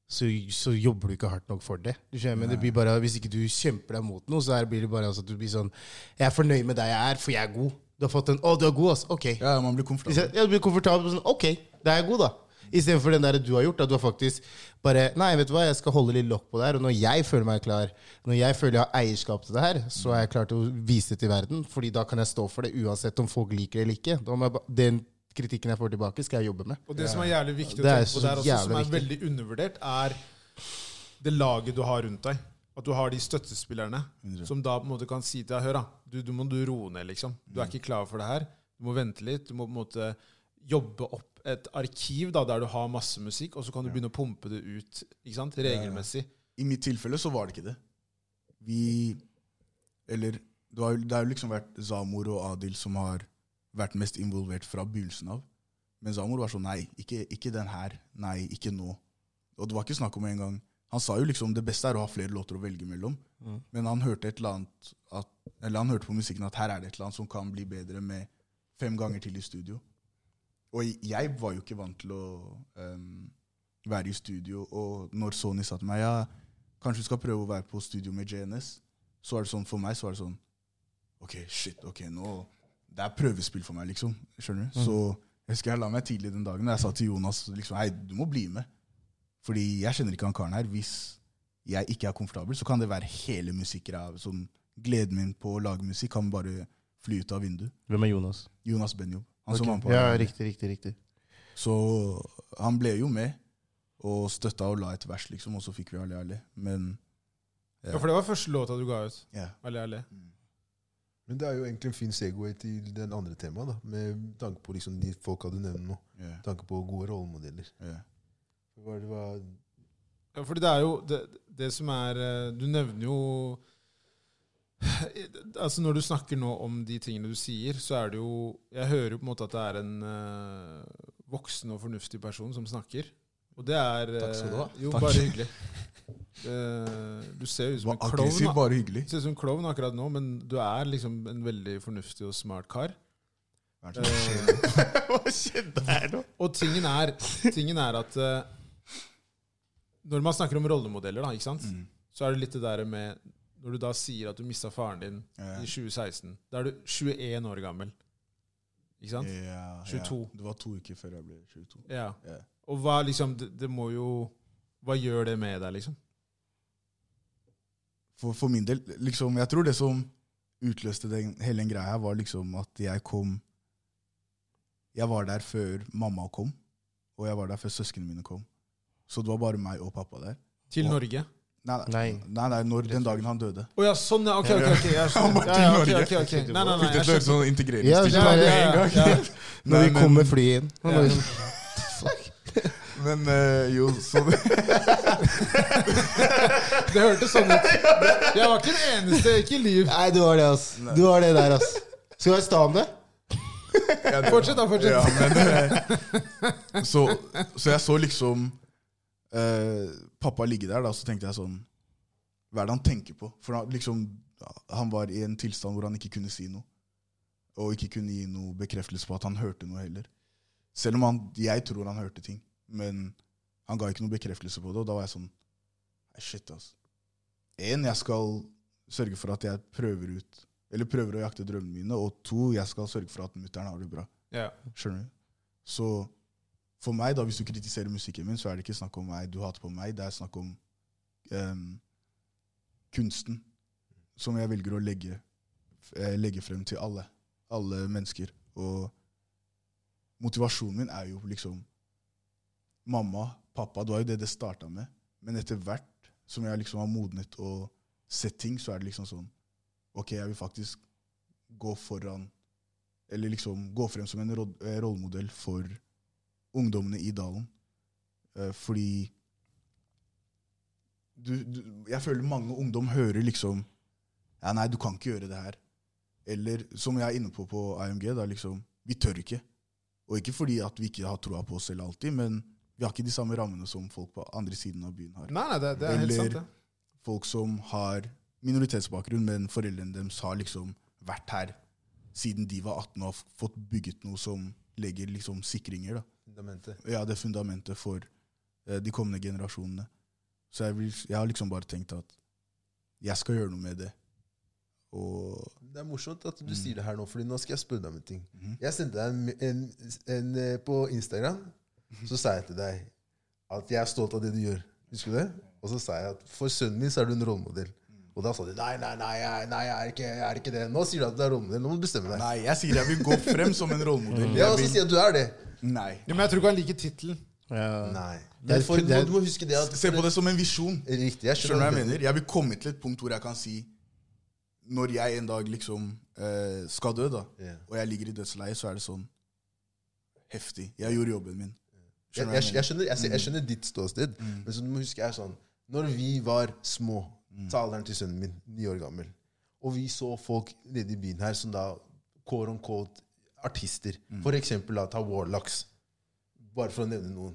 S4: så, så jobber du ikke hardt nok for det. Du skjønner, men det blir bare, Hvis ikke du kjemper deg mot noe, så er, blir det bare altså, at du blir sånn Jeg er fornøyd med deg jeg er, for jeg er god. Du har fått en Å, du er god, ass. Ok.
S3: Ja, man blir
S4: Hvis
S3: komfortabel.
S4: jeg, jeg blir komfortabel sånn, ok, da er jeg god da. Istedenfor den der du har gjort, at du har faktisk bare Nei, vet du hva, jeg skal holde litt lokk på det her. Og når jeg føler meg klar, når jeg føler jeg har eierskap til det her, så er jeg klar til å vise det til verden. Fordi da kan jeg stå for det, uansett om folk liker det eller ikke. Da må jeg, ba- den kritikken jeg får tilbake, skal jeg jobbe med.
S1: Og det som er jævlig viktig å
S4: Det er
S1: tenke på
S4: så
S1: der også, som
S4: jævlig
S1: er veldig undervurdert, er det laget du har rundt deg. At du har de støttespillerne som da på en måte kan si til deg Hør, da. Du, du må du roe ned, liksom. Du
S4: Mm.
S1: er ikke klar for det her. Du må vente litt. Du må på en måte jobbe opp et arkiv da, der du har masse musikk, og så kan du begynne å pumpe det ut ikke sant? regelmessig.
S3: I mitt tilfelle så var det ikke det. Vi Eller det har jo- det har jo liksom vært Zamor og Adil som har vært mest involvert fra begynnelsen av. Men Zamor var sånn Nei, ikke, ikke den her. Nei, ikke nå. Og det var ikke snakk om en gang Han sa jo liksom det beste er å ha flere låter å velge mellom. Men han hørte et eller annet at, Eller han hørte på musikken at her er det et eller annet som kan bli bedre med fem ganger til i studio. Og jeg var jo ikke vant til å ehm, være i studio. Og når Sony sa til meg ja, kanskje du skal prøve å være på studio med JNS, så er det sånn for meg så er det sånn OK, shit. ok, nå, Det er prøvespill for meg, liksom. skjønner
S4: Mm.
S3: du? Så jeg husker jeg la meg tidlig den dagen. og Jeg sa til Jonas liksom, hei, du må bli med. Fordi jeg kjenner ikke han karen her. Hvis jeg ikke er komfortabel, så kan det være hele musikkgreia. Sånn, gleden min på å lage musikk kan bare fly ut av vinduet.
S4: Hvem er Jonas?
S3: Jonas Benjob. Han som var med på
S4: Ja, riktig, riktig, riktig.
S3: Så han ble jo med, og støtta og la et vers, liksom, og så fikk vi Ali Ali. Men
S1: Ja, For det var første låta du ga ut.
S3: ja.
S1: Alle, alle.
S2: Men det er jo egentlig en fin segway til den andre temaet, da, med tanke på liksom de folka du nevner nå.
S3: ja,
S2: Med tanke på gode rollemodeller.
S3: ja.
S2: Hva er det, hva,
S1: Ja, fordi det er jo det, det som er eh, Du nevner jo Altså Når du snakker nå om de tingene du sier, så er det jo Jeg hører jo på en måte at det er en eh, voksen og fornuftig person som snakker. Og det er eh,
S2: Takk skal du ha.
S1: Jo,
S3: Takk.
S1: bare hyggelig. Eh, du ser jo ut som
S3: Var
S1: en klovn.
S3: aggressiv,
S1: da.
S3: bare hyggelig.
S1: Du ser ut som en klovn akkurat nå, men du er liksom en veldig fornuftig og smart kar.
S3: Hva er det som skjer?
S1: Eh,
S4: Hva skjedde her nå?
S1: og tingen er, tingen er at eh, når man snakker om rollemodeller, da, ikke sant?
S3: Mm.
S1: så er det litt det der med Når du da sier at du mista faren din
S3: Ja.
S1: Eh, i 2016 Da er du 21 år gammel. Ikke
S4: Mm.
S1: sant?
S3: Ja, ja.
S1: 22.
S3: Det var to uker før jeg ble 22.
S1: Ja.
S3: Ja.
S1: Og hva liksom det, det må jo Hva gjør det med deg, liksom?
S3: For, for min del, liksom, jeg tror det som utløste den, hele den greia her, var liksom at jeg kom Jeg var der før mamma kom, og jeg var der før søsknene mine kom. Så det var bare meg og pappa der.
S1: Til
S3: Ja.
S1: Norge?
S3: Nei, nei,
S4: Nei.
S3: nei, nei når, den dagen han døde.
S1: Å ja, sånn, ja. Ok, ok. ok, jeg
S3: Han var
S1: skjønner. ja,
S3: til
S1: ja, ok, ok,
S3: Norge.
S1: ok. Nei, nei, nei,
S3: Fikk det
S1: jeg
S3: til å
S1: skjønner.
S3: høres sånn
S4: Ja,
S3: integreringsstykke
S4: så
S1: Ja,
S4: bare
S1: ja,
S4: en gang.
S1: ja, ja.
S4: Når
S3: Nei,
S4: vi
S3: men-
S4: kommer flyet inn.
S1: Ja.
S4: Når vi,
S3: Men eh, jo, så
S1: Det hørtes sånn ut. Jeg var ikke den eneste, ikke i liv.
S4: Nei, du har det, ass. Du har det der, ass. Skal vi være sta om det?
S1: Fortsett, da.
S3: Ja,
S1: fortsett.
S3: men eh, så, så jeg så liksom eh, pappa ligge der, da, så tenkte jeg sånn Hva er det han tenker på? For han, liksom, han var i en tilstand hvor han ikke kunne si noe. Og ikke kunne gi noe bekreftelse på at han hørte noe heller. Selv om han, jeg tror han hørte ting. Men han ga ikke noe bekreftelse på det, og da var jeg sånn «Nei, Shit, altså. En, jeg skal sørge for at jeg prøver ut Eller prøver å jakte drømmene mine. Og to, jeg skal sørge for at mutter'n har det bra.
S1: Ja.
S3: Skjønner du? Så for meg, da, hvis du kritiserer musikken min, så er det ikke snakk om meg, du hater på meg. Det er snakk om ehm, kunsten som jeg velger å legge, eh, legge frem til alle. Alle mennesker. Og motivasjonen min er jo liksom Mamma, pappa, det var jo det det starta med. Men etter hvert som jeg liksom har modnet og sett ting, så er det liksom sånn Ok, jeg vil faktisk gå foran eller liksom gå frem som en råd- eh, rollemodell for ungdommene i dalen. Eh, Fordi du, du, Jeg føler mange ungdom hører liksom Ja, nei, du kan ikke gjøre det her. Eller som jeg er inne på på AMG, da liksom Vi tør ikke. Og ikke fordi at vi ikke har troa på oss selv alltid, men vi har ikke de samme rammene som folk på andre siden av byen har
S1: Nei, nei, det, det er helt sant, det.
S3: folk som har minoritetsbakgrunn, men foreldrene deres har liksom vært her siden de var 18 og har fått bygget noe som legger liksom sikringer. da.
S2: fundamentet?
S3: Ja, det er fundamentet for eh, de kommende generasjonene. Så jeg, vil, jeg har liksom bare tenkt at jeg skal gjøre noe med det. Og
S2: Det er morsomt at
S3: Mm.
S2: du sier det her nå, Fordi nå skal jeg spørre deg om en ting.
S3: Mhm.
S2: Jeg sendte deg en, en, en eh, på Instagram.
S3: Mm-hmm.
S2: Så sa jeg til deg at jeg er stolt av det du gjør. Husker du det? Og så sa jeg at for sønnen min så er du en rollemodell.
S3: Mm.
S2: Og da sa de nei, nei, nei, jeg, nei, jeg, er ikke, jeg er ikke det. Nå sier du at du er rollemodell. Nå må du bestemme deg.
S3: Nei, jeg sier jeg vil gå frem som
S2: <laughs>
S3: en
S2: Ja,
S3: rollemodell.
S2: og
S3: Jeg
S2: så
S3: vil,
S2: sier jeg at du er det.
S3: nei.
S1: Ja, men jeg tror ikke han liker tittelen.
S4: Ja.
S2: Nei.
S4: Det er-
S2: Derfor,
S4: det er-
S2: du må huske det at
S3: Se på det som en visjon.
S2: Riktig. Jeg
S3: Skjønner du hva jeg
S2: det.
S3: mener? Jeg vil komme til et punkt hvor jeg kan si Når jeg en dag liksom eh, skal dø, da,
S2: Ja.
S3: og jeg ligger i dødsleiet, så er det sånn Heftig. Jeg gjorde jobben min.
S2: Jeg,
S3: Skjønner du
S2: jeg, jeg,
S3: hva jeg mener? Mm.
S2: skjønner, jeg, ser- jeg skjønner ditt ståsted, men så du må huske er sånn Når vi var små,
S3: Mm.
S2: ta alderen til sønnen min, ni år gammel, og vi så folk nede i byen her som da kår om kåt artister
S3: Mm.
S2: For eksempel da, ta Warlocks, bare for å nevne noen.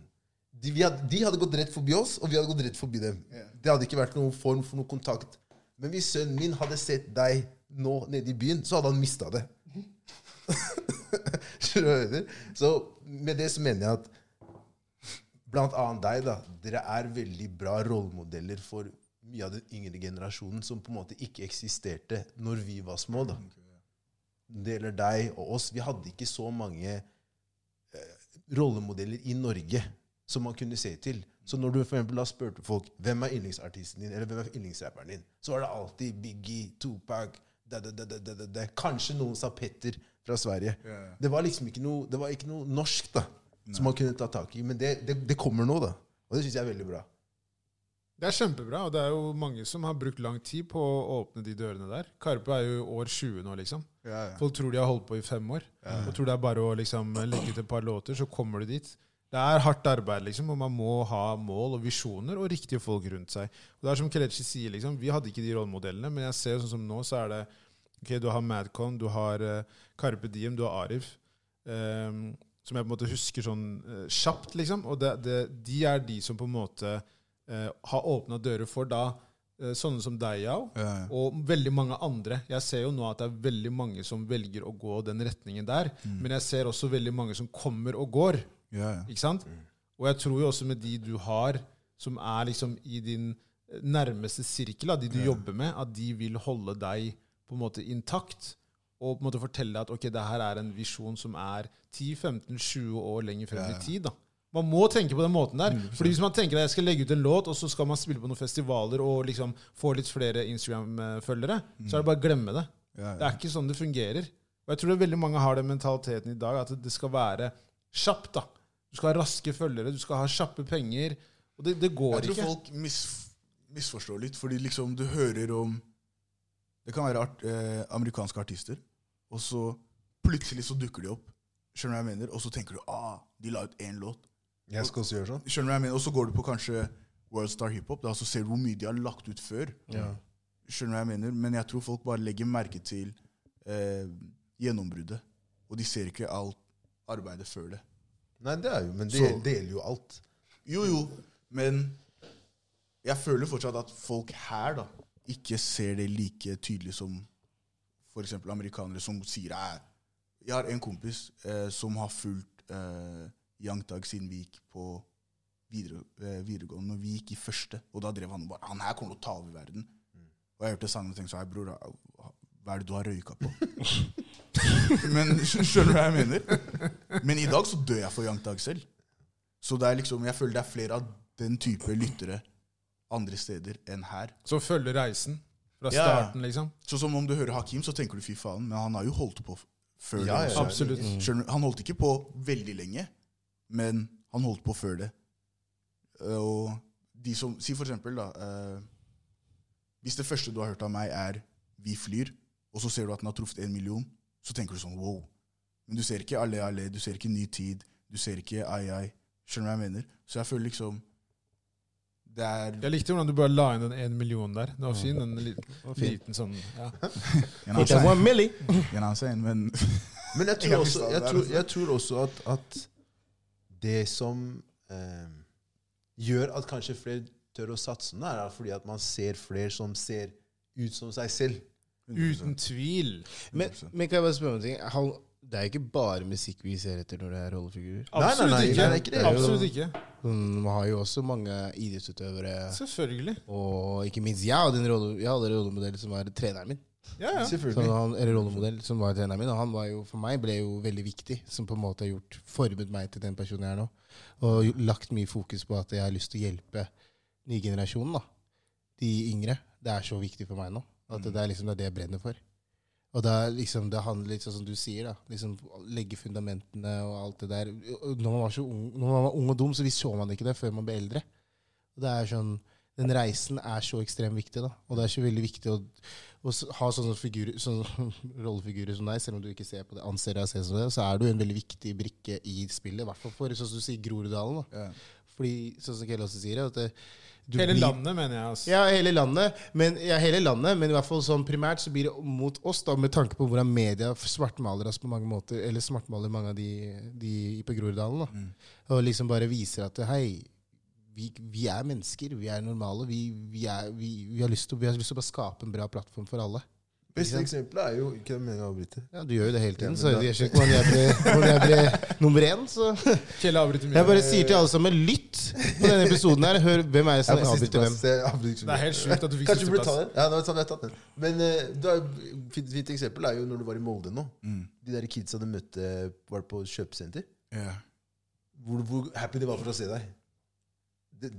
S2: De, vi hadde, de hadde gått rett forbi oss, og vi hadde gått rett forbi dem. Det hadde ikke vært noen form for noen kontakt. Men hvis sønnen min
S3: Mm.
S2: hadde sett deg nå nede i byen, så hadde han mista det. <laughs> Skjønner du hva jeg mener? Så med det så mener jeg at blant annet deg, da. Dere er veldig bra rollemodeller for mye av den yngre generasjonen som på en måte ikke eksisterte når vi var små. da. Det gjelder deg og oss. Vi hadde ikke så mange eh, rollemodeller i Norge som man kunne se til. Så når du for eksempel da spurte folk hvem er yndlingsartisten din, eller hvem er yndlingsrapperen din, så var det alltid Biggie, Tupac da, da, da, da, da, da, da. Kanskje noen sa Petter fra Sverige.
S3: ja.
S2: Det var liksom ikke noe, det var ikke noe norsk da, som man kunne ta tak i. Men det, det, det kommer nå, da. Og det syns jeg er veldig bra.
S1: Det er kjempebra, og det er jo mange som har brukt lang tid på å åpne de dørene der. Karpe er jo år 20 nå, liksom.
S3: Ja, ja.
S1: Folk tror de har holdt på i fem år. Og tror det er bare å liksom legge ut et par låter, så kommer du dit. Det er hardt arbeid, liksom, og man må ha mål og visjoner og riktige folk rundt seg. Og det er som Kelechi sier, liksom, vi hadde ikke de rollemodellene, men jeg ser sånn som nå, så er det ok, Du har Madcon, du har eh, Carpe Diem, du har Arif. ehm, som jeg på en måte husker sånn eh, kjapt, liksom. Og det, det, de er de som på en måte eh, har åpna dører for da eh, sånne som deg, Yao,
S3: Ja, ja.
S1: og veldig mange andre. Jeg ser jo nå at det er veldig mange som velger å gå den retningen der,
S3: Mm.
S1: men jeg ser også veldig mange som kommer og går.
S3: Ja, ja.
S1: Ikke sant? Og jeg tror jo også med de du har, som er liksom i din nærmeste sirkel, da, de du jobber med, at de vil holde deg på en måte intakt. Og på en måte fortelle deg at ok, det her er en visjon som er 10-15-20 år lenger frem i tid. da. Man må tenke på den måten der.
S3: Mm,
S1: Fordi Hvis man tenker at jeg skal legge ut en låt, og så skal man spille på noen festivaler og liksom få litt flere Instagram-følgere, så er det bare å glemme det.
S3: Mm. Ja, ja.
S1: Det er ikke sånn det fungerer. Og jeg tror det er veldig mange har den mentaliteten i dag, at det skal være kjapt. da. Du skal ha raske følgere, du skal ha kjappe penger. Og det, det går
S3: Jeg tror
S1: ikke.
S3: folk mis, misforstår litt, fordi liksom du hører om Det kan være art, eh, amerikanske artister, og så plutselig så dukker de opp. Skjønner du hva jeg mener? Og så tenker du ah, de la ut én låt.
S2: Jeg skal også gjøre sånn.
S3: Skjønner du hva jeg mener? Og så går du på kanskje Worldstar Hiphop, da, så ser du hvor mye de har lagt ut før. Skjønner du hva jeg mener? Men jeg tror folk bare legger merke til eh, gjennombruddet. Og de ser ikke alt arbeidet før det.
S2: Nei, det er jo, men det,
S3: Så-
S2: det gjelder jo alt.
S3: Jo, jo, men jeg føler fortsatt at folk her da ikke ser det like tydelig som f.eks. amerikanere som sier «Æ, Jeg har en kompis eh, som har fulgt eh, Young Tag siden vi gikk på videre, eh, videregående. Når vi gikk i første, og da drev han og bare Han her kommer til å ta over verden. Og jeg hørte sangen og tenkte sånn «Hei, bror, hva er det du har røyka på? <laughs> Men skjønner du hva jeg mener? Men i dag så dør jeg for Young Tag selv. Så det er liksom, jeg føler det er flere av den type lyttere andre steder enn her.
S1: Så følge reisen fra
S3: Ja.
S1: starten, liksom.
S3: Så som om du hører Hakim, så tenker du fy faen, men han har jo holdt på f- før
S2: Ja,
S3: det.
S2: ja, ja.
S3: også.
S1: Absolutt.
S3: Skjønner du? Han holdt ikke på veldig lenge, men han holdt på før det. Eh, Og de som, si for eksempel da, eh, hvis det første du har hørt av meg er Vi flyr, og så ser du at den har truffet en million, så tenker du sånn wow. Men du ser ikke Alle Alle, du ser ikke Ny tid, du ser ikke Ai Ai. Skjønner du hva jeg mener? Så jeg føler liksom Det er
S1: Jeg likte hvordan du bare la inn den en million der. Det var fin, den liten, liten sånn ja.
S3: You know what I'm saying? You know what I'm saying? Men
S2: Men jeg tror
S3: Jeg
S2: også, jeg
S3: mistet det der
S2: tror,
S3: også.
S2: jeg tror også at, at det som eh, gjør at kanskje flere tør å satse nå, er fordi at man ser flere som ser ut som seg selv.
S1: Uten tvil.
S4: Men, men kan jeg bare spørre om en ting? Han, det er jo ikke bare musikk vi ser etter når det er rollefigurer.
S2: Nei, nei,
S1: Absolutt
S2: nei,
S1: ikke.
S2: nei, det er ikke det.
S1: Absolutt ikke.
S4: Sånn, Man har jo også mange idrettsutøvere.
S1: Selvfølgelig.
S4: Og ikke minst jeg hadde en rolle, jeg hadde en rollemodell som var treneren min.
S1: Ja, ja.
S4: Som
S2: Selvfølgelig.
S4: Sånn han, eller rollemodell som var treneren min. Og han var jo, for meg ble jo veldig viktig, som på en måte har gjort, formet meg til den personen jeg er nå. Og jo- lagt mye fokus på at jeg har lyst til å hjelpe nye generasjonen, da. De yngre. Det er så viktig for meg nå. At det, er liksom, det er det jeg brenner for. Og det, er liksom, det handler litt sånn som du sier, da. Liksom, legge fundamentene og alt det der. Når man, var så ung, når man var ung og dum, så visste man ikke det før man ble eldre. Og det er sånn, Den reisen er så ekstremt viktig, da. Og det er så veldig viktig å, å s- ha sånne, figurer, sånne <laughs> rollefigurer som deg, selv om du ikke ser på det, anser deg selv som det, så er du en veldig viktig brikke i spillet. I hvert fall for, sånn som du sier, Groruddalen. da. Fordi, sånn som Kjell også sier, at det, du
S1: Hele
S4: blir-
S1: landet, mener jeg. Altså.
S4: ja, hele landet. Men, ja, hele landet, men i hvert fall sånn primært så blir det mot oss, da, med tanke på hvordan media svartmaler oss på mange måter, eller svartmaler mange av de, de på Groruddalen. da. Og liksom bare viser at hei, vi, vi er mennesker, vi er normale. Vi, vi, er, vi, vi, har lyst til, vi har lyst til å bare skape en bra plattform for alle.
S2: Beste eksempelet er jo Ikke meningen å avbryte.
S4: Ja, du gjør jo det hele
S2: Ja,
S4: tiden,
S2: men
S4: så
S2: da-
S4: jeg skjønner ikke hvordan jeg ble, hvordan jeg ble nummer én. Så.
S1: Kjell avbryter mye.
S4: Jeg bare sier til alle sammen, lytt på denne episoden her. Hør hvem er det som
S2: Sånn, Jeg er på
S4: avbryter hvem.
S2: sisteplass, jeg avbryter ikke
S1: Det er
S2: mye.
S1: helt sjukt at du fikk
S2: Kanskje du burde ta
S1: sisteplass.
S2: den? Ja, nå har jeg tatt den. Men eh, du har jo- fint, fint eksempel er jo når du var i Molde nå.
S3: Mm.
S2: De der kidsa du møtte var på kjøpesenter.
S3: Ja.
S2: Hvor, hvor happy de var for å se deg. Det,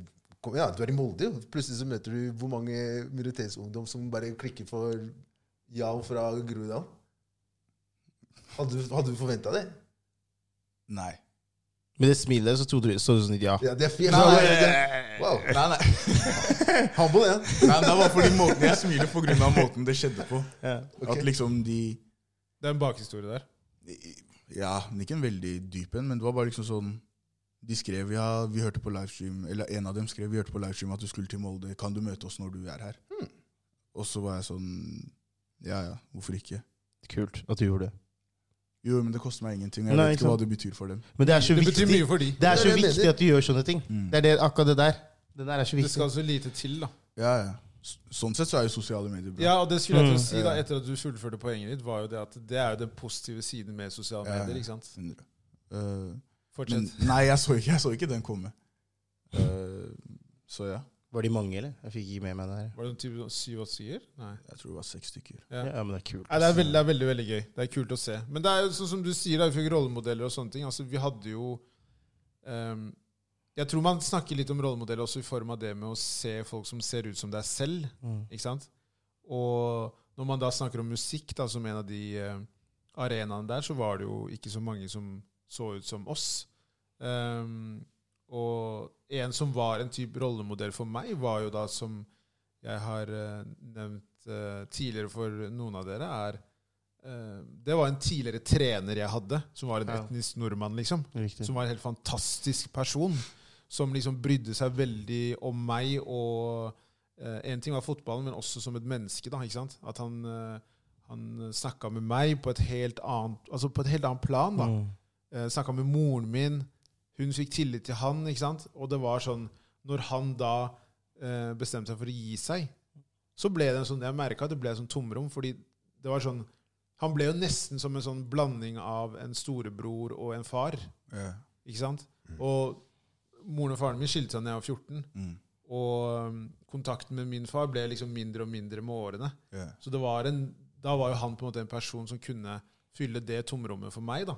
S2: kom, ja, du er i Molde, jo. Plutselig så møter du hvor mange minoritetsungdom som bare klikker for ja fra Groruddalen. Hadde, du- hadde du forventa det?
S3: Nei.
S4: Med det smilet så trodde du så du sånn ja.
S2: Ja, det er fint.
S3: Nei,
S2: det, wow.
S3: Nei, nei.
S2: <laughs> Humble, ja.
S3: nei det var fordi måten jeg smiler på grunn av måten det skjedde
S4: <laughs>
S3: på. At liksom de
S1: Det er en bakhistorie der.
S3: Ja, men ikke en veldig dyp en, men det var bare liksom sånn De skrev ja, vi hørte på livestream Eller en av dem skrev vi hørte på livestream at du skulle til Molde. Kan du møte oss når du er her?
S4: Hmm.
S3: Og så var jeg sånn Ja ja, hvorfor ikke?
S4: Kult at du gjorde det.
S3: Jo, men det koster meg ingenting. og Jeg
S4: Nei,
S3: vet
S4: ikke
S3: ikke hva det betyr for dem.
S4: Men det er så
S1: Det
S4: viktig,
S1: betyr mye for de.
S4: det
S2: Det
S4: er så
S2: er det jeg
S4: viktig
S2: mener.
S4: at du gjør sånne ting.
S3: Hmm.
S4: Det er det, akkurat det der. Det der er så
S1: Det skal
S4: viktig.
S1: så lite til, da.
S3: Ja, ja. S- Sånn sett så er jo sosiale medier bra.
S1: Ja, og det skulle jeg til å
S4: Mm.
S1: si da, etter at du fullførte poenget ditt, var jo det at det er jo den positive siden med sosiale
S3: Ja.
S1: medier. ikke sant?
S3: Eh, men,
S1: Fortsett.
S3: nei, jeg så, ikke, jeg så ikke den komme. Eh, så ja,
S4: Var de mange, eller? Jeg fikk ikke med meg det her.
S1: Var det noen type sånn syv åtte stykker? Nei.
S3: jeg tror det var seks stykker.
S1: Ja.
S4: Ja, men det er kult.
S1: Nei, det er, veldig, det er veldig veldig gøy. Det er kult å se. Men det er jo sånn som du sier, da, vi fikk rollemodeller og sånne ting. Altså, Vi hadde jo ehm, Jeg tror man snakker litt om rollemodeller også i form av det med å se folk som ser ut som deg selv.
S4: Mm.
S1: ikke sant? Og når man da snakker om musikk da, som en av de eh, arenaene der, så var det jo ikke så mange som så ut som oss. Ehm, og en som var en type rollemodell for meg, var jo da som jeg har eh, nevnt eh, tidligere for noen av dere, er eh, Det var en tidligere trener jeg hadde, som var en
S4: Ja.
S1: etnisk nordmann, liksom.
S4: Riktig.
S1: Som var en helt fantastisk person. Som liksom brydde seg veldig om meg. Og eh, en ting var fotballen, men også som et menneske. da, ikke sant? At han, eh, han snakka med meg på et helt annet altså på et helt annet plan. da.
S4: Mm.
S1: Eh, Snakka med moren min. Hun fikk tillit til han. ikke sant? Og det var sånn Når han da eh, bestemte seg for å gi seg, så ble det en sånn Jeg merka at det ble et sånn tomrom, fordi det var sånn Han ble jo nesten som en sånn blanding av en storebror og en far.
S3: Ja.
S1: Ikke sant? Og moren og faren min skilte seg da jeg var 14.
S3: Mm.
S1: Og um, kontakten med min far ble liksom mindre og mindre med årene.
S3: Ja.
S1: Så det var en, da var jo han på en måte en person som kunne fylle det tomrommet for meg. da.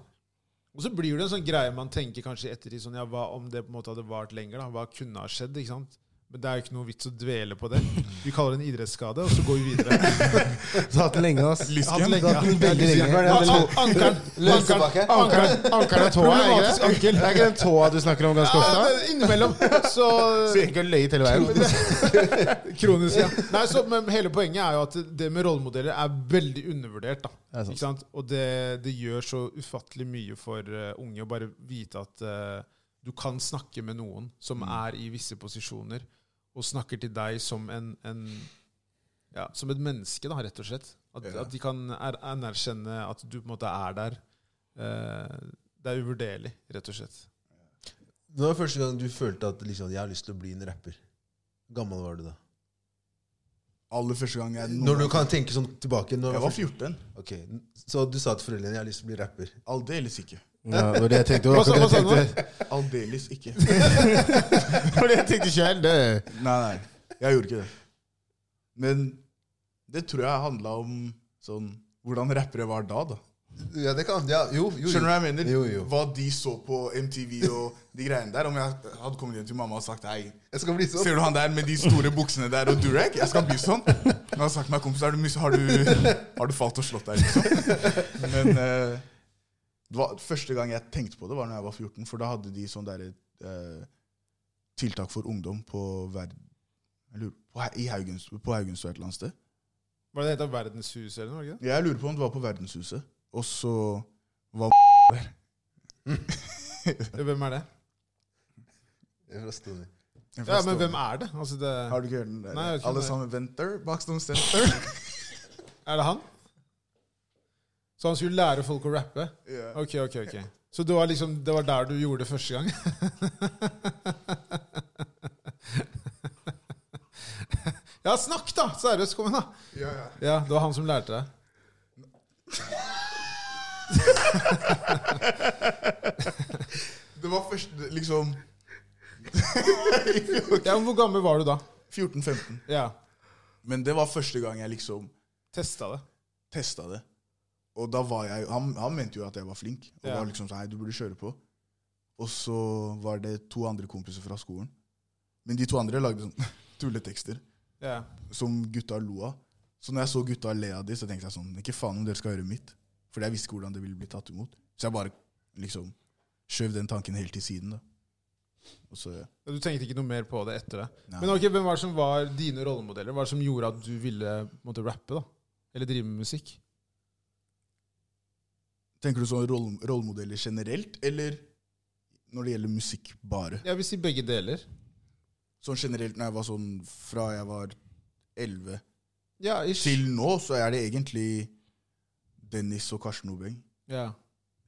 S1: Og så blir det en sånn greie man tenker kanskje i ettertid sånn, ja, hva om det på en måte hadde vart lenger? da? Hva kunne ha skjedd? ikke sant? Men det er jo ikke noe vits å dvele på det. Vi kaller det en idrettsskade, og så går vi videre.
S4: Du har hatt den <laughs> lenge, ass.
S1: Han
S3: Lysken?
S1: legger-
S4: Du har hatt den veldig lenge.
S1: Ja, an- Ankeren!
S2: Løs
S1: ankeren,
S2: tilbake.
S1: ankeren.
S4: Ankeren ankeren og tåa, er ikke
S1: Problematisk
S4: det? Det er ikke den tåa du snakker om ganske
S1: Ja,
S4: ofte?
S1: men innimellom. Så
S4: Så jeg ikke har løyet <laughs> hele veien.
S1: Kronisk, ja. Nei, så, men hele poenget er jo at det med rollemodeller er veldig undervurdert. da.
S4: Det er sant.
S1: Ikke sant? Og det, det gjør så ufattelig mye for eh, unge å bare vite at eh, du kan snakke med noen som er i visse posisjoner, og snakker til deg som en, en ja, som et menneske, da, rett og slett. At,
S3: Ja.
S1: at de kan er, anerkjenne at du på en måte er der. Eh, det er uvurderlig, rett og slett.
S2: Det var første gang du følte at liksom, jeg har lyst til å bli en rapper. Gammel var du da?
S3: Aller første gang jeg
S2: Når du kan tenke sånn tilbake når
S3: Jeg var 14.
S2: Ok, Så du sa til foreldrene dine jeg har lyst til å bli rapper.
S3: Aldeles ikke.
S4: Ja, det var det jeg tenkte.
S1: Hva sa- hva sa du nå?
S4: <laughs>
S3: Aldeles
S2: <laughs>
S3: ikke.
S4: Det var det jeg tenkte selv, det.
S3: Nei, nei. Jeg gjorde ikke det. Men det tror jeg handla om sånn hvordan rappere var da, da.
S2: Ja, det kan ja, Jo, jo. jo.
S3: Skjønner du hva jeg mener?
S2: Jo, jo.
S3: Hva de så på MTV og de greiene der. Om jeg hadde kommet hjem til mamma og sagt hei,
S2: Jeg skal bli sånn.
S3: ser du han der med de store buksene der og durag? Jeg skal bli sånn.
S2: <laughs>
S3: Når jeg har sagt til meg kompis, har du, mus- har, du, har du falt og slått deg, liksom? <laughs> Men eh, det var, første gang jeg tenkte på det, var når jeg var 14. For da hadde de sånn derre eh, tiltak for ungdom på hver jeg lurer, på, Hau- i Haugens, på Haugenstua et eller annet sted.
S1: Var det det het Verdenshuset eller noe? var det ikke det?
S3: Jeg lurer på om det var på Verdenshuset. Og så var <laughs>
S1: <laughs> Hvem er det?
S2: Jeg er fra Stovner.
S1: Ja, men hvem er det? Altså det
S3: Har du ikke hørt den der?
S1: Nei, jeg har ikke
S3: Alle
S1: hørt
S3: sammen venter, Bakstom Center.
S1: <laughs> er det han? Så han skulle lære folk å rappe?
S3: Ja.
S1: Ok, ok, ok. Så det var liksom, det var der du gjorde det første gang? <laughs> Ja, snakk, da! Seriøst, kom igjen, da.
S3: Ja, ja.
S1: Ja, Det var han som lærte deg. <laughs>
S3: Det var først liksom
S1: Ja, men Hvor gammel var du da?
S3: 14-15.
S1: Ja,
S3: Men det var første gang jeg liksom
S1: Testa det.
S3: testa det. Og da var jeg Han, han mente jo at jeg var flink. Og
S1: Ja.
S3: var liksom sånn Hei, du burde kjøre på. Og så var det to andre kompiser fra skolen. Men de to andre lagde sånn <laughs> tulletekster
S1: Ja.
S3: som gutta lo av. Så når jeg så gutta le av de, så tenkte jeg sånn Ikke faen om dere skal høre mitt. For jeg visste ikke hvordan det ville bli tatt imot. Så jeg bare liksom skjøv den tanken helt til siden, da. Og så
S1: Du tenkte ikke noe mer på det etter det?
S3: Nei.
S1: Men ok, Hvem var det som var dine rollemodeller? Hva var det som gjorde at du ville måtte rappe? da? Eller drive med musikk?
S3: Tenker du sånn roll, rollemodeller generelt, eller når det gjelder musikk bare?
S1: Jeg vil si begge deler.
S3: Sånn generelt når jeg var sånn fra jeg var 11
S1: Ja, ish.
S3: til nå, så er det egentlig Dennis og Karsten Nobeng.
S1: Ja.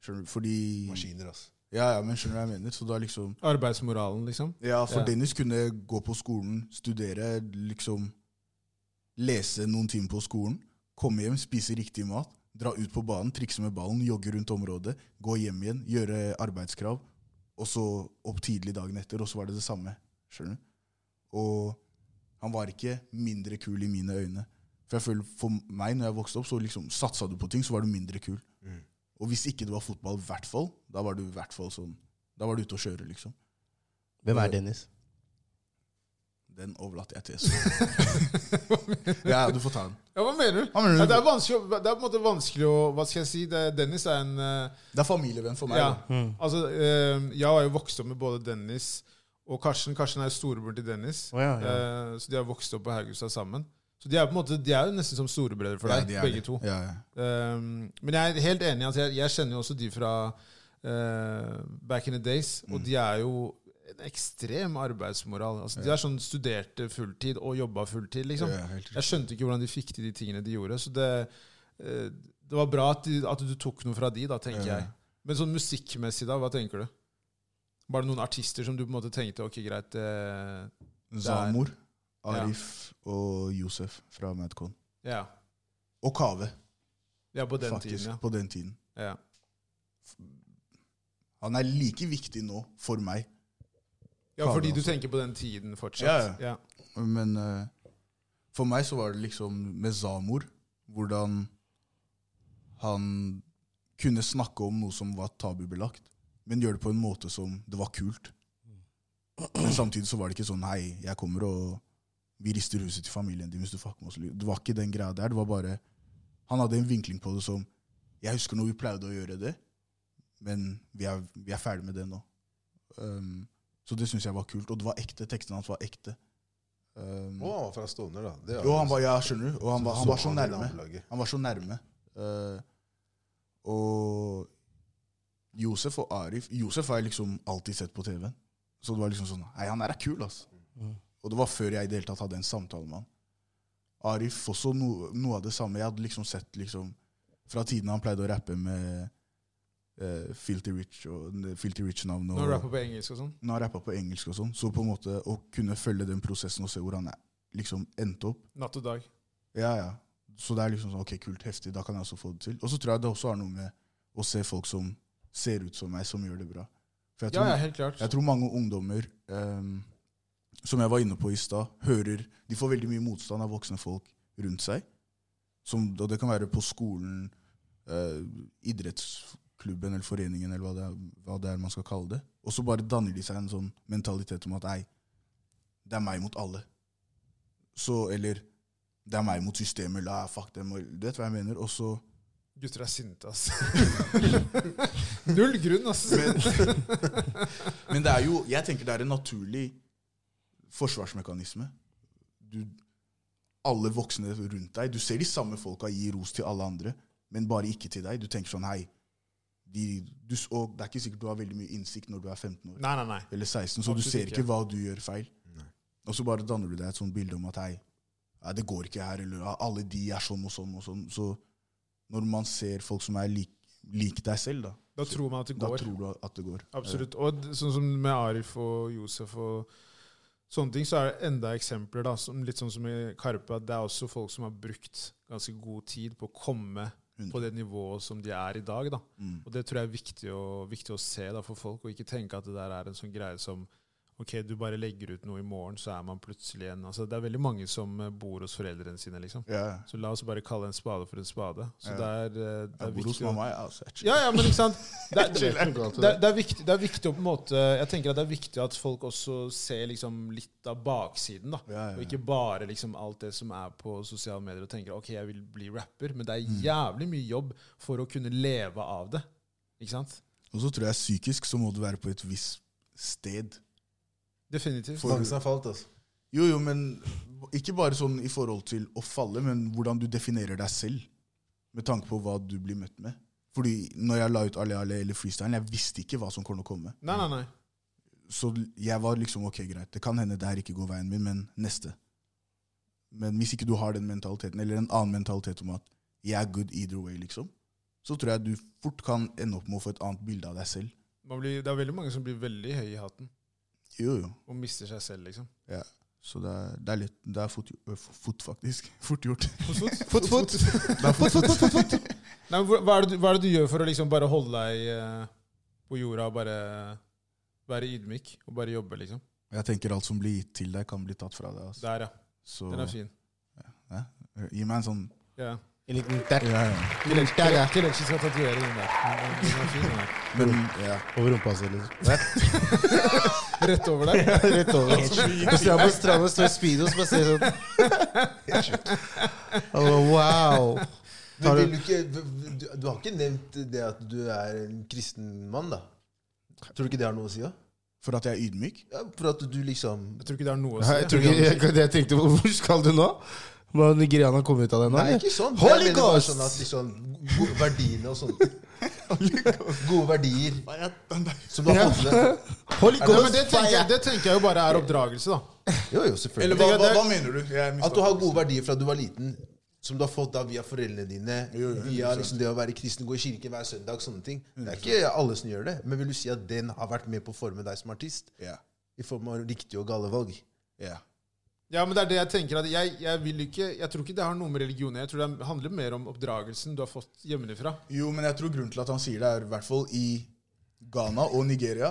S3: Skjønner du? Fordi
S2: Maskiner, altså.
S3: Ja, ja, men skjønner du hva jeg mener? Så da liksom
S1: Arbeidsmoralen, liksom. <laughs>
S3: Ja, for
S1: Ja.
S3: Dennis kunne gå på skolen, studere, liksom Lese noen timer på skolen, komme hjem, spise riktig mat, dra ut på banen, trikse med ballen, jogge rundt området, gå hjem igjen, gjøre arbeidskrav, og så opp tidlig dagen etter, og så var det det samme. Skjønner du? Og han var ikke mindre kul i mine øyne. For jeg føler for meg, når jeg vokste opp, så liksom satsa du på ting, så var du mindre kul. Og hvis ikke det var fotball, i hvert fall, da var du i hvert fall sånn Da var du ute å kjøre, liksom.
S4: Hvem er Dennis?
S3: Den overlater jeg til Espen. ja, du får ta den.
S1: <laughs> Ja, Hva mener du?
S3: Hva mener du?
S1: Ja, det er vanskelig, å- det er på en måte vanskelig å Hva skal jeg si? Det, Dennis er en eh,
S3: Det er familievenn for meg.
S1: Ja.
S3: da.
S4: Mm.
S1: Altså, eh, jeg har jo vokst opp med både Dennis og Karsten. Karsten er jo storebroren til Dennis.
S4: Å, ja,
S1: Eh, så de har vokst opp på Haugstad sammen. Så de er på en måte, de er jo nesten som storebrødre for
S3: Ja,
S1: deg,
S3: de er
S1: begge
S3: det.
S1: to.
S3: Ja, ja.
S1: Eh, men jeg er helt enig. Altså, jeg, jeg kjenner jo også de fra eh, back in the days,
S3: Mm.
S1: og de er jo en ekstrem arbeidsmoral. Altså, de er sånn studerte fulltid og jobba fulltid, liksom.
S3: Ja, helt riktig.
S1: Jeg skjønte ikke hvordan de fikk til de tingene de gjorde. Så det, eh, det var bra at, de, at du tok noe fra de, da, tenker
S3: Ja.
S1: jeg. Men sånn musikkmessig, da, hva tenker du? Var det noen artister som du på en måte tenkte Ok, greit eh,
S3: Zamor, Arif og Josef fra Madcon.
S1: Ja,
S3: Og Kave,
S1: ja på den
S3: faktisk.
S1: tiden,
S3: På den tiden.
S1: ja. ja.
S3: Han er like viktig nå for meg,
S1: Ja, fordi du
S3: altså.
S1: tenker på den tiden
S3: Ja,
S1: fortsatt? ja.
S3: men eh, for meg så var det liksom med Zamor hvordan han kunne snakke om noe som var tabubelagt, men gjøre det på en måte som det var kult. Men samtidig så var det ikke sånn Hei, jeg kommer og vi rister huset til familien din hvis du fucker med oss. Det var ikke den greia der. Det var bare Han hadde en vinkling på det som Jeg husker når vi pleide å gjøre det, men vi er, vi er ferdig med det nå. Um, så det syns jeg var kult. Og det var ekte. Tekstene hans var ekte. Um,
S2: Å, han var fra Stovner, da. Det er altså
S3: jo, han var, ja, skjønner du. Og han var, han var så
S2: i
S3: nærme.
S2: nabolaget.
S3: Han var så nærme. Eh, og Josef og Arif Josef har jeg liksom alltid sett på TV-en. Så det var liksom sånn Hei, han der er kul, ass.
S4: Mm.
S3: Og det var før jeg i det hele tatt hadde en samtale med han. Arif også no, noe av det samme. Jeg hadde liksom sett liksom Fra tiden han pleide å rappe med eh, Filty Rich og Filty Rich-navnet.
S1: Når
S3: og-
S1: du rapper på engelsk og sånn?
S3: når han rappa på engelsk og sånn, så på en måte å kunne følge den prosessen og se hvor han er, liksom endte opp
S1: Natt og dag.
S3: Ja, ja. Så det er liksom sånn, ok, kult, heftig, da kan jeg også få det til. Og så tror jeg det også har noe med å se folk som ser ut som meg, som gjør det bra. For jeg
S1: Ja,
S3: tror,
S1: ja, helt klart.
S3: jeg tror mange ungdommer, ehm, som jeg var inne på i stad, hører De får veldig mye motstand av voksne folk rundt seg. Som, og det kan være på skolen, eh, idrettsklubben eller foreningen, eller hva det, er, hva det er man skal kalle det. Og så bare danner de seg en sånn mentalitet om at ei, det er meg mot alle. Så, eller det er meg mot systemet, la fuck dem, og- du vet hva jeg mener. Og så
S1: Gutter er sinte, ass. <laughs> Null grunn, ass.
S3: Men det er jo, jeg tenker det er en naturlig forsvarsmekanisme. Du, alle voksne rundt deg, du ser de samme folka gi ros til alle andre, men bare ikke til deg. Du tenker sånn, hei, de, du, s- og det er ikke sikkert du har veldig mye innsikt når du er 15 år
S1: Nei, nei, nei.
S3: eller 16, så du
S1: Absolutt
S3: ser
S1: ikke.
S3: ikke hva du gjør feil. Og så bare danner du deg et sånt bilde om at hei, ja, det går ikke her, eller ja, alle de er sånn og sånn og sånn. Så når man ser folk som er lik, lik deg selv, da,
S1: Da tror man at det
S3: da
S1: går.
S3: tror du at det går.
S1: Absolutt. Og d- sånn som med Arif og Josef og sånne ting, så er det enda eksempler, da, som, litt sånn som i Karpe, at det er også folk som har brukt ganske god tid på å komme på det nivået som de er i dag. da.
S3: Mm.
S1: Og det tror jeg er viktig å, viktig å se da, for folk, og ikke tenke at det der er en sånn greie som Ok, du bare legger ut noe i morgen, så er man plutselig en altså, Det er veldig mange som eh, bor hos foreldrene sine, liksom.
S3: Ja, ja.
S1: Så la oss bare kalle en spade for en spade. Så
S3: Ja.
S1: det er, eh, det er
S3: Jeg bor hos
S1: viktig å-
S3: mamma, jeg. Altså, jeg
S1: Ja, ja, men ikke sant? Det er,
S4: Chill, er det galt,
S1: det, er- det, er viktig, det er viktig å på en måte Jeg tenker at det er viktig at folk også ser liksom litt av baksiden, da.
S3: Ja, ja, ja.
S1: Og ikke bare liksom alt det som er på sosiale medier og tenker ok, jeg vil bli rapper, men det er jævlig mye jobb for å kunne leve av det. Ikke sant?
S3: Og så tror jeg psykisk så må du være på et visst sted.
S1: Definitivt.
S3: For-
S2: Mange som har falt, altså.
S3: Jo, jo, men ikke bare sånn i forhold til å falle, men hvordan du definerer deg selv. Med tanke på hva du blir møtt med. Fordi når jeg la ut Ale Ale eller freestyle, jeg visste ikke hva som kom til å komme.
S1: Nei, nei, nei.
S3: Så jeg var liksom ok, greit, det kan hende det her ikke går veien min, men neste. Men hvis ikke du har den mentaliteten, eller en annen mentalitet om at jeg er good either way, liksom, så tror jeg du fort kan ende opp med å få et annet bilde av deg selv.
S1: Man blir, det er veldig mange som blir veldig høy i hatten
S3: Jo, jo.
S1: og mister seg selv, liksom.
S3: Så det er, det er litt Det er fort, ø, fort faktisk. <laughs> Fort gjort.
S1: Hos fot.
S4: Fot, fot. <laughs>
S3: Det er fort, fort, fort, fort.
S1: Nei, men hvor- hva, er det, du- hva er det du gjør for å liksom bare holde deg eh, på jorda og bare være ydmyk og bare jobbe, liksom?
S3: Jeg tenker alt som blir gitt til deg, kan bli tatt fra deg. Altså.
S1: Der, ja.
S3: Så
S1: Den er fin.
S3: ø, gi meg en sånn
S1: Ja.
S4: En liten der.
S3: ja, ja.
S4: En liten der, ja.
S1: Kelechi skal tatovere den der. Den er fin, den der.
S3: Men ja.
S4: Over rumpa si, liksom.
S1: Rett over
S4: <laughs>
S1: der.
S4: Rett over. altså. Stramme, stramme, står speedos, bare ser sånn. <laughs> Å, wow.
S2: Men vil du, ikke, du, du har ikke nevnt det at du er en kristen mann, da? Tror du ikke det har noe å si? da?
S3: For at jeg er ydmyk?
S2: Ja, for at du liksom
S1: Jeg tror ikke det er noe å si.
S4: Jeg tror ikke jeg, jeg tenkte på Hvor skal du nå? Må Nigeriana komme ut av det nå?
S2: Nei,
S4: eller?
S2: ikke sånn.
S4: Holy
S2: Jeg mener bare
S4: Ghost!
S2: sånn at liksom, go- verdiene og sånn.
S3: <laughs>
S2: Gode verdier som du har fått med.
S4: Holy
S1: Nei, men
S4: Ghost
S1: det tenker, jeg, det tenker jeg jo bare er oppdragelse, da.
S2: Jo, jo,
S3: Eller
S2: selvfølgelig.
S3: hva, hva, hva mener du? Jeg
S2: At du har gode verdier fra du var liten, som du har fått da via foreldrene dine,
S3: Jo, jo,
S2: via liksom det å være kristen, gå i kirke hver søndag, sånne ting. Det er ikke alle som gjør det. Men vil du si at den har vært med på å forme deg som artist?
S3: Ja.
S2: I form av riktige og gale valg?
S3: Ja.
S1: Ja, men det er det jeg tenker at jeg, jeg vil ikke Jeg tror ikke det har noe med religion å gjøre. Jeg tror det handler mer om oppdragelsen du har fått hjemmefra.
S3: Jo, men jeg tror grunnen til at han sier det, er i hvert fall i Ghana og Nigeria.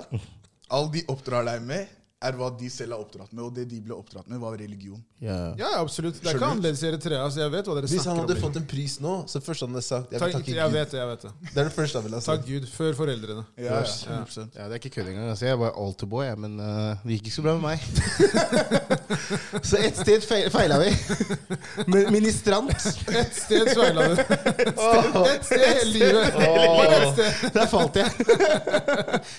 S3: All de oppdrar deg med, er hva de selv er oppdratt med. Og det de ble oppdratt med, var religion.
S4: Ja.
S1: Ja, ja, absolutt. Det er ikke
S3: Skjønner
S1: annerledes i Eritrea. Så jeg vet hva dere
S2: Hvis han
S1: snakker om.
S2: hadde
S1: liksom.
S2: fått en pris nå, så det første han hadde sagt Jeg, vil
S1: Takk,
S2: takke
S1: jeg
S2: Gud.
S1: vet det. jeg vet det
S2: Det er det første han ville ha
S1: Takk
S2: sagt.
S1: Gud. Før foreldrene.
S3: Ja,
S4: Yes.
S3: ja, 100%.
S4: Ja, det er ikke kødd engang. Altså. Jeg var alterboy, jeg, men eh, det gikk ikke så bra med meg. <laughs> så ett sted feil, feila vi. <laughs> Men ministrant.
S1: Ett sted sveila du.
S2: <laughs>
S1: Ett sted hele livet. Ett
S4: Åh.
S1: sted.
S4: Der falt jeg.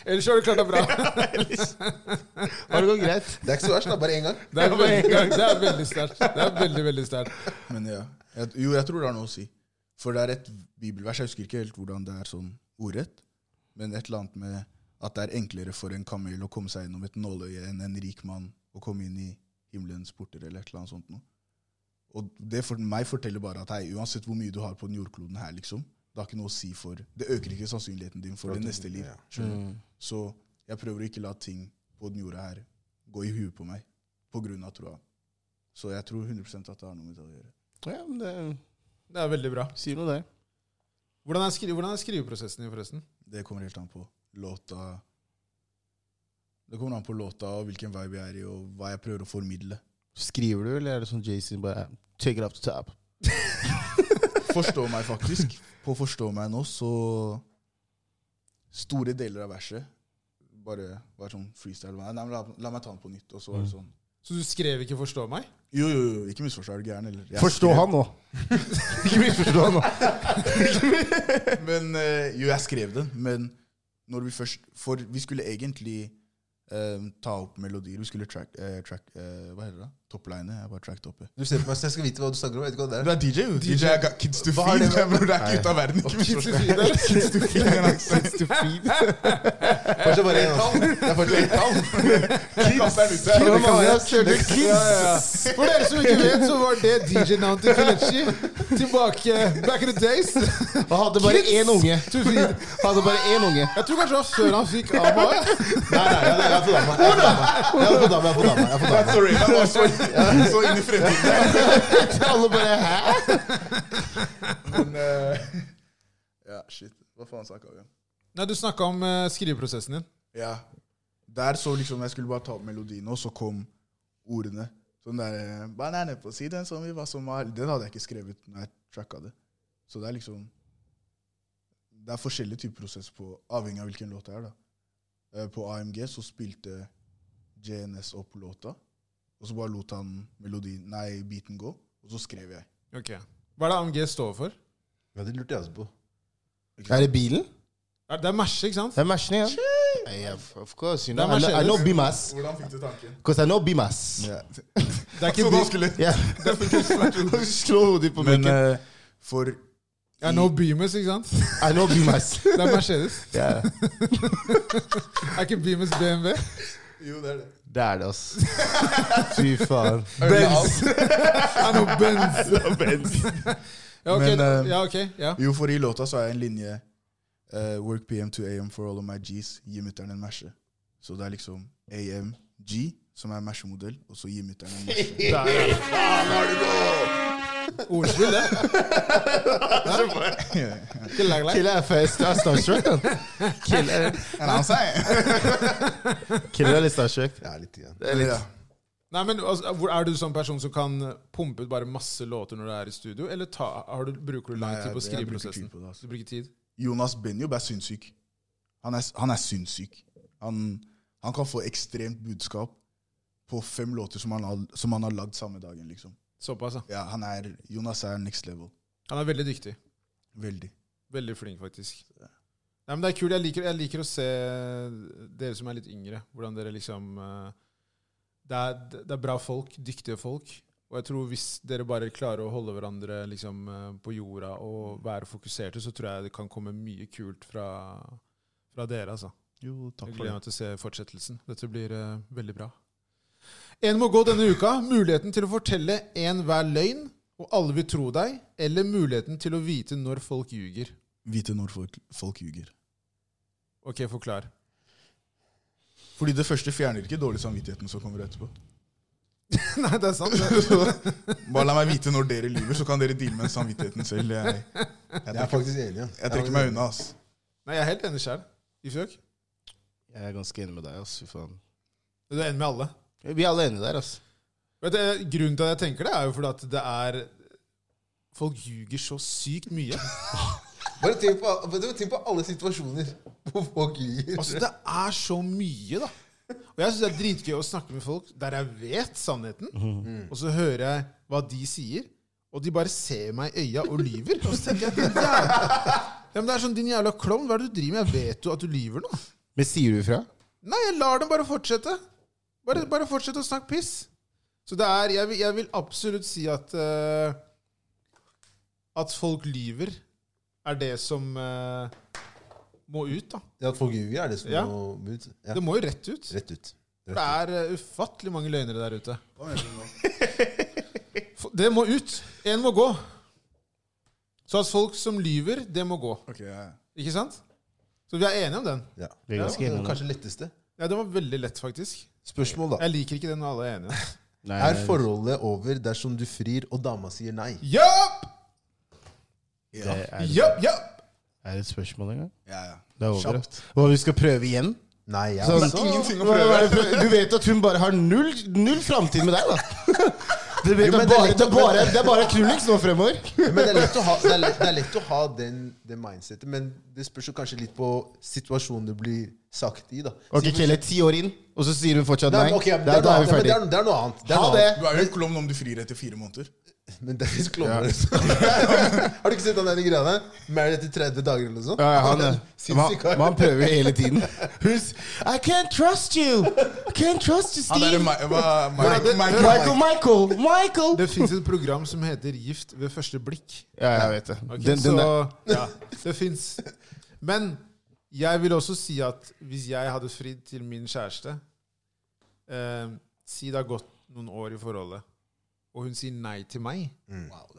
S1: Ellers har du klart deg bra.
S4: Har det gått greit?
S2: Det er ikke så verst, da. Bare én gang.
S1: Det er veldig, det er veldig sterkt. Det er veldig, veldig sterkt.
S3: Men ja. Jeg, jo, jeg tror det har noe å si. For det er et bibelvers, jeg husker ikke helt hvordan det er sånn ordrett, men et eller annet med at det er enklere for en kamel å komme seg gjennom et nåløye enn en rik mann å komme inn i himmelens porter, eller et eller annet sånt noe. Og det for meg forteller bare at hei, uansett hvor mye du har på den jordkloden her, liksom, det har ikke noe å si for Det øker ikke sannsynligheten din for det neste liv. skjønner du? Så jeg prøver å ikke la ting på den jorda her gå i huet på meg på grunn av troa. Så jeg tror 100 at det har noe med det å gjøre.
S4: Ja, men det
S1: Det er veldig bra.
S4: sier noe, det.
S1: Hvordan er, skri hvordan er skriveprosessen din, forresten?
S3: Det kommer helt an på låta Det kommer an på låta og hvilken vibe jeg er i, og hva jeg prøver å formidle.
S4: Skriver du, eller er det sånn Jason bare Take it up to top.
S3: Forstå meg, faktisk. På Forstå meg nå, så Store deler av verset bare var sånn freestyle. Nei, men la, la meg ta den på nytt. Og så var det
S4: Mm.
S3: sånn
S1: Så du skrev ikke 'Forstå meg'?
S3: Jo, jo, jo, ikke misforstå, er du gæren? Eller Jeg
S4: Forstå
S3: skrev-
S4: han <laughs> nå. ikke misforstå <laughs> han nå.
S3: Men eh, jo, jeg skrev den. Men når vi først For vi skulle egentlig eh, ta opp melodier. Vi skulle track, eh, track eh, Hva heter det? da? toppline. Jeg var tracked oppe.
S2: Du ser på meg, så jeg skal vite hva du snakker om. Jeg vet ikke hva det
S3: Du
S2: er.
S3: er DJ, jo. DJ er ga- kids to
S2: Hva har
S3: feed.
S2: det med-
S3: Jeg bror, det er ikke ute av verden. ikke
S1: Kids to
S3: misforstå.
S1: feed, eller?
S3: Kids to feed, jeg har sagt.
S2: Fortsatt bare en tall. Det er fortsatt en tall.
S3: Kids er
S4: Det kan være
S3: ute.
S4: selve
S1: Ja,
S4: kids.
S1: ja. For dere som ikke vet, så var det DJ-navnet til Kelechi tilbake back in the days.
S4: Og hadde bare
S1: Kids.
S4: én unge.
S1: To feed.
S4: Hadde bare én <laughs> unge.
S1: Jeg tror kanskje det var før han fikk ABBA.
S2: Nei, nei, jeg er på dama. Jeg er på dama. Jeg er på dama, jeg er på dama. Jeg er på dama.
S3: Sorry, jeg var så, så inn i fremtiden.
S4: Alle bare hæ?
S3: Men eh, <laughs> Ja, shit. Hva faen snakka vi om?
S1: Nei, Du snakka om eh, skriveprosessen din.
S3: Ja. Der så liksom Jeg skulle bare ta opp melodien, og så kom ordene. Sånn der eh, Banane på siden som vi var som var Den hadde jeg ikke skrevet når jeg tracka det. Så det er liksom Det er forskjellige typer prosess på avhengig av hvilken låt det er, da. Eh, På AMG så spilte JNS opp låta, og så bare lot han melodien Nei, beaten gå, og så skrev jeg.
S1: Ok. Hva er det AMG står for?
S2: Ja, det lurte jeg også på.
S4: Er det bilen?
S1: Er- Det er Merse, ikke sant?
S4: Det er Mersen, ja. Yeah, of course, you know.
S1: Det er
S4: I, know I know
S1: Mercedes.
S4: Bimas.
S3: Hvordan fikk du
S4: <laughs>
S3: tanken?
S4: Because I know Bimas.
S3: Ja.
S1: Det er
S3: Så
S1: ikke
S3: da
S1: bil.
S3: skulle
S4: Yeah. Slå hodet på
S3: Men
S4: benken.
S3: eh, for
S1: Ja, no Beamers, ikke sant?
S4: I know Bimas.
S1: Det er Mercedes.
S4: Yeah.
S1: Er ikke Beamers BMW?
S3: Jo, det er det.
S4: Det er det, ass. Fy faen.
S1: Benz. Er no Benz. Ja, ok.
S3: Men, eh,
S1: ja, ok. Ja.
S3: Jo, for i låta så har jeg en linje eh, Work PM to AM for all of my G's. Gi mutter'n en merse. Så det er liksom AMG, som er mersemodell, og så gi mutter'n en merse.
S1: Der, ja. Ordspill, det. Ikke lag, lag.
S4: Killer er fast. Jeg er starstruck, han. Killer,
S3: Er det han sier?
S4: killer er litt starstruck.
S2: Ja, litt igjen.
S4: Det er litt-
S3: Ja.
S1: Nei, men altså, hvor- Er du sånn person som kan pumpe ut bare masse låter når du er i studio, eller ta, har du, bruker du lang
S3: Nei,
S1: tid på
S3: jeg- jeg bruker
S1: skriveprosessen?
S3: tid på det, altså.
S1: Du bruker tid?
S3: Jonas Benjob er sinnssyk. Han er, han er sinnssyk. Han, han kan få ekstremt budskap på fem låter som han har, som han har lagd samme dagen, liksom.
S1: Såpass, ja.
S3: Ja, han er, Jonas er next level.
S1: Han er veldig dyktig.
S3: Veldig.
S1: Veldig flink, faktisk. Nei, men det er kult. Jeg liker, jeg liker å se dere som er litt yngre, hvordan dere liksom eh, det er, det er bra folk, dyktige folk. Og jeg tror hvis dere bare klarer å holde hverandre liksom, eh, på jorda og være fokuserte, så tror jeg det kan komme mye kult fra, fra dere. altså.
S3: Jo, takk
S1: Jeg
S3: for det.
S1: gleder meg til å se fortsettelsen. Dette blir eh, veldig bra. En må gå denne uka. Muligheten til å fortelle en hver løgn, og alle vil tro deg, eller muligheten til å vite når folk ljuger.
S3: Vite når folk, folk ljuger.
S1: Ok, forklar.
S3: Fordi det første fjerner ikke dårlig samvittigheten som kommer etterpå.
S1: <laughs> Nei, det er sant. Det. <laughs>
S3: Bare la meg vite når dere lyver, så kan dere deale med samvittigheten selv. Jeg, jeg,
S2: Jeg er
S3: trekker,
S2: faktisk enig, ja.
S3: jeg trekker meg unna, ass.
S1: Nei, jeg er helt enig sjøl. Ifjøk.
S4: Jeg er ganske enig med deg, ass. Fy faen.
S1: Du er enig med alle.
S4: Vi er alle enige der, ass.
S1: Vet du, grunnen til at jeg tenker det, er jo fordi at det er Folk ljuger så sykt mye.
S2: Bare tenk på, bare tenk på alle situasjoner hvor folk ljuger.
S1: Altså, det er så mye, da. Og jeg syns det er dritgøy å snakke med folk der jeg vet sannheten, og så hører jeg hva de sier, og de bare ser meg i øya og lyver. Og så tenker jeg, din jævla, ja, men det er sånn, din jævla klovn, hva er det du driver med? Jeg vet jo at du lyver nå.
S4: Men sier du ifra?
S1: Nei, jeg lar dem bare fortsette. Bare, bare fortsette å snakke piss. Så det er Jeg vil, jeg vil absolutt si at eh, At folk lyver, er det som eh, må ut, da.
S2: Ja, at folk ljuger, er det som
S1: Ja.
S2: må ut. Ja.
S1: Det må jo rett ut.
S2: Rett ut.
S1: Det er eh, ufattelig mange løgnere der ute. F- Det må ut. Én må gå. Så at folk som lyver, det må gå.
S3: Ok, ja.
S1: Ikke sant? Så vi er enige om den.
S2: Ja.
S4: Vi er
S2: Ja,
S4: ganske
S2: det
S4: enige
S2: er
S4: om det.
S2: kanskje letteste.
S1: Ja, Det var veldig lett, faktisk.
S2: Spørsmål, da.
S1: Jeg liker ikke det når alle er enige.
S4: Nei,
S2: Er forholdet over dersom du frir og dama sier nei?
S1: Japp!
S4: det er,
S1: Japp, japp!
S4: er det et spørsmål engang?
S3: Ja, ja.
S4: Det er over.
S3: Kjapt.
S4: Hva, vi skal prøve igjen?
S2: Nei, jeg
S4: Sånn-
S2: altså.
S3: ingenting å
S4: Hva- hva er det
S3: prøve.
S4: for- Du vet at hun bare har null, null framtid med deg, da. Du vet
S2: Jo, men
S4: at
S2: det er
S4: bare,
S2: litt-
S4: det, er bare, det er bare Krulix nå fremover.
S2: Men det er lett å ha, det er lett, det er lett å ha den, det mindsetet, men det spørs jo kanskje litt på situasjonen det blir sagt i, da.
S4: Ok,
S2: Si for-
S4: Kelle, ti år inn, og så sier hun fortsatt
S2: Nei,
S4: nei.
S2: men ok, men det
S4: Da
S2: er noe
S4: da er
S2: annet.
S4: vi
S2: Ja, men det
S4: ferdig.
S2: er- Det er noe annet. Det er
S4: Ha
S2: noe
S4: det!
S2: annet.
S3: Du er jo en klovn om du frir etter fire måneder.
S2: Men Dennis klovner <laughs> liksom. Har du ikke sett han der i greia der? Married etter 30 dager eller noe sånt?
S4: Ja, ja,
S1: <laughs>
S4: han,
S2: er
S4: eh, man,
S2: Sinnssyk kar.
S4: man prøver hele tiden. Hus, I can't trust you! I can't trust you,
S3: Han er
S4: Steve!
S3: en Ma- hva-
S1: det-
S3: Michael
S4: Michael,
S3: Michael-
S4: Michael, Michael!
S1: Det fins et program som heter Gift ved første blikk.
S4: Ja, jeg vet det.
S1: Ok,
S4: Den, den der.
S1: så det fins. Men jeg vil også si at hvis jeg hadde fridd til min kjæreste eh, Si det har gått noen år i forholdet, og hun sier nei til meg,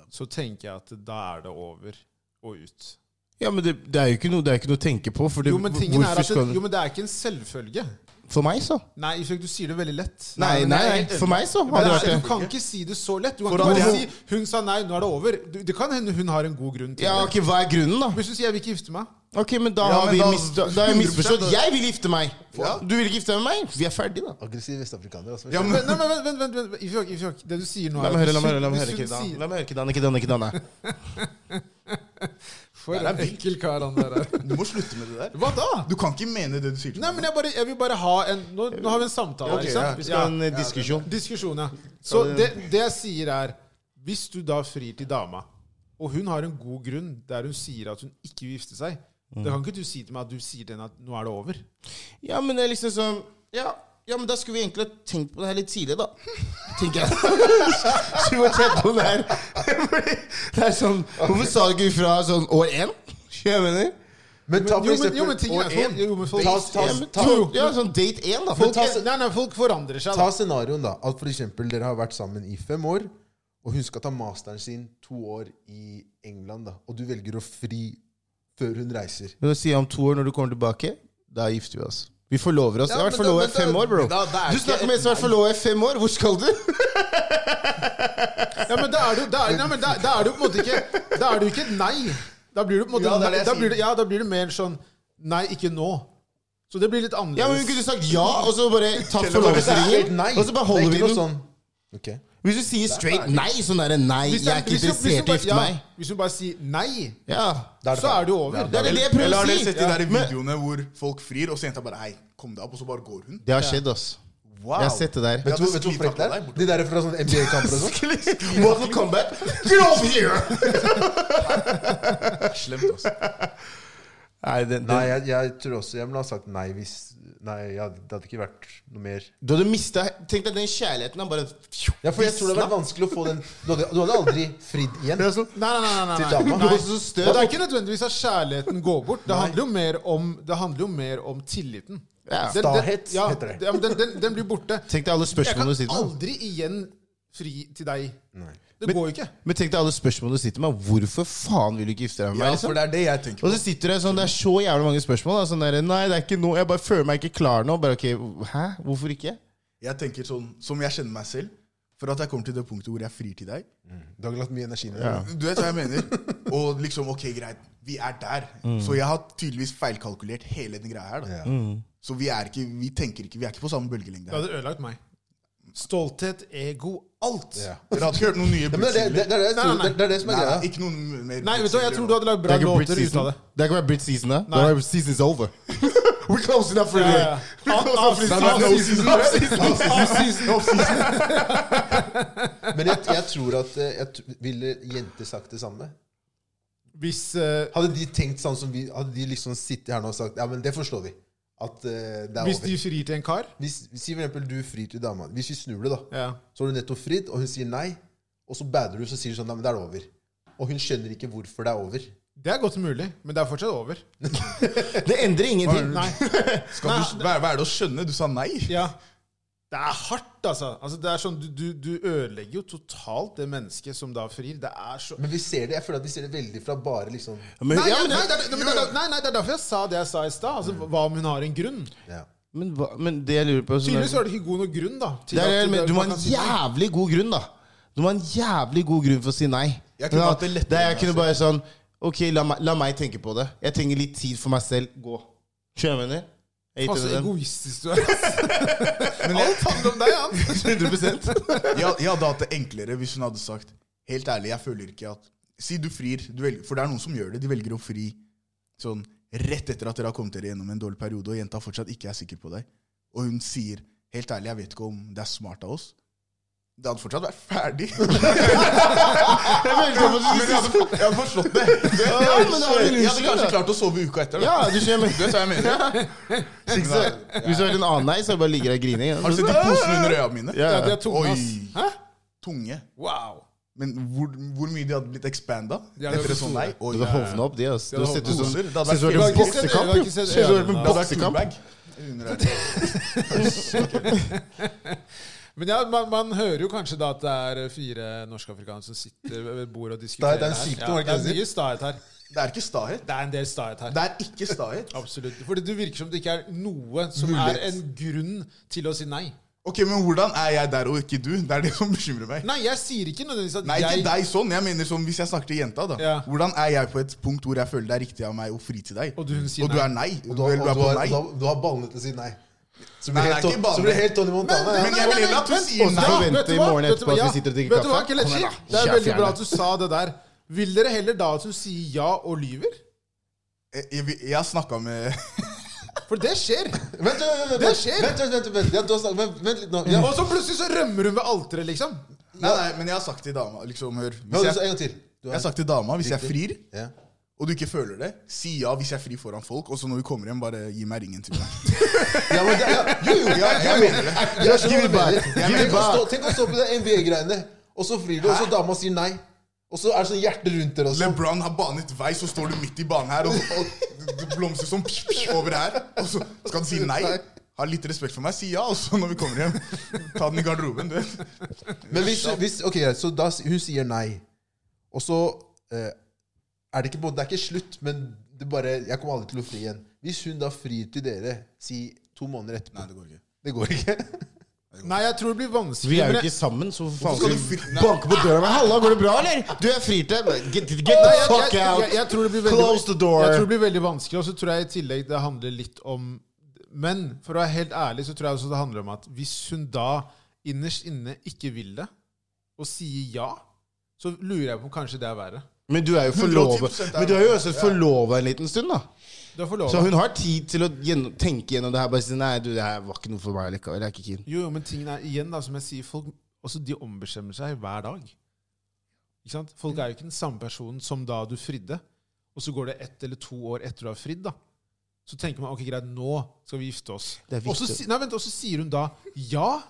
S1: så tenker jeg at da er det over og ut.
S4: Ja, men det, det er jo ikke noe, det er ikke noe å tenke på. For, det,
S1: Jo, men, tingen er
S4: hvorfor
S1: at det,
S4: skal-
S1: jo, men det er ikke en selvfølge.
S4: for meg, så.
S1: Nei, Isak, du sier det veldig lett.
S4: Nei, nei, nei. For meg, så.
S1: Men det
S4: Hadde det
S1: er-
S4: vært det.
S1: Du kan ikke si det så lett. Du kan
S4: For
S1: ikke bare
S4: at-
S1: si 'hun sa nei, nå er det over'. Du, det kan hende hun har en god grunn til
S4: Ja,
S1: det.
S4: ok, Hva er grunnen, da?
S1: Hvis du sier 'jeg vil ikke gifte meg',
S4: Ok, men Da
S2: Ja,
S4: har
S2: men
S4: vi
S2: da-
S4: mis, da, da har jeg misforstått.
S2: 100%
S4: Jeg vil gifte meg!
S2: Ja.
S4: Du vil ikke gifte deg med meg? Vi er ferdige, da.
S2: Aggressiv vestafrikaner. Altså.
S1: Ja, men, nei, men vent, vent, vent, vent, vent. Ifjok, Ifjok, det du sier nå
S4: La
S1: er
S4: meg
S1: at
S4: høre, la meg
S1: hvis
S4: høre. La meg
S1: hun-
S4: høre,
S1: hvis hun
S4: Kedan.
S1: sier-
S4: La meg høre, Kedan, Kedan,
S1: <laughs>
S4: Kedan.
S1: For en enkel kar han der
S4: <laughs>
S1: er.
S3: Du må slutte med det der.
S1: Hva da?
S3: Du kan ikke mene det du sier. til
S1: Nei,
S3: meg.
S1: men jeg, bare, jeg vil bare ha en Nå, nå har vi en samtale her,
S2: Ok,
S1: ikke
S2: ja.
S1: sant?
S4: Vi skal ha en
S1: Ja.
S4: eh, diskusjon.
S1: Diskusjon, ja. Så det, det jeg sier er Hvis du da frir til dama, og hun har en god grunn der hun sier at hun ikke vil gifte seg,
S4: Mm.
S1: da kan ikke du si til meg at du sier til henne at 'nå er det over'.
S4: Ja, men det er liksom sånn ja, ja, men da skulle vi egentlig ha tenkt på det her litt tidligere, da.
S2: <laughs>
S4: Tenker jeg. Skulle vi ha tenkt på det her. Fordi det er sånn Hvorfor sa du ikke ifra sånn år én? Skjønner du hva jeg mener?
S2: Men ta for
S1: Jo, men- jo, men
S2: eksempel
S1: ting er
S2: år
S1: sånn. Jo, men folk-
S2: Ta, ta,
S4: Ja, men,
S2: ta,
S4: to- ja, sånn date én, da.
S1: Folk,
S4: Folk,
S2: ta-
S1: nei, nei, folk forandrer seg.
S2: ta
S1: Da.
S2: scenarioen, da. At for eksempel dere har vært sammen i fem år, og hun skal ta masteren sin to år i England, da. Og du velger å fri før hun reiser.
S4: Når du sier om to år når du kommer tilbake, da gifter vi oss. Vi forlover oss.
S2: Ja,
S4: jeg har vært
S2: men da-
S4: forlova i
S2: men da-
S4: fem år, bro.
S2: men da- det er
S4: Du
S2: ikke
S4: snakker med en som har vært forlova i fem år. Hvor skal <laughs> du?
S1: Ja, men da er du, da er, nei, men da, da er du på en måte ikke Da er du ikke et nei. Da blir du på en måte
S3: Ja, det er det
S1: nei,
S3: jeg
S1: da
S3: sier.
S1: blir, du- ja, da blir du mer sånn Nei, ikke nå. Så det blir litt annerledes.
S4: Ja, men Hun kunne sagt ja, og så bare tatt
S2: Det er helt
S4: forlovelsesringen.
S2: nei.
S4: Og så bare holder
S2: det
S4: vi
S2: er ikke
S4: den.
S2: noe sånn. Ok.
S4: Hvis du sier straight nei, sånn er det nei. Jeg er ikke
S1: hvis du- hvis du
S4: interessert i å
S1: bare-
S4: gifte meg.
S1: Ja, hvis du bare sier nei,
S4: Ja.
S2: Da er det
S1: så
S2: ferdig.
S1: er du over.
S4: Det er det jeg prøver
S3: Eller
S4: å
S3: har dere
S4: si.
S3: sett de der
S4: Men-
S3: videoene hvor folk frir, og så jenta bare Hei, kom deg opp, og så bare går hun?
S4: Det har skjedd, ass.
S3: Wow.
S4: Jeg har sett det der.
S2: Vet du vet du hvor frekt det er? De der fra sånne NBA-kamper og sånn.
S4: <laughs> Mortal Kombat, get over here!
S3: er slemt, altså.
S4: Nei, det, det,
S2: Nei, jeg, jeg tror også jeg ville ha sagt nei hvis Nei, ja, det hadde ikke vært noe mer.
S4: du hadde mista Tenk deg den kjærligheten. Han bare
S2: Ja, for jeg tror det hadde vært vanskelig å få den Du hadde, du hadde aldri fridd <laughs> igjen.
S1: Nei, nei, nei. nei, nei,
S2: Til dama.
S1: nei.
S2: Du
S1: nei.
S2: var
S4: så
S1: Og
S4: støt.
S1: det er ikke nødvendigvis at kjærligheten går bort. Det handler jo mer om, det handler jo mer om tilliten.
S4: Ja.
S1: Den- den-
S2: Stahet
S1: ja,
S2: heter det.
S1: ja, men Den, den, den blir borte.
S4: Tenk deg alle
S1: Jeg
S4: spørsmålene
S1: kan
S4: du sitter med.
S1: aldri igjen fri til deg.
S2: Nei.
S1: Det går jo ikke.
S4: Men tenk deg alle spørsmålene du sitter med. Hvorfor faen vil du ikke gifte deg med
S3: Ja,
S4: meg?
S3: for
S4: Liksom?
S3: det er det jeg tenker på.
S4: Og så sitter du sånn, Det er så jævlig mange spørsmål. Da. Sånn der, nei, det er ikke noe, Jeg bare føler meg ikke klar nå. Bare ok, Hæ? Hvorfor ikke?
S3: Jeg tenker sånn, Som jeg kjenner meg selv, for at jeg kommer til det punktet hvor jeg frir til deg.
S2: Du hadde lagt mye energi ned.
S4: Ja.
S3: Du vet hva jeg <laughs> mener? Og liksom, ok, greit, vi er der. Så jeg har tydeligvis feilkalkulert hele den greia her. da.
S2: Ja.
S3: Så vi er ikke, vi tenker ikke, vi er ikke på samme bølgelengde.
S1: Det
S3: her.
S1: hadde ødelagt meg. Stolthet, ego, alt.
S2: Ja.
S3: Dere hadde ikke hørt noen nye
S2: Ja, men det, er det, det, er det, jeg tror-
S1: Nei, nei, nei.
S2: det er det som er
S3: Nei,
S2: greia.
S3: ikke noen mer
S1: Nei, vet du hva, jeg tror du hadde lagd
S4: Det
S1: bra
S4: er ikke Brit
S1: låter ut
S4: season.
S1: av det.
S4: Det er ikke bare Brit season, da.
S1: Nei.
S4: Det er season is over. We're closing up for
S1: Ja,
S4: today.
S1: ja.
S4: We're closing up for
S1: Off-season.
S4: today.
S1: Off-season.
S3: Off-season. Off-season.
S2: Men jeg, jeg tror at eh, jeg tr- Ville jenter sagt det samme?
S1: <laughs> Hvis eh,
S2: Hadde de tenkt sånn som vi Hadde de liksom sittet her nå og sagt Ja, men det forstår vi. At eh, det er
S1: Hvis de
S2: over.
S1: frir til en kar
S2: Hvis, si for eksempel du frir til dama. Hvis vi snur det, da.
S1: ja.
S2: Så har du nettopp fridd, og hun sier nei. Og så bader du, så sier du sånn Nei, men det er over. Og hun skjønner ikke hvorfor det er over.
S1: Det er godt mulig, men det er fortsatt over.
S4: <laughs> Det endrer ingenting.
S1: Nei.
S3: Skal du, hva, er- hva er det å skjønne? Du sa nei.
S1: Ja. Det er hardt, altså. altså det er sånn, du, du, du ødelegger jo totalt det mennesket som da frir. Det er så
S2: Men vi ser det, jeg føler at vi ser det veldig fra bare liksom
S4: Men,
S1: Nei, ja,
S4: ja, men,
S1: nei, det, er- men det, er- nei, nei, det er derfor jeg sa det jeg sa i stad. Altså, hva om hun har en grunn?
S4: Mm.
S2: ja.
S4: men, hva- men det jeg lurer på sånn
S1: Tydeligvis var det ikke god nok grunn, da. til
S4: Det er,
S1: at-
S4: men du må ha
S1: man
S4: en
S1: kan si nei.
S4: jævlig god grunn, da. Du må ha en jævlig god grunn for å si nei.
S3: Jeg kunne
S4: Ja,
S3: hatt det lettere
S4: er- jeg
S3: med
S4: kunne
S3: meg
S4: bare sånn Ok, la meg, la meg tenke på det. Jeg trenger litt tid for meg selv. Gå. Skjønner du hva jeg mener? Jeg
S1: Faen, så
S4: hater den.
S1: egoistisk du er. Alt handler om deg, han. <laughs>
S4: 100
S3: Jeg, jeg hadde hatt det enklere hvis hun hadde sagt Helt ærlig, jeg føler ikke at Si du frir, du velger, for det er noen som gjør det. De velger å fri sånn rett etter at dere har kommet dere gjennom en dårlig periode, og jenta fortsatt ikke er sikker på deg. Og hun sier helt ærlig, jeg vet ikke om det er smart av oss, Det hadde fortsatt vært ferdig. <laughs>
S4: Jeg
S3: Men jeg
S4: sånn.
S3: hadde, jeg hadde forstått det. det
S4: Ja, men det var jo
S3: jeg hadde
S4: lunsj,
S3: kanskje
S4: da.
S3: klart å sove uka etter. Da.
S4: Ja, du skjønner.
S3: Du vet hva jeg mener?
S4: Hvis du har en annen nei, så bare ligger jeg og griner.
S3: Har du sett de posene under øya mine?
S4: Ja,
S1: Ja, de
S4: ja.
S1: er tunge, ass.
S3: Oi.
S1: Hæ?
S3: Tunge.
S1: Wow.
S3: Men hvor, hvor mye de hadde blitt expanda
S1: Ja, det
S3: etter en sånn
S1: var
S3: nei?
S1: store.
S3: Oi,
S4: Du
S3: ja.
S4: har hovna opp, de. ass. Du har sett ut som
S3: Poser. Det hadde
S4: ser ut som du har
S3: vært
S1: Jeg
S4: en
S1: har ikke sett- jeg har
S4: boksekamp. jo.
S1: ikke sett-
S4: Ser ut som
S1: ja, det
S4: du har en
S3: Det hadde vært
S4: boksekamp.
S3: toolbag. Under øya.
S1: Men ja, man, man hører jo kanskje da at det er fire norsk-afrikanere som sitter ved bordet og
S2: Stahet
S1: diskuterer
S2: er en
S1: her.
S2: sykdom,
S1: ja,
S2: er
S1: det
S2: det ikke det
S1: er mye stahet her.
S3: Det er ikke stahet.
S1: Det er en del stahet her.
S3: Det er ikke stahet.
S1: Absolutt. Fordi det virker som det ikke er noe som
S3: Mulighet.
S1: er en grunn til å si nei.
S3: Ok, Men hvordan er jeg der og ikke du? Det er det som bekymrer meg.
S1: Nei, jeg sier ikke nødvendigvis at
S3: Nei, ikke
S1: jeg
S3: deg sånn. Jeg mener sånn Hvis jeg snakker til jenta, da.
S1: Ja.
S3: Hvordan er jeg på et punkt hvor jeg føler det er riktig av meg å fri til deg?
S1: Og du sier
S3: og du er nei.
S2: Og
S3: Og
S2: du
S3: du,
S2: har,
S3: er- du er
S2: og du
S3: på
S2: har,
S3: nei.
S2: du har, du har ballene til å si nei. Så
S3: Nei,
S2: blir
S3: det
S2: helt Tony-
S3: er ikke
S2: så
S3: ballene.
S2: blir det helt Tony Montana. ja.
S3: Men jeg vil heller at du sier
S4: nei.
S3: nei.
S4: forventer
S1: vet du
S4: i
S1: hva?
S4: morgen
S1: Vet du
S4: etterpå
S1: hva?
S4: at vi sitter og drikker
S1: Vet du hva,
S4: kaffe.
S1: Kelechi?
S4: Kom igjen da.
S1: Det er
S4: Kjære
S1: veldig bra
S4: fjerne.
S1: at du sa det der. Vil dere heller da at hun sier ja og lyver?
S3: Eh, Jeg- Jeg, jeg har snakka med
S1: For det skjer.
S2: Vent, vent, vent, vent,
S1: Det skjer.
S2: Vent, vent, vent, vent. Ja, du har snakket, vent, vent litt nå. Ja.
S1: Og så plutselig så rømmer hun ved alteret, liksom.
S3: Nei, nei, men jeg har sagt til dama liksom, hør,
S2: Nå,
S3: hvis
S2: du, så
S3: jeg,
S2: en gang til. Du
S3: jeg
S2: har-
S3: har sagt til dama hvis jeg
S2: Riktig.
S3: frir,
S2: ja.
S3: og du ikke føler det, si ja hvis jeg frir foran folk. Og så når vi kommer hjem, bare gi meg ringen til meg.
S2: Ja, men, det- ja, jo, jo, ja,
S3: Jeg mener det.
S2: Jeg skjønner
S4: Give it
S2: hva du
S4: back.
S2: mener.
S3: Give
S2: Tenk
S3: it
S2: å
S3: back.
S2: stå- Tenk å stå på de NBA-greiene, og så frir du, og så dama sier nei. Og så er det sånn hjerte rundt dere også.
S3: LeBron har banet vei, så står du midt i banen her, og, og det blomstrer som psh, psh, over her. Og så skal du si nei. Ha litt respekt for meg, si ja, og så når vi kommer hjem, ta den i garderoben. du vet.
S2: Men hvis, hvis Ok, greit, så da s- hun sier nei, og så eh, er det ikke på, Det er ikke slutt, men det bare Jeg kommer aldri til å fri igjen. Hvis hun da frir til dere, si to måneder etterpå
S3: Nei, det går ikke.
S2: Det går ikke. <laughs>
S1: Nei, jeg tror det blir vanskelig.
S4: Vi er jo
S1: men jeg-
S4: ikke sammen, så faen
S3: skal
S4: skal
S3: du
S4: vi
S3: fri- Nei.
S4: banke på døra med 'Halla, går det bra, eller?' Du er fri til Get, get
S1: Nei,
S4: the
S1: jeg, jeg,
S4: fuck
S1: jeg, jeg,
S4: out!
S1: tror det blir veldig,
S4: Close the door!
S1: Jeg tror det blir veldig vanskelig, og så tror jeg i tillegg det handler litt om Men for å være helt ærlig, så tror jeg også det handler om at hvis hun da innerst inne ikke vil det, og sier ja, så lurer jeg på om kanskje det er verre.
S4: Men du er jo forlova.
S3: 110% er-
S4: Men du er jo også forlova en liten stund, da.
S1: Du er forlova.
S4: Så hun har tid til å gjennom, tenke gjennom det her. Bare si 'nei, du, det her var ikke noe for meg likevel'. Jeg er ikke keen.
S1: Jo, jo, men tingen er igjen, da, som jeg sier, folk også de ombestemmer seg hver dag. Ikke sant? Folk er jo ikke den samme personen som da du fridde. Og så går det ett eller to år etter du har fridd, da. Så tenker man ok, greit, nå skal vi gifte oss.
S4: Det er viktig.
S1: Og så si- nei, vent, og så sier hun da ja.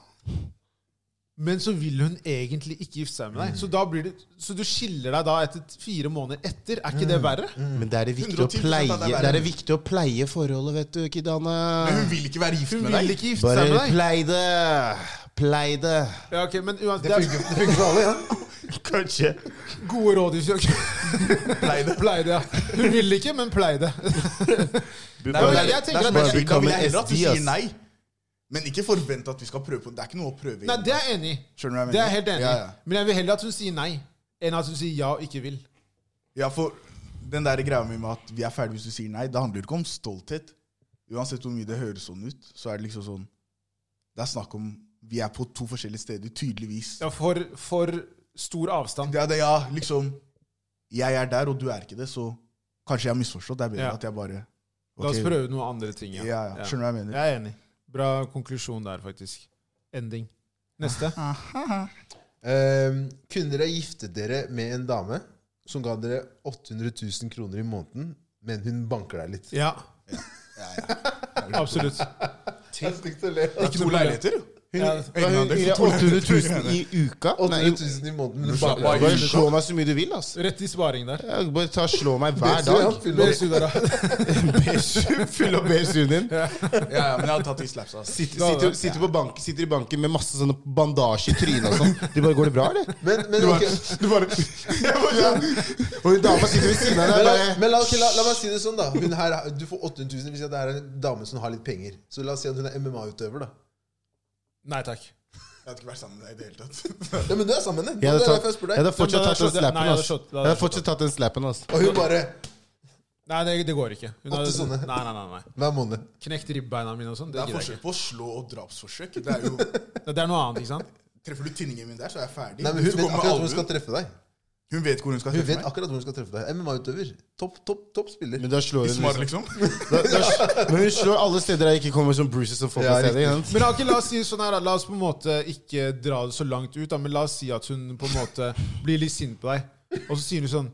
S1: Men så vil hun egentlig ikke gifte seg med deg. Så, da blir det, så du skiller deg da etter t- fire måneder etter. Er
S4: Mm.
S1: ikke det verre?
S4: Men det er det viktig å
S3: 110%
S4: pleie
S3: av det er
S4: Det
S3: verre.
S4: er det viktig å pleie forholdet, vet du,
S3: Men hun
S4: Kidane.
S3: vil ikke være gift
S1: Hun
S3: med
S1: vil
S3: deg.
S1: ikke gifte
S4: Bare
S1: seg med deg.
S4: plei det. Plei det.
S1: Ja, ok, men uansett,
S2: Det funker, det funker for alle, ja.
S4: Kanskje.
S1: Gode råd i fjøk. <laughs>
S3: Plei det.
S1: Plei det, ja. Hun vil ikke, men plei det.
S3: Nei, men
S1: Bare-
S3: jeg,
S1: det
S3: jeg tenker
S1: er bare
S3: at jeg, Da vil jeg
S4: become
S3: heller at du
S4: SD,
S3: sier
S4: ass.
S3: nei, men ikke forvent at vi skal prøve på det. Det er ikke noe å prøve. i.
S1: Nei, det er jeg enig i.
S3: Skjønner du hva jeg
S1: Det er
S3: mener?
S1: jeg helt enig i.
S3: Ja, ja.
S1: Men jeg vil heller at hun sier nei, enn at hun sier ja og ikke vil.
S3: Ja, for den der greia mi med at vi er ferdige hvis du sier nei, det handler ikke om stolthet. Uansett hvor mye det høres sånn ut, så er det liksom sånn Det er snakk om vi er på to forskjellige steder, tydeligvis.
S1: Ja, for, for stor avstand.
S3: Det er det, ja, liksom Jeg er der, og du er ikke det, så kanskje jeg har misforstått. Det er bedre
S1: Ja.
S3: at jeg bare
S1: La oss
S3: ok,
S1: prøve noen andre ting.
S3: Ja, ja, Skjønner du hva jeg mener?
S1: Jeg er enig. Bra konklusjon der, faktisk. Ending.
S3: <laughs>
S1: Neste.
S2: Ehm, kunne dere giftet dere med en dame som ga dere 800 000 kroner i måneden, men hun banker deg litt?
S1: Ja,
S3: Ja, ja.
S1: <laughs> absolutt.
S2: Jeg å le.
S3: Det er to leiligheter, jo. Hun-
S1: Ja,
S3: egenandel for to
S4: 800
S3: leiligheter.
S4: 000 i uka? Nei,
S2: 800 000 i måneden, men hun
S3: slapp
S2: banker
S3: av,
S2: deg
S4: bare
S2: litt.
S4: slå meg så mye du vil, ass.
S1: Rett i sparing der.
S4: Ja, Bare ta og slå meg hver
S2: Så ja,
S4: dag.
S2: fyll opp.
S1: BSU der, <laughs> da.
S4: <laughs> Fyll opp BSU-en din.
S3: Ja, ja, men jeg hadde tatt de slapsa. ass.
S4: Sitter, sitter, sitter, på bank, sitter i banken med masse sånne bandasje i trynet og sånn. De bare 'Går det bra, eller?'
S2: Men, men, ok.
S4: <laughs> Du bare, Jeg sånn- bare Og hun dama sitter ved siden av
S2: men,
S4: deg
S2: la,
S4: bare
S2: men la, ok, la, la meg si det sånn, da. Hun her, du får 800 000 hvis det er en dame som har litt penger. Så la oss si at hun er MMA-utøver, da.
S1: Nei takk.
S3: Jeg hadde ikke vært sammen med deg i det hele tatt.
S2: Ja, men du er sammen med henne.
S4: Jeg
S2: Det er
S4: hadde,
S2: derfor jeg
S4: tatt,
S2: spør deg.
S4: jeg hadde fortsatt
S1: Nei, jeg hadde
S4: tatt den
S1: slått-
S4: slappen,
S1: nei, jeg hadde
S4: ass.
S1: slått-
S4: Jeg hadde fortsatt tatt den slappen, ass.
S2: Og hun bare
S1: Nei, det, det går ikke. Hun
S2: Åtte sånne.
S1: Nei, nei, nei, nei.
S2: Hver måned.
S1: Knekt ribbeina mine og sånn.
S3: Det
S1: Det
S3: er
S1: gidder jeg
S3: forskjell på å slå og drapsforsøk. Det er jo
S1: ikke. Det er noe annet, ikke sant?
S3: Treffer du tinningen min der, så er jeg ferdig.
S2: Nei, men
S3: Hvis
S2: hun vet
S3: du kommer med
S2: akkurat hvor hun
S3: albuen-
S2: skal treffe deg.
S3: Hun vet hvor hun skal
S2: Hun
S3: treffe
S2: vet
S3: meg.
S2: akkurat hvor hun skal treffe deg. MMA-utøver. Topp, topp, topp spiller.
S4: Men da slår
S3: I
S4: hun
S3: smart,
S4: liksom.
S3: liksom.
S4: da, da, <laughs> Men hun slår alle steder jeg ikke kommer som bruises og folk
S2: Ja,
S4: av stedet. ikke sant?
S1: Men ok, la oss si sånn her da. La oss på en måte ikke dra det så langt ut, da, men la oss si at hun på en måte blir litt sint på deg. Og så sier hun sånn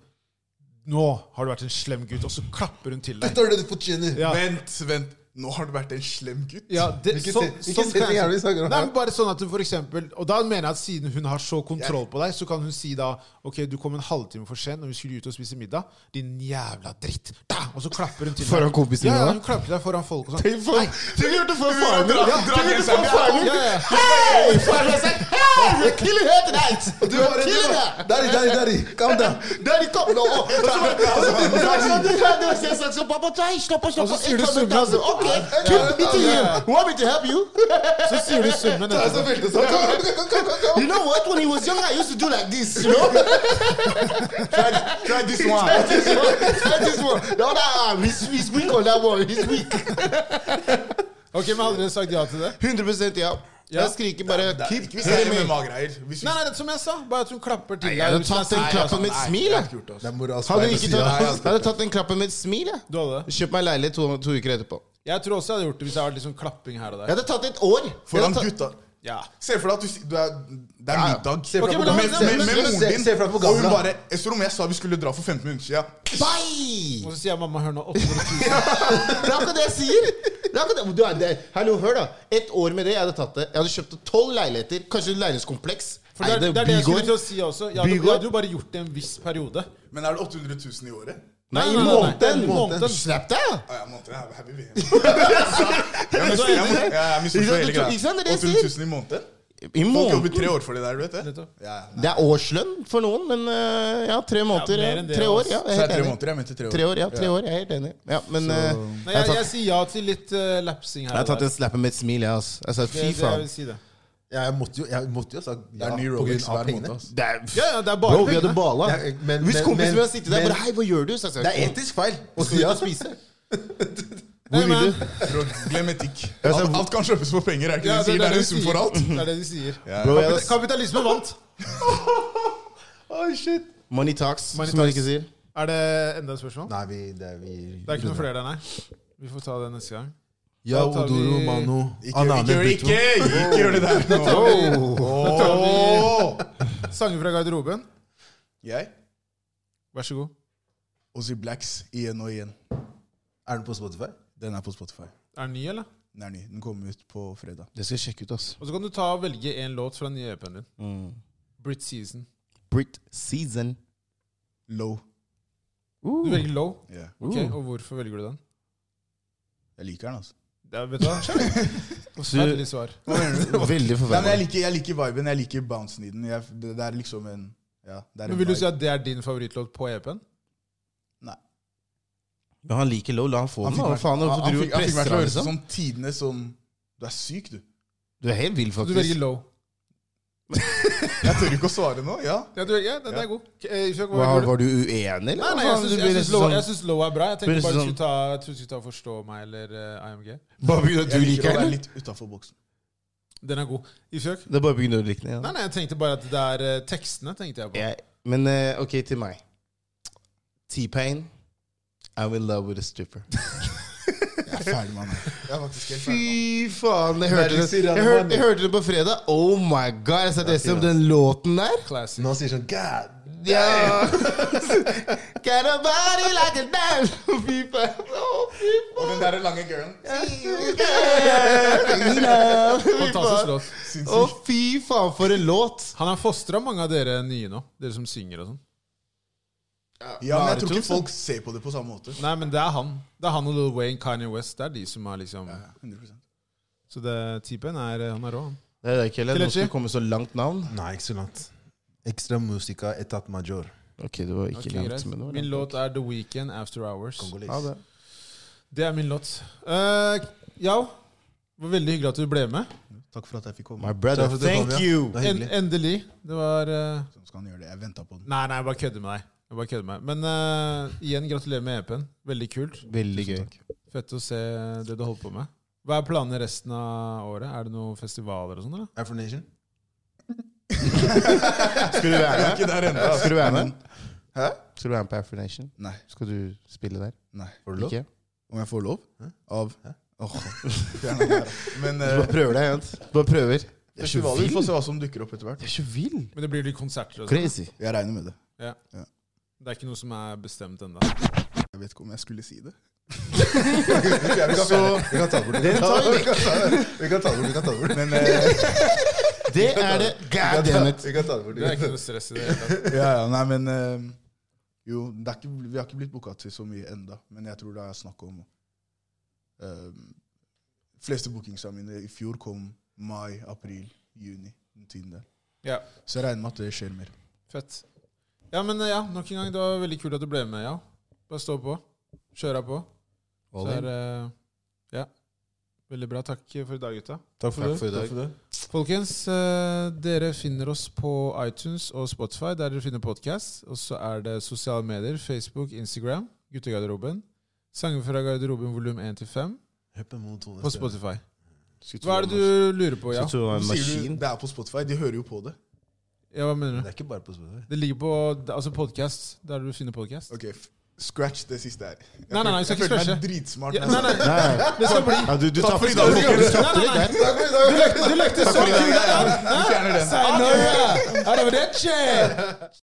S1: Nå har du vært en slem gutt. Og så klapper hun til deg.
S2: Dette er det du fortjener!
S1: Ja.
S3: Vent, vent. Nå har du vært en slem gutt.
S1: Ja, det,
S2: Hvilken
S1: sånn,
S2: se- hvilken
S1: sånn kan
S2: setting er det vi
S1: jeg si.
S2: snakker om
S1: Nei,
S2: her?
S1: men bare sånn at hun for eksempel, Og da mener jeg at siden hun har så kontroll på deg, så kan hun si da Ok, du kom en halvtime for sent, og vi skulle ut og spise middag. Din jævla dritt! Da! Og så klapper hun til
S4: Foran
S1: deg.
S4: kompisene
S1: Ja,
S4: da?
S1: ja, hun klapper til deg foran folk og sånn.
S4: Tenk for- tenk å gjøre det for faren min!
S3: Ja,
S4: Tenk å gjøre det for
S3: ja,
S4: faren min!
S1: Ja, ja.
S4: Hei! Faren min har sagt Hei! You're killing her tonight!
S2: Du var
S4: You're killing her!
S2: Daddy, daddy, daddy! Calm down!
S4: Daddy, kom nå! Og så- og så- og så- Jeg sa sånn Pappa, nei, slapp av, slapp
S1: Og
S4: av.
S1: så sier du
S4: Jeg kommer,
S1: summen.
S4: altså. Ok, keep me to you. Want me to help you?
S1: Så sier du summen
S2: Det er så
S1: etterpå.
S2: veldig sånn. Kom, kom, kom, kom, kom.
S4: You know what? When he was younger, I used to do like this, you know? try, try this one. Try this one. Try this one. The other arm, he's, he's weak on that one. He's weak.
S1: Ok, men Hadde dere sagt ja til det?
S4: 100 ja. Jeg skriker bare
S3: Det er
S4: keep
S3: ikke hvis det
S4: hear
S3: er
S4: me.
S3: MMA-greier. Hvis vi-
S1: Nei, nei, det, som jeg sa. Bare at hun klapper til
S4: Jeg
S1: deg.
S4: hadde
S1: hvis hun er
S4: tatt den
S1: sint.
S4: klappen med et
S3: Nei,
S4: smil.
S3: jeg
S4: jeg.
S3: hadde ikke gjort det, altså.
S2: Det er moralsk
S4: Hadde
S2: feil å
S4: ikke
S2: si, altså.
S4: tatt,
S2: ja, ja.
S4: jeg hadde tatt den klappen med et smil. jeg.
S1: Du hadde det?
S4: Kjøpt meg leilighet to, to uker etterpå.
S1: Jeg tror også jeg hadde gjort det hvis jeg hadde litt sånn klapping her og
S4: Jeg
S1: der.
S4: hadde tatt et år. Jeg
S3: Foran
S4: hadde tatt-
S3: gutta.
S1: Ja.
S3: Se for deg at du, si- du er, det er
S4: Ja, ja.
S3: middag.
S2: Se for deg
S1: Ok, men la-
S2: på
S3: Men,
S1: la-
S2: gamla.
S3: men,
S1: la-
S3: men
S1: la-
S3: moren
S2: se-
S3: din
S2: se for deg på
S3: Og hun
S2: gamla.
S3: bare Estrom, jeg sa vi skulle dra for 15 minutter siden.
S1: Og
S4: Bye!
S1: så sier jeg mamma, hør nå. 800 000.
S4: Det er akkurat det jeg sier. Det er akkurat det. Du er det. Hallo, hør da. Et år med det, jeg hadde tatt det. Jeg hadde kjøpt tolv leiligheter. Kanskje et leilighetskompleks.
S1: For det, er- det er det jeg skulle til å si også. Jeg hadde, jeg
S4: Bygård.
S1: hadde jo bare gjort det en viss periode.
S3: Men er det 800 000 i året?
S4: Nei, i
S1: Nei, nei, nei, nei.
S4: måneden!
S1: I måneden.
S4: Slapp deg, da!
S3: Ah, ja, måneder, jeg er happy VM. Jeg er mis- jeg må- jeg er misforstått
S4: Ikke sant,
S3: hele
S4: du tror- ikke sant, det er det
S3: greia.
S4: jeg
S3: 800 000 i måneden?
S4: I
S3: Folk jobber
S4: måneden.
S3: tre år for det der, du vet det?
S1: Nettopp.
S3: Ja, ja.
S4: Det er årslønn for noen, men eh, ja, tre måneder.
S1: Ja,
S4: Ja,
S1: mer enn det,
S4: tre
S1: altså.
S4: år, ja.
S3: Så
S4: Jeg er
S3: er det tre
S4: helt enig.
S3: måneder, jeg mente tre år.
S4: Tre år, ja. Tre år, jeg er helt enig. Ja, men
S1: Nei,
S4: eh, jeg,
S1: jeg,
S4: har
S1: jeg
S4: tatt,
S1: sier ja til litt eh, lapsing her.
S4: jeg har
S1: og
S4: tatt
S1: der.
S4: en slapp med et smil, jeg, altså. Jeg sa
S1: Det,
S4: fy
S1: det, jeg
S4: faen.
S1: vil si det.
S2: Ja, jeg måtte jo, jeg måtte jo ha sagt
S3: Det
S2: ja
S3: er ny
S2: på
S3: Rolex
S2: grunn av
S3: hver måned.
S2: pengene.
S3: ass.
S4: Det er-
S1: Ja, ja, det er bare
S4: Bro, vi hadde
S1: penger.
S4: bala.
S2: Ja, men-
S4: Hvis
S2: men-
S4: kompisen
S2: men-
S4: min hadde sittet der
S2: men-
S4: bare Hei, hva gjør du? Så jeg sa
S2: Det er etisk feil.
S4: Og så
S2: Ja.
S4: ut og spise.
S1: Nei,
S4: Hvor vil
S1: men-
S4: du?
S3: Bro, Glem etikk. Alt, alt kan kjøpes for penger, er ikke det
S1: Ja,
S3: de sier? Det er
S1: de
S3: en sum for alt.
S1: Det er det de sier.
S4: Bro, jeg
S1: Kapit- Kapitalisme vant.
S2: Oi, shit.
S4: Money talks,
S1: Money
S4: som man
S1: talks.
S4: ikke sier.
S1: Er det enda et spørsmål?
S2: Nei, vi, det er vi
S1: Det er ikke noe flere der, nei. Vi får ta det neste gang.
S2: Ja,
S1: Da tar vi-
S2: Odoro, Mano,
S3: Ikke,
S2: Anane,
S3: ikke,
S2: Buto.
S3: ikke, ikke gjør det der nå.
S1: Da tar vi <laughs> sanger fra garderoben.
S3: Jeg
S1: Vær så god.
S3: Ozzy Blacks igjen og igjen.
S2: Er den på Spotify?
S3: Den er på Spotify.
S1: Er den ny, eller?
S3: Den er ny. Den kommer ut på fredag.
S4: Det skal jeg sjekke ut, ass.
S1: Og så kan du ta og velge en låt fra den nye EP-en din.
S4: Mm.
S1: Brit Season.
S4: Brit season.
S3: Low.
S1: Du velger Low.
S3: Ja.
S1: Ok,
S4: Uh.
S1: Og hvorfor velger du den?
S3: Jeg liker den, altså.
S1: Det er, vet
S4: <laughs>
S1: du hva? Forferdelig svar.
S4: Veldig
S3: <laughs> Nei, men jeg
S4: forferdelig.
S3: liker, jeg liker viben, jeg liker bouncen i den. Jeg, det, det er liksom en ja, det er
S1: Men
S3: en
S1: Vil du si
S3: vibe.
S1: at det er din favorittlåt på E EP-en?
S3: Nei.
S4: Men han liker low, la han få
S3: Han
S4: den.
S3: fikk
S4: da. Hva
S3: meg-
S4: faen,
S3: han-
S4: hvorfor
S3: han
S4: driver du
S3: fikk-
S4: og
S3: han fikk meg
S4: presser
S3: til å
S4: han,
S3: høres
S4: liksom?
S3: som tidene som Du er syk, du.
S4: Du er helt vill,
S1: Så du velger
S4: faktisk.
S1: Low.
S3: Jeg tør ikke å svare nå. Ja.
S1: Ja, du, ja den er god. Ok, eh, Isak, hva
S4: Hva,
S1: velger du?
S4: var du uenig, eller?
S1: Nei, nei,
S4: Hva
S1: jeg
S4: faen,
S1: syns-
S4: du blir
S1: jeg syns
S4: nesten
S1: low,
S4: sånn-
S1: jeg syns low er bra. Jeg tenkte
S4: blir
S1: bare
S4: nesten
S1: du
S4: sånn-
S1: skulle ta, jeg trodde du skulle ta Forstå meg eller eh, IMG.
S4: Bare på grunn av at
S3: Jeg
S4: du
S3: liker å
S4: liker
S3: være
S4: den?
S3: litt utafor boksen.
S1: Den er god. Ifjøk?
S4: Det er bare på grunn av at du liker den.
S1: Nei,
S4: Ja.
S1: nei, jeg tenkte bare at det er eh, tekstene tenkte jeg på.
S4: Jeg- Men eh, ok, til meg. T-Pain. I'm in love with a stripper.
S3: Jeg er ferdig med den. Jeg er faktisk helt ferdig.
S4: Fy faen! Jeg hørte
S2: Veldig
S4: det, jeg
S2: sirrende
S4: hørte,
S2: mann.
S4: jeg hørte det på fredag. Oh my god! Jeg satt og om den låten der.
S1: Classic.
S2: Når han sier sånn God
S4: Ja. <laughs> Get a body like a dance! Fy faen. Å, fy
S3: Og den der lange girlen.
S4: faen. Nina. Fy
S1: Fantastisk
S4: faen.
S1: låt.
S4: Å, fy faen, for en låt!
S1: Han har fostra mange av dere nye nå. Dere som synger og sånn.
S3: Ja, men jeg tror
S4: Naruto,
S3: ikke folk ser på det på samme måte.
S1: Nei, men det er han. Det er han og Lil Wayne, Kanye West. Det er de som har liksom
S3: Ja, 100%.
S1: Så det typen er eh, Han er rå, han.
S4: Det er det ikke heller. Nå
S1: Kelechi?
S4: skal det komme så langt navn.
S2: Nei, ikke så langt. Extra musica etat major.
S4: Ok, det var
S1: Ok,
S4: ikke
S1: greit.
S4: langt, men det var
S1: Min
S4: langt.
S1: låt er The Weekend, After Hours.
S2: Kongolis.
S4: Ja, det.
S1: Det er min låt. Uh, ja, det var veldig hyggelig at du ble med.
S3: Takk for at jeg fikk komme.
S4: My brother,
S2: Takk for at du
S4: thank
S2: kom, ja.
S4: you!
S2: Det var
S1: En,
S2: hyggelig.
S1: endelig. Det var eh,
S3: Så skal han gjøre det. Jeg venta på den.
S1: Nei, nei, jeg bare kødder med deg. Jeg bare kødder med deg. Men eh, igjen, gratulerer med EP-en. Veldig kult.
S4: Veldig gøy.
S1: Fett å se det du holder på med.
S2: <laughs>
S1: Hva er planene resten av året? Er det noen festivaler og sånn, eller?
S2: Afro Nation?
S4: Skal du være
S3: Jeg er
S4: med?
S3: ikke der ennå.
S4: Ja, Skal du være med?
S2: Hæ?
S4: Skal du være med på Afro Nation?
S3: Nei.
S4: Skal du spille der?
S3: Nei.
S2: Får du lov?
S4: Ikke?
S3: Om jeg får lov? Av
S2: Hæ?
S3: <laughs> Åh, fjern den der. Men
S4: Du
S3: eh,
S4: bare prøver deg, Jens. Du bare prøver.
S3: det er festivaler. Vi får se hva som dukker opp etter hvert.
S4: Jeg er ikke vill.
S1: Men det blir litt konserter. og sånn.
S4: Crazy.
S3: Jeg regner med det.
S1: Det er ikke noe som er bestemt ennå.
S3: Jeg vet ikke om jeg skulle si <laughs> det.
S2: Ja, vi kan fjerne det. Vi kan ta det bort. Vi kan ta det. Vi kan ta det bort. <laughs> Vi kan ta det bort. Vi kan ta det bort.
S3: Men eh,
S4: Det er det.
S2: Vi
S4: God
S2: kan ta-
S4: damn it.
S2: Vi kan ta det bort.
S1: Det er ikke noe stress i det hele tatt.
S3: ja, ja, nei, men eh, Jo, det er ikke, vi har ikke blitt booka til så mye enda, men jeg tror det er snakk om eh, fleste bookingsa mine i fjor kom mai, april, juni. Den tiden der.
S1: Ja,
S3: Så jeg regner med at det skjer mer.
S1: fett. Ja, men eh, ja, nok en gang, det var veldig kult at du ble med, ja. Bare stå på. Kjøra på. Så er, eh, ja. Veldig bra. Takk for i dag, gutta.
S2: Takk
S1: for det.
S2: Takk for det.
S1: Folkens, eh, dere finner oss på iTunes og Spotify, der dere finner podkast. Og så er det sosiale medier, Facebook, Instagram, Guttegarderoben. Sanger fra garderoben volum 1 til 5
S2: Høp en monoton
S1: på
S2: stemme.
S1: Spotify. Hva er det du lurer på, ja?
S4: Så tror jeg en
S3: Sier du <laughs>
S4: maskin.
S3: det er på Spotify? De hører jo på det.
S1: ja hva mener du?
S2: Det er ikke bare på Spotify.
S1: Det ligger på altså podkast, der du finner podkast.
S3: Ok, f- Scratch det siste her. Jeg
S1: Nei, nei, nei, vi skal
S3: jeg
S1: ikke
S3: føler
S1: scratche.
S3: meg dritsmart.
S1: Ja, nei, nei,
S4: Nei, nei.
S1: det skal bli
S4: Ja, du, du
S3: Takk for
S4: tapper
S3: i dag, folkens.
S1: Nei, nei, nei. Du lekte- Du lekte så kult!
S3: Vi fjerner den.
S1: Sayonara! Arrivederci!